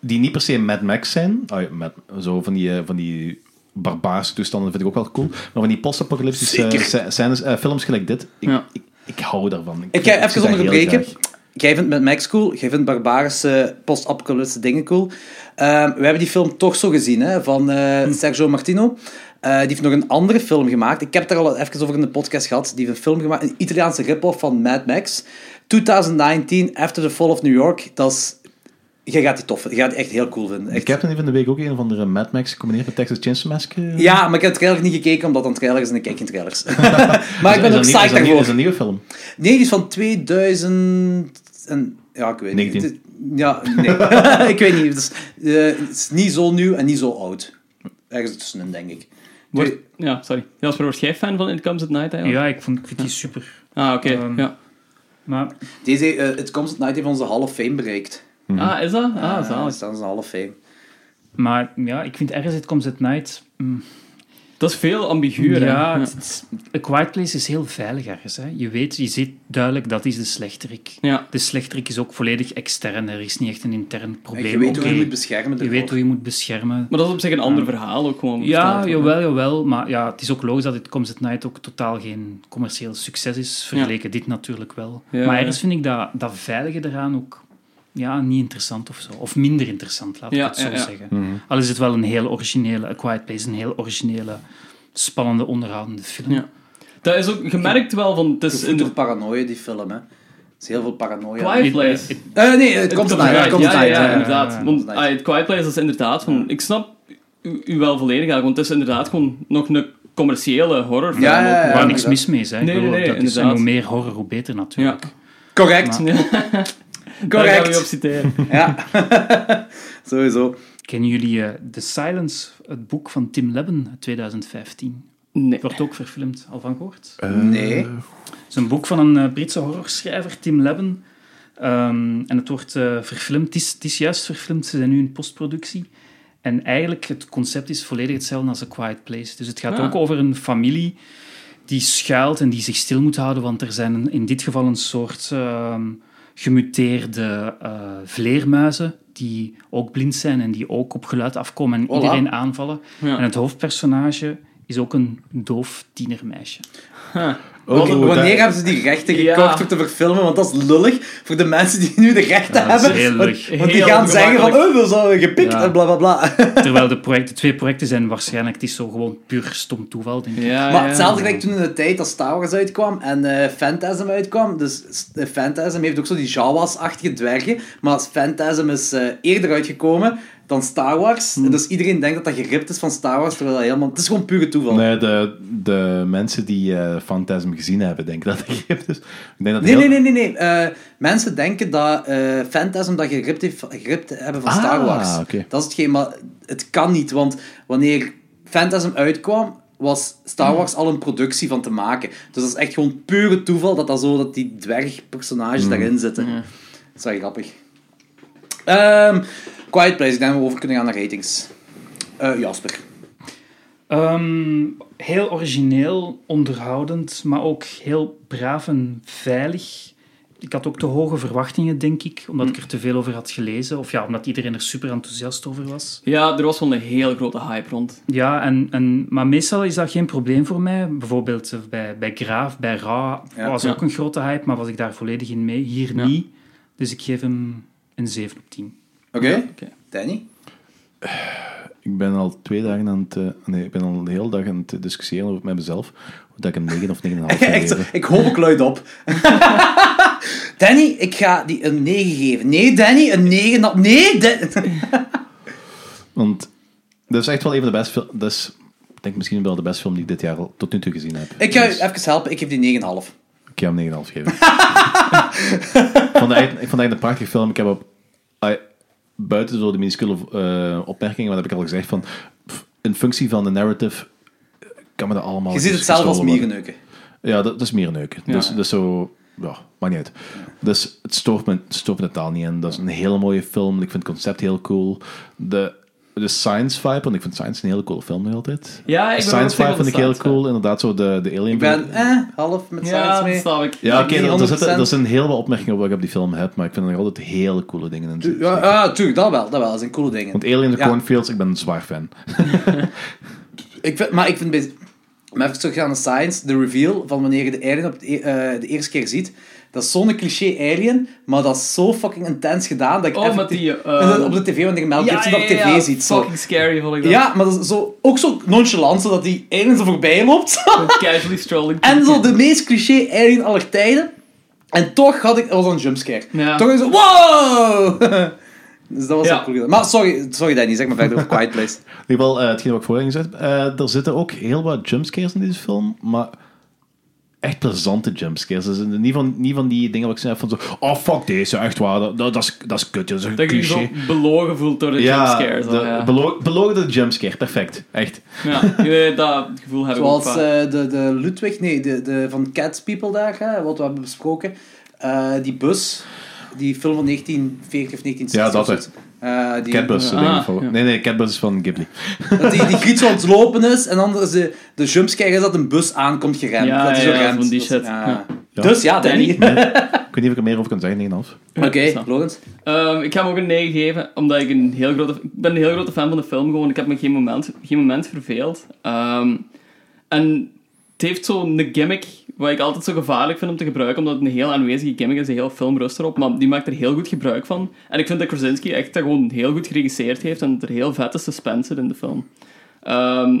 die niet per se Mad Max zijn. Ah, ja, Mad- zo van die, eh, van die barbaarse toestanden vind ik ook wel cool. Maar van die post-apocalyptische eh, sc- scènes, eh, films gelijk dit, ik, Ja. ik, ik hou daarvan. Ik, Ik zie ga dat even heel onderbreken. graag. Jij vindt met Max cool, jij vindt barbarische post-apocalyptische dingen cool. Ehm, we hebben die film toch zo gezien, hè, van eh, Hm. Sergio Martino. Eh, die heeft nog een andere film gemaakt. Ik heb het daar al even over in de podcast gehad. Die heeft een film gemaakt, een Italiaanse rip-off van Mad Max. 2019, After the Fall of New York. Dat is... Jij gaat die tof vinden. Jij gaat die echt heel cool vinden. Ik Echt. heb dan even in de week ook een van de Mad Max gecombineerd met Texas Chainsaw Massacre. Ja, maar ik heb de trailer niet gekeken, omdat dan trailers en ik kijk geen *laughs* trailers. maar Is- ik is ben ook dat nieuw- is psyched dat nieuw- is daarvoor. dat een nieuwe film. Nee, die is van 2000. En, ja, ik weet 19. niet. Het- Ja, nee. *laughs* ik weet niet. Het is, eh, het is niet zo nieuw en niet zo oud. Ergens ertussenin, denk ik. Word- ja, sorry. Jasper, word jij fan van It Comes at Night eigenlijk? Ja, ik, vond, ik vind die super. Ah, oké. Ehm, ja. Maar Deze, eh, het komt at Night heeft onze Hall of Fame bereikt. Ah, is dat? Ah, Ah, zalig. staan ze Hall of Fame. Maar ja, ik vind ergens It Comes at Night... mm, Dat is veel ambiguur, hè? ja, het- het is- A Quiet Place is heel veilig ergens. Hè. Je weet, je ziet duidelijk, dat is de slechterik. Ja. De slechterik is ook volledig extern. Er is niet echt een intern En probleem. je weet hoe je Oké, moet beschermen. je weet hoe je moet beschermen. Maar dat is op zich een ander verhaal ook gewoon. Ja, verteld, jawel, jawel. Maar ja, het is ook logisch dat It Comes at Night ook totaal geen commercieel succes is. Vergeleken dit natuurlijk wel. Ja, maar ja. ergens vind ik dat, dat veilige eraan ook ja, niet interessant of zo. Of minder interessant, laat Ja, ik het zo ja, ja. zeggen. Al is het wel een heel originele... A Quiet Place is een heel originele, spannende, onderhoudende film. Ja. Dat is ook gemerkt wel van. Het Het is is in door de paranoia, die film. Hè. Het is heel veel paranoia. Quiet Place. Het- Eh, nee, het komt at Night. Het ja, komt at ja, Night. ja, ja. inderdaad. ja. Want ah, het Quiet Place is inderdaad van. Ik snap u, u wel volledig eigenlijk, want het is inderdaad gewoon nog een commerciële horrorfilm. Ja, ja, ja. ook. waar maar niks dat- mis mee is. Hè. Ik Nee, bedoel, nee, nee, dat is, en inderdaad. hoe meer horror, hoe beter *laughs* natuurlijk. Ja. Correct. Daar gaan we je op Correct. citeren. Ja. *laughs* Sowieso. Kennen jullie eh, The Silence, het boek van Tim Lebben uit 2015? Nee. Wordt ook verfilmd, al van gehoord? Nee. Het is een boek van een eh, Britse horrorschrijver, Tim Lebben. Ehm, en het wordt eh, verfilmd. Het is, het is juist verfilmd, ze zijn nu in postproductie. En eigenlijk, het concept is volledig hetzelfde als A Quiet Place. Dus het gaat Ah. ook over een familie die schuilt en die zich stil moet houden, want er zijn een- in dit geval een soort ehm, gemuteerde eh, vleermuizen die ook blind zijn en die ook op geluid afkomen en Voilà. iedereen aanvallen. Ja. En het hoofdpersonage is ook een doof tienermeisje. Want Oh, wanneer dat- hebben ze die rechten Ja. gekocht om te verfilmen? Want dat is lullig voor de mensen die nu de rechten dat is hebben. heel Want- lullig. Want, die Heel Ah, gaan zeggen van, ongemakkelijk. oh, we zijn gepikt Ja. en bla bla bla. Terwijl de, project, de twee projecten zijn waarschijnlijk, het is zo gewoon puur stom toeval, denk ik. Ja, maar ja. hetzelfde gelijk toen in de tijd als Star Wars uitkwam en eh, Phantasm uitkwam. Dus eh, Phantasm heeft ook zo die Jawas-achtige dwergen. Maar Phantasm is eh, eerder uitgekomen dan Star Wars. Hmm. Dus iedereen denkt dat dat geript is van Star Wars, terwijl dat helemaal... Het is gewoon pure toeval. Nee, de, de mensen die eh Phantasm gezien hebben, denken dat het Egypte is. Ik *laughs* denk dat Nee, heel- nee, nee, nee. nee. Eh, mensen denken dat eh Phantasm dat geript, heeft, geript hebben van Star Ah, Wars. oké. Dat is hetgeen, maar het kan niet. Want wanneer Phantasm uitkwam, was Hmm. Star Wars al een productie van te maken. Dus dat is echt gewoon pure toeval dat, dat, zo, dat die Hmm. dwergpersonages daarin zitten. Dat is wel grappig. Ehm, Quiet Place, ik denk dat we over kunnen gaan naar ratings. Eh, Jasper. Ehm, heel origineel, onderhoudend, maar ook heel braaf en veilig. Ik had ook te hoge verwachtingen, denk ik, omdat Hm. ik er te veel over had gelezen. Of ja, omdat iedereen er super enthousiast over was. Ja, er was wel een heel grote hype rond. Ja, en, en, maar meestal is dat geen probleem voor mij. Bijvoorbeeld eh, bij, bij Graaf, bij Ra Ja. was Ja. ook een grote hype, maar was ik daar volledig in mee. Hier Ja. niet. Dus ik geef hem een 7 op 10. Oké. oké. Danny? Ik ben al twee dagen aan het... eh, nee, ik ben al een hele dag aan het discussiëren over met mezelf. Of dat ik een 9 of 9,5 *laughs* ga Echt, zo, geven. ik hoop ik luid *laughs* op. Danny, ik ga die een 9 geven. Nee, Danny, een 9. na- Nee, Dan- Want dat is echt wel een van de beste film... Dat is, ik denk misschien wel de beste film die ik dit jaar al tot nu toe gezien heb. Ik ga u Dus even helpen. Ik geef die 9,5. ik ga hem *laughs* 9,5 geven. ik, vond het echt, ik vond het echt een prachtige film. Ik heb op... I- buiten zo de minuscule eh, opmerkingen, wat heb ik al gezegd, van... pff, in functie van de narrative eh, kan me Oh, dat allemaal... Je ziet het ges- zelf als gestolen worden. mierenneuken. Ja, dat, dat is meer neuken. Ja. Dus, dus zo... Ja, maakt niet uit. Dus het stoort, me, het stoort me totaal niet. En dat is een hele mooie film. Ik vind het concept heel cool. De, de science vibe, want ik vind science een hele coole film nog altijd. Ja, ik de ben science ook vibe vind ik heel science vibe. cool. Inderdaad, zo de, de alien... Ik ben eh, half met Ja, science dat mee. snap ik. Ja, oké, niet dat er zitten- 100%. er zijn heel wat opmerkingen op wat ik op die film heb, maar ik vind er nog altijd hele coole dingen in. zitten. Ja, ja, tuurlijk, dat wel. Dat wel, dat zijn coole dingen. Want Alien the Ja. Cornfields, ik ben een zwaar fan. Ik vind, maar ik vind... bij- Om even terug te gaan naar science, de reveal van wanneer je de alien op het e- eh, de eerste keer ziet. Dat is zo'n cliché alien, maar dat is zo fucking intens gedaan. Dat ik Oh, met effectief- die... eh, En dan *laughs* op de tv, wanneer Mel Gibson dat op tv ja, ziet. Zo. Fucking scary vond ik dat. Ja, maar dat is zo, ook zo nonchalant, zodat die alien er voorbij loopt. *laughs* Met Casually strolling. en zo de meest cliché alien aller tijden. En toch had ik... Dat was een jumpscare. Ja. Toch is het... Wow! *laughs* dus dat was Ja. wel cool. gedaan. Maar sorry, sorry Danny, zeg maar verder over Quiet *laughs* Place. In ieder geval, eh, hetgeen wat ik voorheen gezegd heb, eh, er zitten ook heel wat jumpscares in deze film, maar echt plezante jumpscares. Dus niet, van, niet van die dingen wat ik zei van zo, oh fuck deze, echt waar, dat, dat, dat is, dat is kut, dat is een Dat je je cliché. zo belogen voelt door de ja, jumpscares. al, de- ja. belo- belogen door de jumpscare, perfect, echt. Ja, nee, dat gevoel heb ik ook Zoals vaak. eh, de, de Ludwig, nee, de, de, van Cats People daar, hè, wat we hebben besproken. Eh, die bus, die film van 1940 of 1960. Ja, dat of zoiets. Eh, die, Catbus, Ah, denk ik voor. ja. Nee, nee, Catbus is van Ghibli. Dat die, die giet zo aan het lopen is en dan is de, de jumpscare is dat een bus aankomt geremd. Ja, dat is ja, ook ja, remt. van die Dat- shit. ja. Ja. Dus ja, Danny. Ik weet niet of ik er meer over kan zeggen, 9,5. Oké, Ja, snap. Lorenz. Ehm, ik ga hem ook een 9 geven, omdat ik een heel grote... Ik ben een heel grote fan van de film, gewoon. Ik heb me geen moment, geen moment verveeld. Ehm, en het heeft zo'n gimmick, wat ik altijd zo gevaarlijk vind om te gebruiken, omdat het een heel aanwezige gimmick is, de hele film rust erop, maar die maakt er heel goed gebruik van. En ik vind dat Krasinski echt dat gewoon heel goed geregisseerd heeft en dat er heel vette suspense zit in de film. Ehm,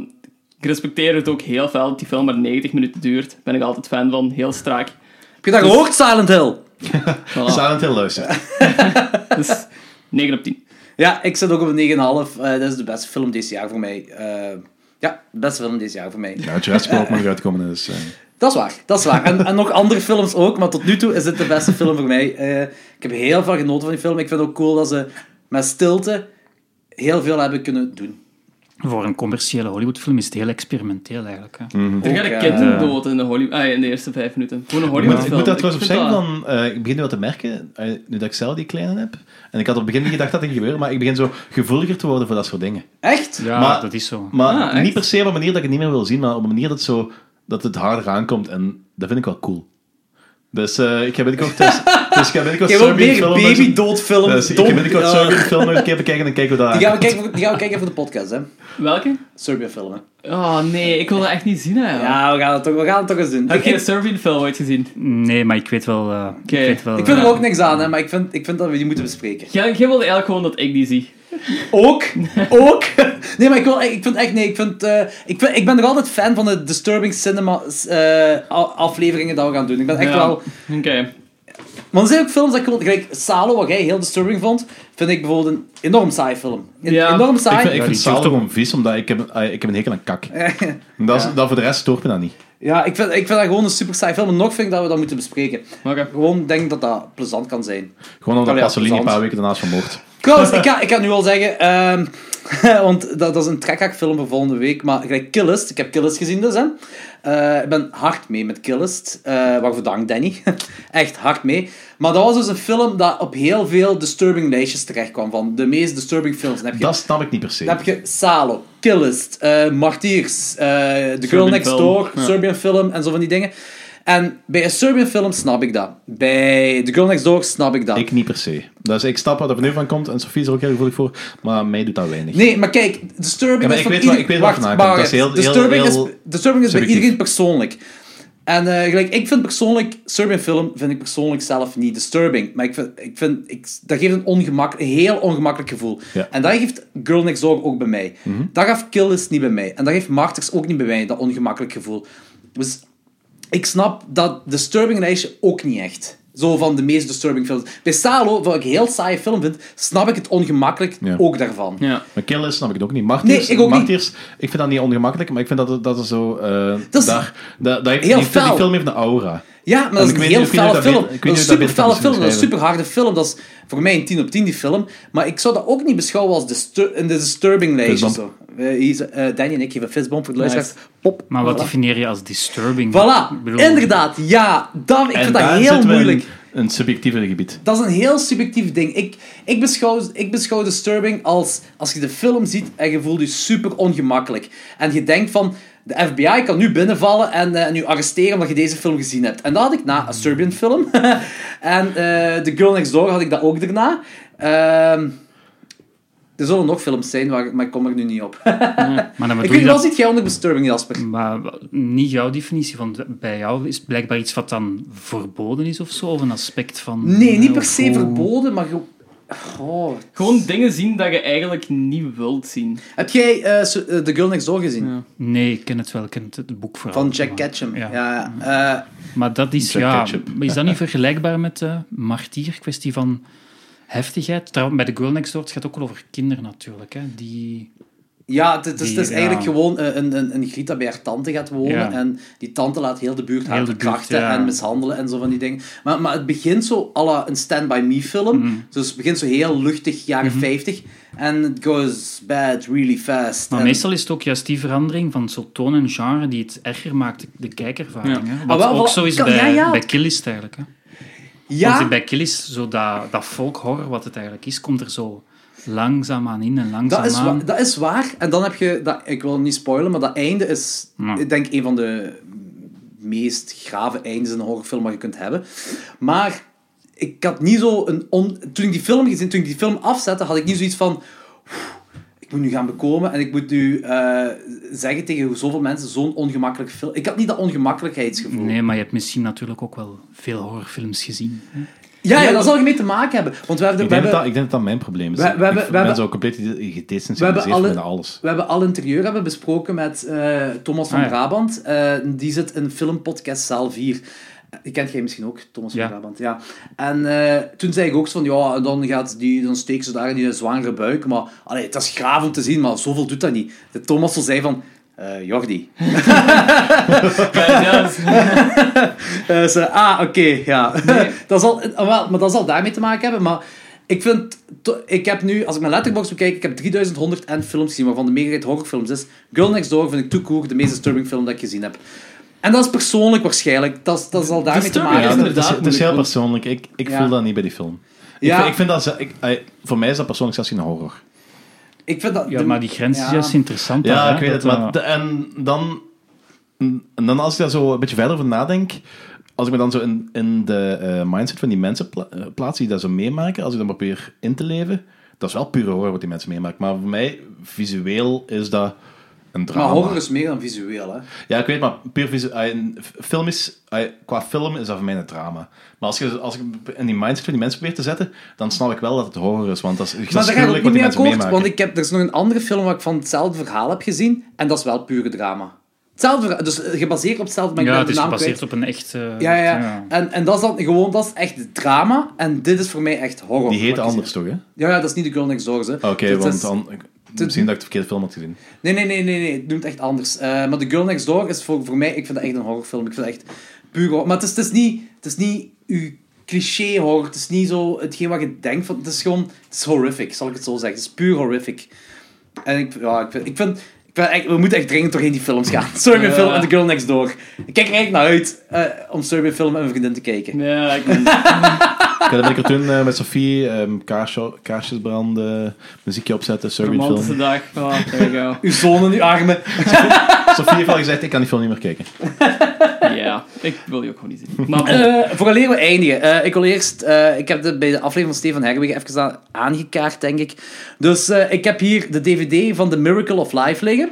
ik respecteer het ook heel veel dat die film maar 90 minuten duurt. Ben ik altijd fan van, heel strak. Heb je Dus- dat gehoord, Silent Hill? Voilà. Silent Hill Nou, luisteren. Dus 9 op 10. Ja, ik zit ook op een 9,5. Eh, dat is de beste film dit jaar voor mij. Eh, ja, de beste film dit jaar voor mij. Nou, Jurassic World moet eruit komen, dus... eh, Dat is waar, dat is waar. En, en nog andere films ook, maar tot nu toe is dit de beste film voor mij. Eh, ik heb heel veel genoten van die film. Ik vind het ook cool dat ze met stilte heel veel hebben kunnen doen. Voor een commerciële Hollywoodfilm is het heel experimenteel eigenlijk. Hmm. Hè. Er gaan Ook, de eh, kinderen dood in de, Hollywood, ah, in de eerste vijf minuten. Gewoon een Ik moet, Hollywood ik film. moet daar trouwens op zeggen, dan. van, eh, ik begin nu wel te merken, eh, nu dat ik zelf die kleine heb, en ik had op het begin niet gedacht dat het ging gebeuren, maar ik begin zo gevoeliger te worden voor dat soort dingen. Echt? Ja, Maar- dat is zo. Maar Ah, echt? niet per se op een manier dat ik het niet meer wil zien, maar op een manier dat, zo, dat het harder aankomt. En dat vind ik wel cool. Dus eh, ik *laughs* heb binnenkort... Dus, dus ik heb binnenkort Ik heb ook Serbian meer film- babydoodfilm. Dus ik heb binnenkort dood- zo'n eh, film nog een keer bekijken en kijken hoe dat Die gaan we aankomt. kijken- die gaan we kijken voor de podcast, hè. Welke? Serbian film, hè. Oh nee, ik wil dat echt niet zien. Hè. Ja, we gaan het toch, we gaan het toch eens doen. Heb Ik, je een Serbian film ooit gezien? Nee, maar ik weet wel... eh, Oké. Ik, weet wel ik vind er eh, ook niks aan, hè, maar ik vind, ik vind dat we die moeten bespreken. Jij, jij wilde eigenlijk gewoon dat ik die zie. Ook? *laughs* Ook? Nee, maar ik, wil, ik vind echt... Nee, ik, vind, eh, ik, vind, ik ben nog altijd fan van de Disturbing Cinema eh, a- afleveringen dat we gaan doen. Ik ben echt Ja. wel... Oké. Maar er zijn ook films dat ik gewoon... Gelijk Salo, wat jij heel disturbing vond, vind ik bijvoorbeeld een enorm saai film. Een Ja. enorm saai. Ik vind, ik Ja, vind die Saal doet toch een vies, omdat ik heb, eh, ik heb een hekel aan kak. En dat, is, dat voor de rest stoort me dat niet. Ja, ik vind, ik vind dat gewoon een super saai film. En nog vind ik dat we dat moeten bespreken. Oké. Gewoon denk dat dat plezant kan zijn. Gewoon omdat Oh ja, Pasolini een plezant. paar weken daarnaast vermoord. Trouwens, ik ga, ik ga nu al zeggen... ehm, *laughs* want dat, dat is een trekhaakfilm voor volgende week. Maar gelijk Killist. Ik heb Killist gezien dus, hè. Eh, ik ben hard mee met Killist. Eh waarvoor dank, Danny. *laughs* Echt hard mee. Maar dat was dus een film dat op heel veel disturbing lijstjes terecht kwam. Van de meest disturbing films. Dan heb je, Dat snap ik niet per se. dan heb je Salo, Killist, eh Martiers, eh, The Girl Serbian Next film, Door, ja. Serbian Film en zo van die dingen. En bij een Serbian film snap ik dat. Bij The Girl Next Door snap ik dat. Ik niet per se. Dus ik snap wat er nu van komt en Sofie is er ook heel gevoelig voor, maar mij doet dat weinig. Nee, maar kijk, Disturbing Ja, maar is ik van weet ieder- waar- ik weet waar Wacht, vandaan komt. wacht, Dat is heel- heel- Disturbing, heel is, Disturbing is bij subjectief. iedereen persoonlijk. En eh, gelijk, ik vind persoonlijk, Serbian film vind ik persoonlijk zelf niet disturbing. Maar ik vind, ik vind ik, dat geeft een, ongemak, een heel ongemakkelijk gevoel. Ja. Mhm. En dat geeft Girl Next Door ook bij mij. Dat gaf Kill is niet bij mij. En dat geeft Martyrs ook niet bij mij, dat ongemakkelijk gevoel. Dus ik snap dat disturbing lijstje ook niet echt. Zo van de meest disturbing films. Bij Salo, wat ik een heel saaie film vind, snap ik het ongemakkelijk Ja. ook daarvan. Ja. Maar killen snap ik het ook niet. Martiers, Nee, ik ook niet. Martiers, ik vind dat niet ongemakkelijk, maar ik vind dat het- dat er zo... eh Dat is daar, dat, dat heeft, heel die, film- die fel. film heeft een aura. Ja, maar dat En is ik een weet heel niet of je felle dat film. weet- ik weet dat niet is of een dat super felle beter kan film, dat is een super beschrijven. harde film. Dat is voor mij een 10 op 10 die film. Maar ik zou dat ook niet beschouwen als distur- in de disturbing lijstje. Fistbump. Zo. Eh, hier is, eh, Danny en ik geven een fistbomb voor de luisteraars. Pop. Maar wat voilà. definieer je als disturbing? Voilà, Ik bedoel- inderdaad, ja. Dat, ik en vind dat daar heel zitten we in moeilijk. Een, subjectieve gebied. Dat is een heel subjectief ding. Ik, ik, beschouw, ik beschouw Disturbing als... Als je de film ziet en je voelt je super ongemakkelijk. En je denkt van... De FBI kan nu binnenvallen en, eh, en u arresteren omdat je deze film gezien hebt. En dat had ik na, een Serbian film. *laughs* en eh The Girl Next Door had ik dat ook daarna. Ehm, er zullen nog films zijn, waar, ik- maar *laughs* ik kom er nu niet op. Maar dan bedoel ik weet je wel dat... Mm, zit jij onder Disturbing, Jasper. Maar niet jouw definitie, want bij jou is het blijkbaar iets wat dan verboden is of zo, of een aspect van... Nee, niet per of se hoe- verboden, maar... Oh. ge- Goh. Gewoon dingen zien dat je eigenlijk niet wilt zien. *laughs* Heb jij eh, Su- eh, The Girl Next Door gezien? Ja. Nee, ik ken het wel, ik ken het, het boek vooral. Van Jack Maar- Ketchum. Ja. Ja. ja. Eh, Maar dat is, Jack ja, Ketchup. maar is dat niet vergelijkbaar met de martier, kwestie van heftigheid? Trouwens, bij de Girl Next Door, het gaat ook wel over kinderen natuurlijk, hè, die... ja, het, het is, het is Die, eigenlijk ja. gewoon een, een, een- een griet dat bij haar tante gaat wonen. Ja. En die tante laat heel de buurt haar Heel de buurt, verkrachten ja. en mishandelen en zo van die dingen. Maar, maar het begint zo à la een Stand By Me film. Mhm. Dus het begint zo heel luchtig, jaren 50. En it goes bad really fast. Maar En- meestal is het ook juist die verandering van zo'n toon en genre die het erger maakt, de kijkervaring. Ja. Hè? Wat Ah, wel, ook voilà. zo is Kan- bij, ja, ja. bij Killist eigenlijk. Hè? ja, Want bij Killis, zo dat, dat folkhorror wat het eigenlijk is, komt er zo langzaamaan in en Dat is, langzaamaan... wa- dat is waar. En dan heb je, dat, ik wil hem niet spoilen, maar dat einde is, Ja. ik denk, een van de meest grave eindes in een horrorfilm wat je kunt hebben. Maar ik had niet zo een... On, toen ik die film gezien, toen ik die film afzette, had ik niet zoiets van... "Oeh, Ik moet nu gaan bekomen en ik moet nu eh, zeggen tegen zoveel mensen zo'n ongemakkelijk film. Ik had niet dat ongemakkelijkheidsgevoel. Nee, maar je hebt misschien natuurlijk ook wel veel horrorfilms gezien. hè? Ja, ja, dat zal je mee te maken hebben. Want we hebben, Ik we denk, hebben, dat, dat- ik denk dat dat mijn probleem is. We- we ik hebben- we ben hebben- zo compleet we hebben gedesensibiliseerd alle, met alles. We hebben al interieur hebben besproken met eh, Thomas van Ah, ja. Brabant. Eh, die zit in filmpodcast Zaal 4. Eh, Die kent jij misschien ook, Thomas Ja. van Brabant. Ja. En eh, toen zei ik ook zo van, ja, dan, gaat die, dan steken ze daar in die zwangere buik. Maar allee, het is graaf om te zien, maar zoveel doet dat niet. De Thomas zo zei van, eh, Jordi. Ja, ja, dat is- Eh, ze, ah, oké, ja. dat zal, ah, wel, maar dat zal daarmee te maken hebben. Maar Ik vind... to- Ik heb nu, als ik mijn letterbox bekijk, ik heb 3101 films gezien, waarvan de meerderheid horrorfilms is. Girl Next Door vind ik too cool, de meest disturbing film dat ik gezien heb. En dat is persoonlijk waarschijnlijk. Dat, is- dat zal daarmee te Disturbing maken is hebben. het, is, het is moeilijk, heel want- persoonlijk. Ik, ik Ah, Ja. voel dat niet bij die film. Ik, Ja. vind, ik vind dat... ze- Ik, eh, voor mij is dat persoonlijk zelfs geen horror. Ik vind dat... Ja, de- maar die grens is ja. juist interessant. Ja, daar, hè, ik weet het. dat, Maar eh, de- en dan... En dan als ik daar zo een beetje verder over nadenk... Als ik me dan zo in, in de eh, mindset van die mensen pla- eh, plaats die dat zo meemaken, als ik dan probeer in te leven, dat is wel pure horror wat die mensen meemaken. Maar voor mij, visueel, is dat een drama. Maar horror is meer dan visueel, hè. Ja, ik weet, maar puur visu- ah, in- f- film is, ah, qua film is dat voor mij een drama. Maar als je als ik in die mindset van die mensen probeer te zetten, dan snap ik wel dat het horror is, want dat is dat is Maar daar ga ik gruwelijk ook niet wat die mee mensen akkoord, meemaken. want ik heb, er is nog een andere film waar ik van hetzelfde verhaal heb gezien, en dat is wel pure drama. Hetzelfde verhaal, dus eh, gebaseerd op hetzelfde, maar ik ja, ben het is de naam gebaseerd kwijt. op een echt... eh, Ja, ja, ja. En, en dat is dan gewoon, dat is echt drama, en dit is voor mij echt horror. Die heet wat ik anders zie. toch, hè? Ja, ja, dat is niet de Girl Next Door, hè. Oké, Dit want is- dan... ik- Misschien dat ik de verkeerde film had gezien. Nee, nee, nee, nee, nee, het noemt echt anders. Eh, maar The Girl Next Door is voor, voor mij, ik vind dat echt een horrorfilm. Ik vind dat echt puur horror. Maar het is, het is niet, het is niet uw cliché horror. Het is niet zo hetgeen wat je denkt van. Het is gewoon, het is horrific, zal ik het zo zeggen. Het is puur horrific. En ik, ja, ik vind, ik vind, ik vind echt, we moeten echt dringend doorheen die films gaan. *laughs* Serbian Ja. Film en The Girl Next Door. Ik kijk er eigenlijk naar uit eh, om Serbian Film met mijn vriendin te kijken. Ja, ik ben... Ja, dan ben ik er toen eh, met Sophie, ehm kaarsje- kaarsjes branden, muziekje opzetten, Serbian Romantische film. dag. Oh, there you go. Uw zoon en uw armen. Sophie heeft al gezegd, ik kan die film niet meer kijken. Ja, ik wil die ook gewoon niet zien. Maar bon. Eh, vooraleer we eindigen. eh, ik wil eerst... eh, ik heb dit bij de aflevering van Steven Herwig even aan- aangekaart, denk ik. Dus eh, ik heb hier de DVD van The Miracle of Life liggen.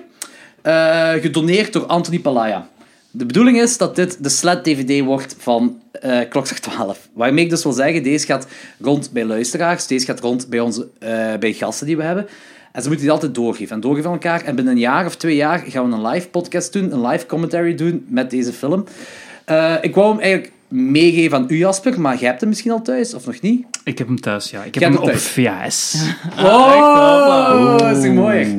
eh, gedoneerd door Anthony Palaya. De bedoeling is dat dit de sled-DVD wordt van eh Klokslag 12. Waarmee ik dus wil zeggen, deze gaat rond bij luisteraars. Deze gaat rond bij, onze, eh, bij gasten die we hebben. En ze moeten die altijd doorgeven. En doorgeven aan elkaar. En binnen een jaar of twee jaar gaan we een live podcast doen. Een live commentary doen met deze film. Eh, ik wou hem eigenlijk meegeven aan u, Jasper, maar jij hebt hem misschien al thuis, of nog niet? Ik heb hem thuis, ja. Ik heb Jij hem hebt op hem VHS. Oh, dat is toch mooi.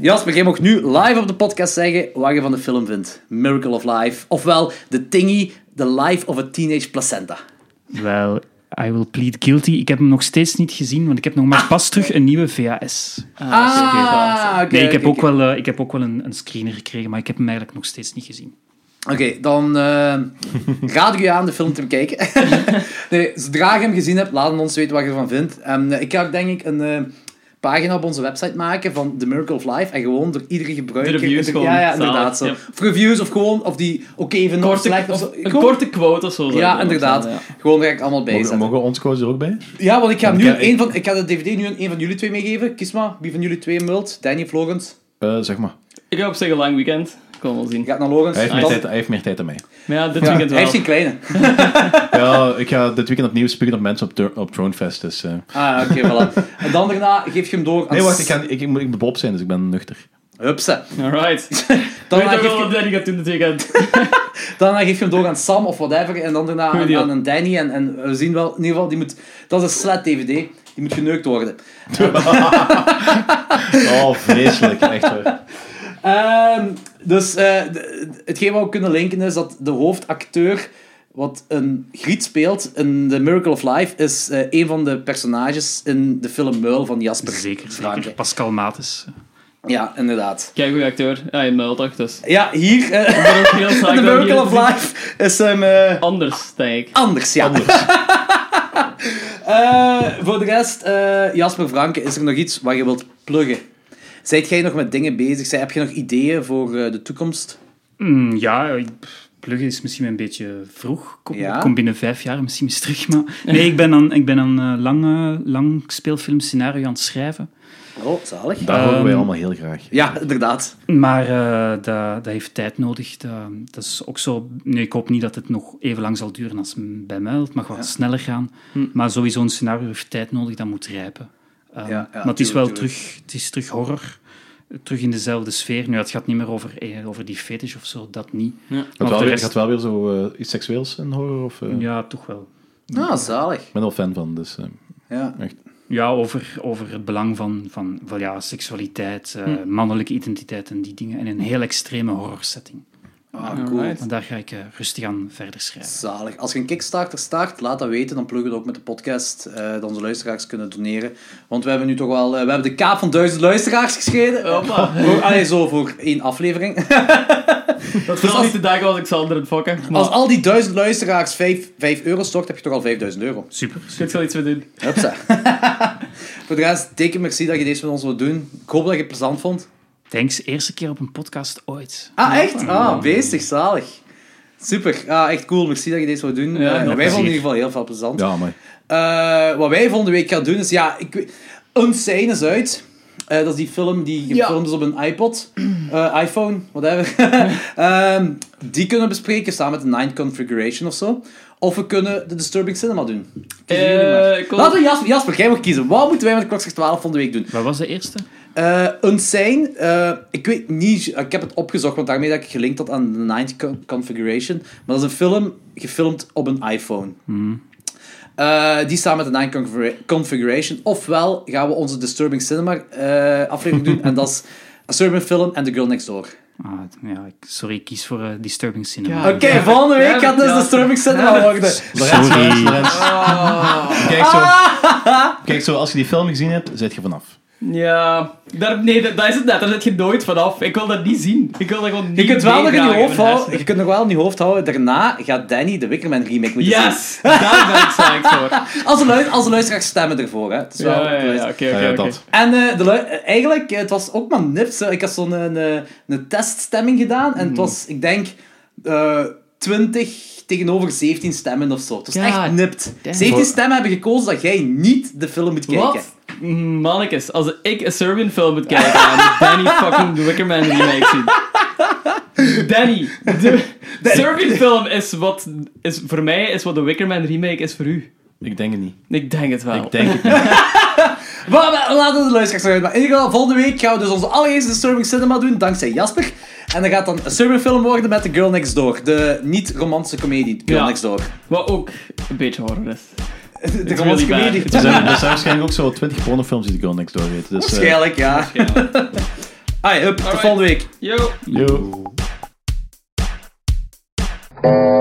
Jasper, jij mag nu live op de podcast zeggen wat je van de film vindt. Miracle of Life. Ofwel, de thingy, The Life of a Teenage Placenta. Wel, I will plead guilty. Ik heb hem nog steeds niet gezien, want ik heb nog maar pas terug een nieuwe VHS. Ah, oké. nee, ik heb, oké, ook oké. Wel, eh, ik heb ook wel een, een screener gekregen, maar ik heb hem eigenlijk nog steeds niet gezien. Oké, dan *laughs* eh raad ik je aan de film te bekijken. nee, zodra je hem gezien hebt, laat ons weten wat je ervan vindt. En, eh, ik ga ook denk ik een eh, pagina op onze website maken van The Miracle of Life. En gewoon door iedere gebruiker... De reviews gewoon, Ja, ja, zalig, inderdaad. Zo. ja. Of reviews of gewoon of die oké vinden of korte, eh, slecht. of, zo. een Gewoon- korte quote of zo. zou ik Ja, dan ook inderdaad. zeggen, Gewoon direct allemaal bij Mogen, zetten. mogen ons koos er ook bij? Ja, want ik ga, Want nu ik- een van, ik ga de dvd nu aan een van jullie twee meegeven. Kies maar wie van jullie twee hem wilt. Danny of Logans. Eh, zeg maar. ja. Ik heb op zich een lang weekend. Ik kan wel zien. Gaat naar Logans. Hij heeft, meer Dan- tijd, hij heeft meer tijd dan mij. Maar ja, dit Ja, weekend hij wel. heeft geen kleine. Ja, ik ga dit weekend opnieuw spreken op mensen op, Tur- op Tronefest. Dus, eh. Ah, oké, voilà. En dan daarna geef je hem door aan... Nee, wacht, ik, kan, ik, ik moet ik moet Bob zijn, dus ik ben nuchter. Hupsa. Alright. Dan Daarna weet ook geef, wel wat je, Danny gaat doen dit weekend. daarna geef je hem door aan Sam of whatever. En dan daarna Goeie aan, deal. aan een Danny. En, en we zien wel... In ieder geval, die moet... Dat is een slet-dvd. Die moet geneukt worden. Oh, vreselijk, echt hoor. Ehm, dus eh, d- hetgeen wat we kunnen linken is dat de hoofdacteur wat een griet speelt in The Miracle of Life is eh, een van de personages in de film Muil van Jasper. Zeker, zeker. Franke. Pascal Mates. Ja, inderdaad. *laughs* Kijk, goede acteur. Ja, in Muildag, *laughs* dus. Ja, hier eh, Ik ben ook heel saai in *laughs* The dat ik Miracle hier- of Life is hem eh, Anders, denk ik. anders, ja. *laughs* Eh, voor de rest, eh, Jasper Franke, is er nog iets wat je wilt pluggen? Zijt jij nog met dingen bezig? Zij, heb je nog ideeën voor eh, de toekomst? Mm, ja, ik- pluggen is misschien een beetje vroeg. Kom, Ja? kom binnen vijf jaar misschien eens terug. Maar... Nee, ik ben aan, ik ben aan een lange, lang speelfilmscenario aan het schrijven. Oh, zalig. *laughs* Dat horen wij Ehm, allemaal heel graag. Ja, inderdaad. Maar eh, dat, dat heeft tijd nodig. Dat, dat is ook zo... Nu, ik hoop niet dat het nog even lang zal duren als m- bij mij. Het mag wat sneller gaan. Hm. Maar sowieso een scenario heeft tijd nodig, dat moet rijpen. Um, ja, maar het is wel tuurlijk, tuurlijk. terug, het is terug horror. eh, Terug in dezelfde sfeer. Nu, het gaat niet meer over, eh, over die fetish of zo, dat niet. Gaat Maar wel, de weer, rest- gaat wel weer zo eh, iets seksueels in horror? Of, eh, Ik Ja, toch wel. Ah, zalig. ben er wel fan van, dus... eh, Ja. Ja, over, over het belang van, van, van Hm. ja, seksualiteit, eh, mannelijke identiteit en die dingen. En een heel extreme horrorsetting. Ah, cool. Maar daar ga ik eh, rustig aan verder schrijven. Zalig. Als je een Kickstarter start, laat dat weten. Dan pluggen we het ook met de podcast. eh dan de luisteraars kunnen doneren. Want we hebben nu toch wel... eh, we hebben de kaap van duizend luisteraars geschreven. Hoppa. Voor- Allee, zo voor één aflevering. *laughs* Dat was niet de dag Dus als ik Sander het fokken. Maar Als al die duizend luisteraars 5, euro stort, heb je toch al 5000 euro. Super. ik zal iets mee doen. Hupsa. *laughs* voor de rest, dikke merci dat je deze met ons wilt doen. Ik hoop dat je het plezant vond. Thanks. Eerste keer op een podcast ooit. Ah, echt? Ah, bezig. Zalig. Super. Ah, echt cool. Merci dat je deze wilt doen. Ja, Eh, heel wij plezier. vonden in ieder geval heel veel plezant. Ja, maar Eh, wat wij volgende week gaan doen is, ja, ik weet, Unsane is uit. Eh, dat is die film die gefilmd is op een iPod, eh, iPhone, whatever. *laughs* Ehm, die kunnen we bespreken samen met de Nine Configuration of zo. Of we kunnen de Disturbing Cinema doen. Kiezen jullie maar. Eh, ik wil- Laten we Jasper, Jasper, jij mag kiezen. Wat moeten wij met Klokslag 12 volgende week doen? Wat was de eerste? Eh Unsane, eh, ik weet niet, ik heb het opgezocht, want daarmee dat ik gelinkt had aan de Ninth Con- Configuration. Maar dat is een film gefilmd op een iPhone. Hmm. Eh, die samen met de Nine Configura- Configuration. Ofwel gaan we onze Disturbing Cinema eh, aflevering doen. en dat is Disturbing Film en The Girl Next Door. Ah, het- ja, ik- sorry, ik kies voor eh, Disturbing Ah, Ja. Cinema. Oké, volgende week gaat dus Ja. Disturbing Cinema worden. Sorry. Oh. Kijk *laughs* zo, kijk zo, als je die film gezien hebt, zit je vanaf. Ja, daar, nee, dat, dat is het net. Daar zit je nooit vanaf. Ik wil dat niet zien. Ik wil dat gewoon niet Je kunt, wel nog in je, meedragen hoofd in mijn houden, je kunt nog wel in je hoofd houden. Daarna gaat Danny de Wickerman remake moeten hersenen. zien. *laughs* Yes! Daar ben ik psyched voor. Als de, lui- als de luisteraars stemmen ervoor. Hè. Het is wel- *laughs* Ja, ja, ja. Oké, Ja, oké, ja, oké. dat. En eh, de lui- eh, eigenlijk, eh, het was ook maar nips. hè. Ik had zo'n een, eh, een teststemming gedaan. En het was, ik denk, eh 20 tegenover 17 stemmen of zo. Het was Ja, echt nipt. damn. 17 stemmen hebben gekozen dat jij niet de film moet kijken. Wat? Mannekes, als ik een Serbian film moet kijken, dan moet *laughs* Danny fucking The Wicker Man remake zien. Danny, de Serbian film is wat, is, voor mij is wat de Wicker Man remake is voor u. Ik denk het niet. Ik denk het wel. Ik denk het niet. Maar, maar, laten we de luisteraars eruit. Maar in ieder geval, volgende week gaan we dus onze allereerste Disturbing Cinema doen, dankzij Jasper. En dat gaat dan een Disturbing film worden met The Girl Next Door. De niet-romantische comedie, The Girl Ja. Next Door. Wat ook een beetje horror is. De It's romantische really bad. comedie. It's Er zijn, er zijn waarschijnlijk ook zo 20 pornofilms die ik al niks door weet. Dus, eh, Waarschijnlijk, ja. *laughs* Allee, hup, tot Alright. volgende week. Yo! yo.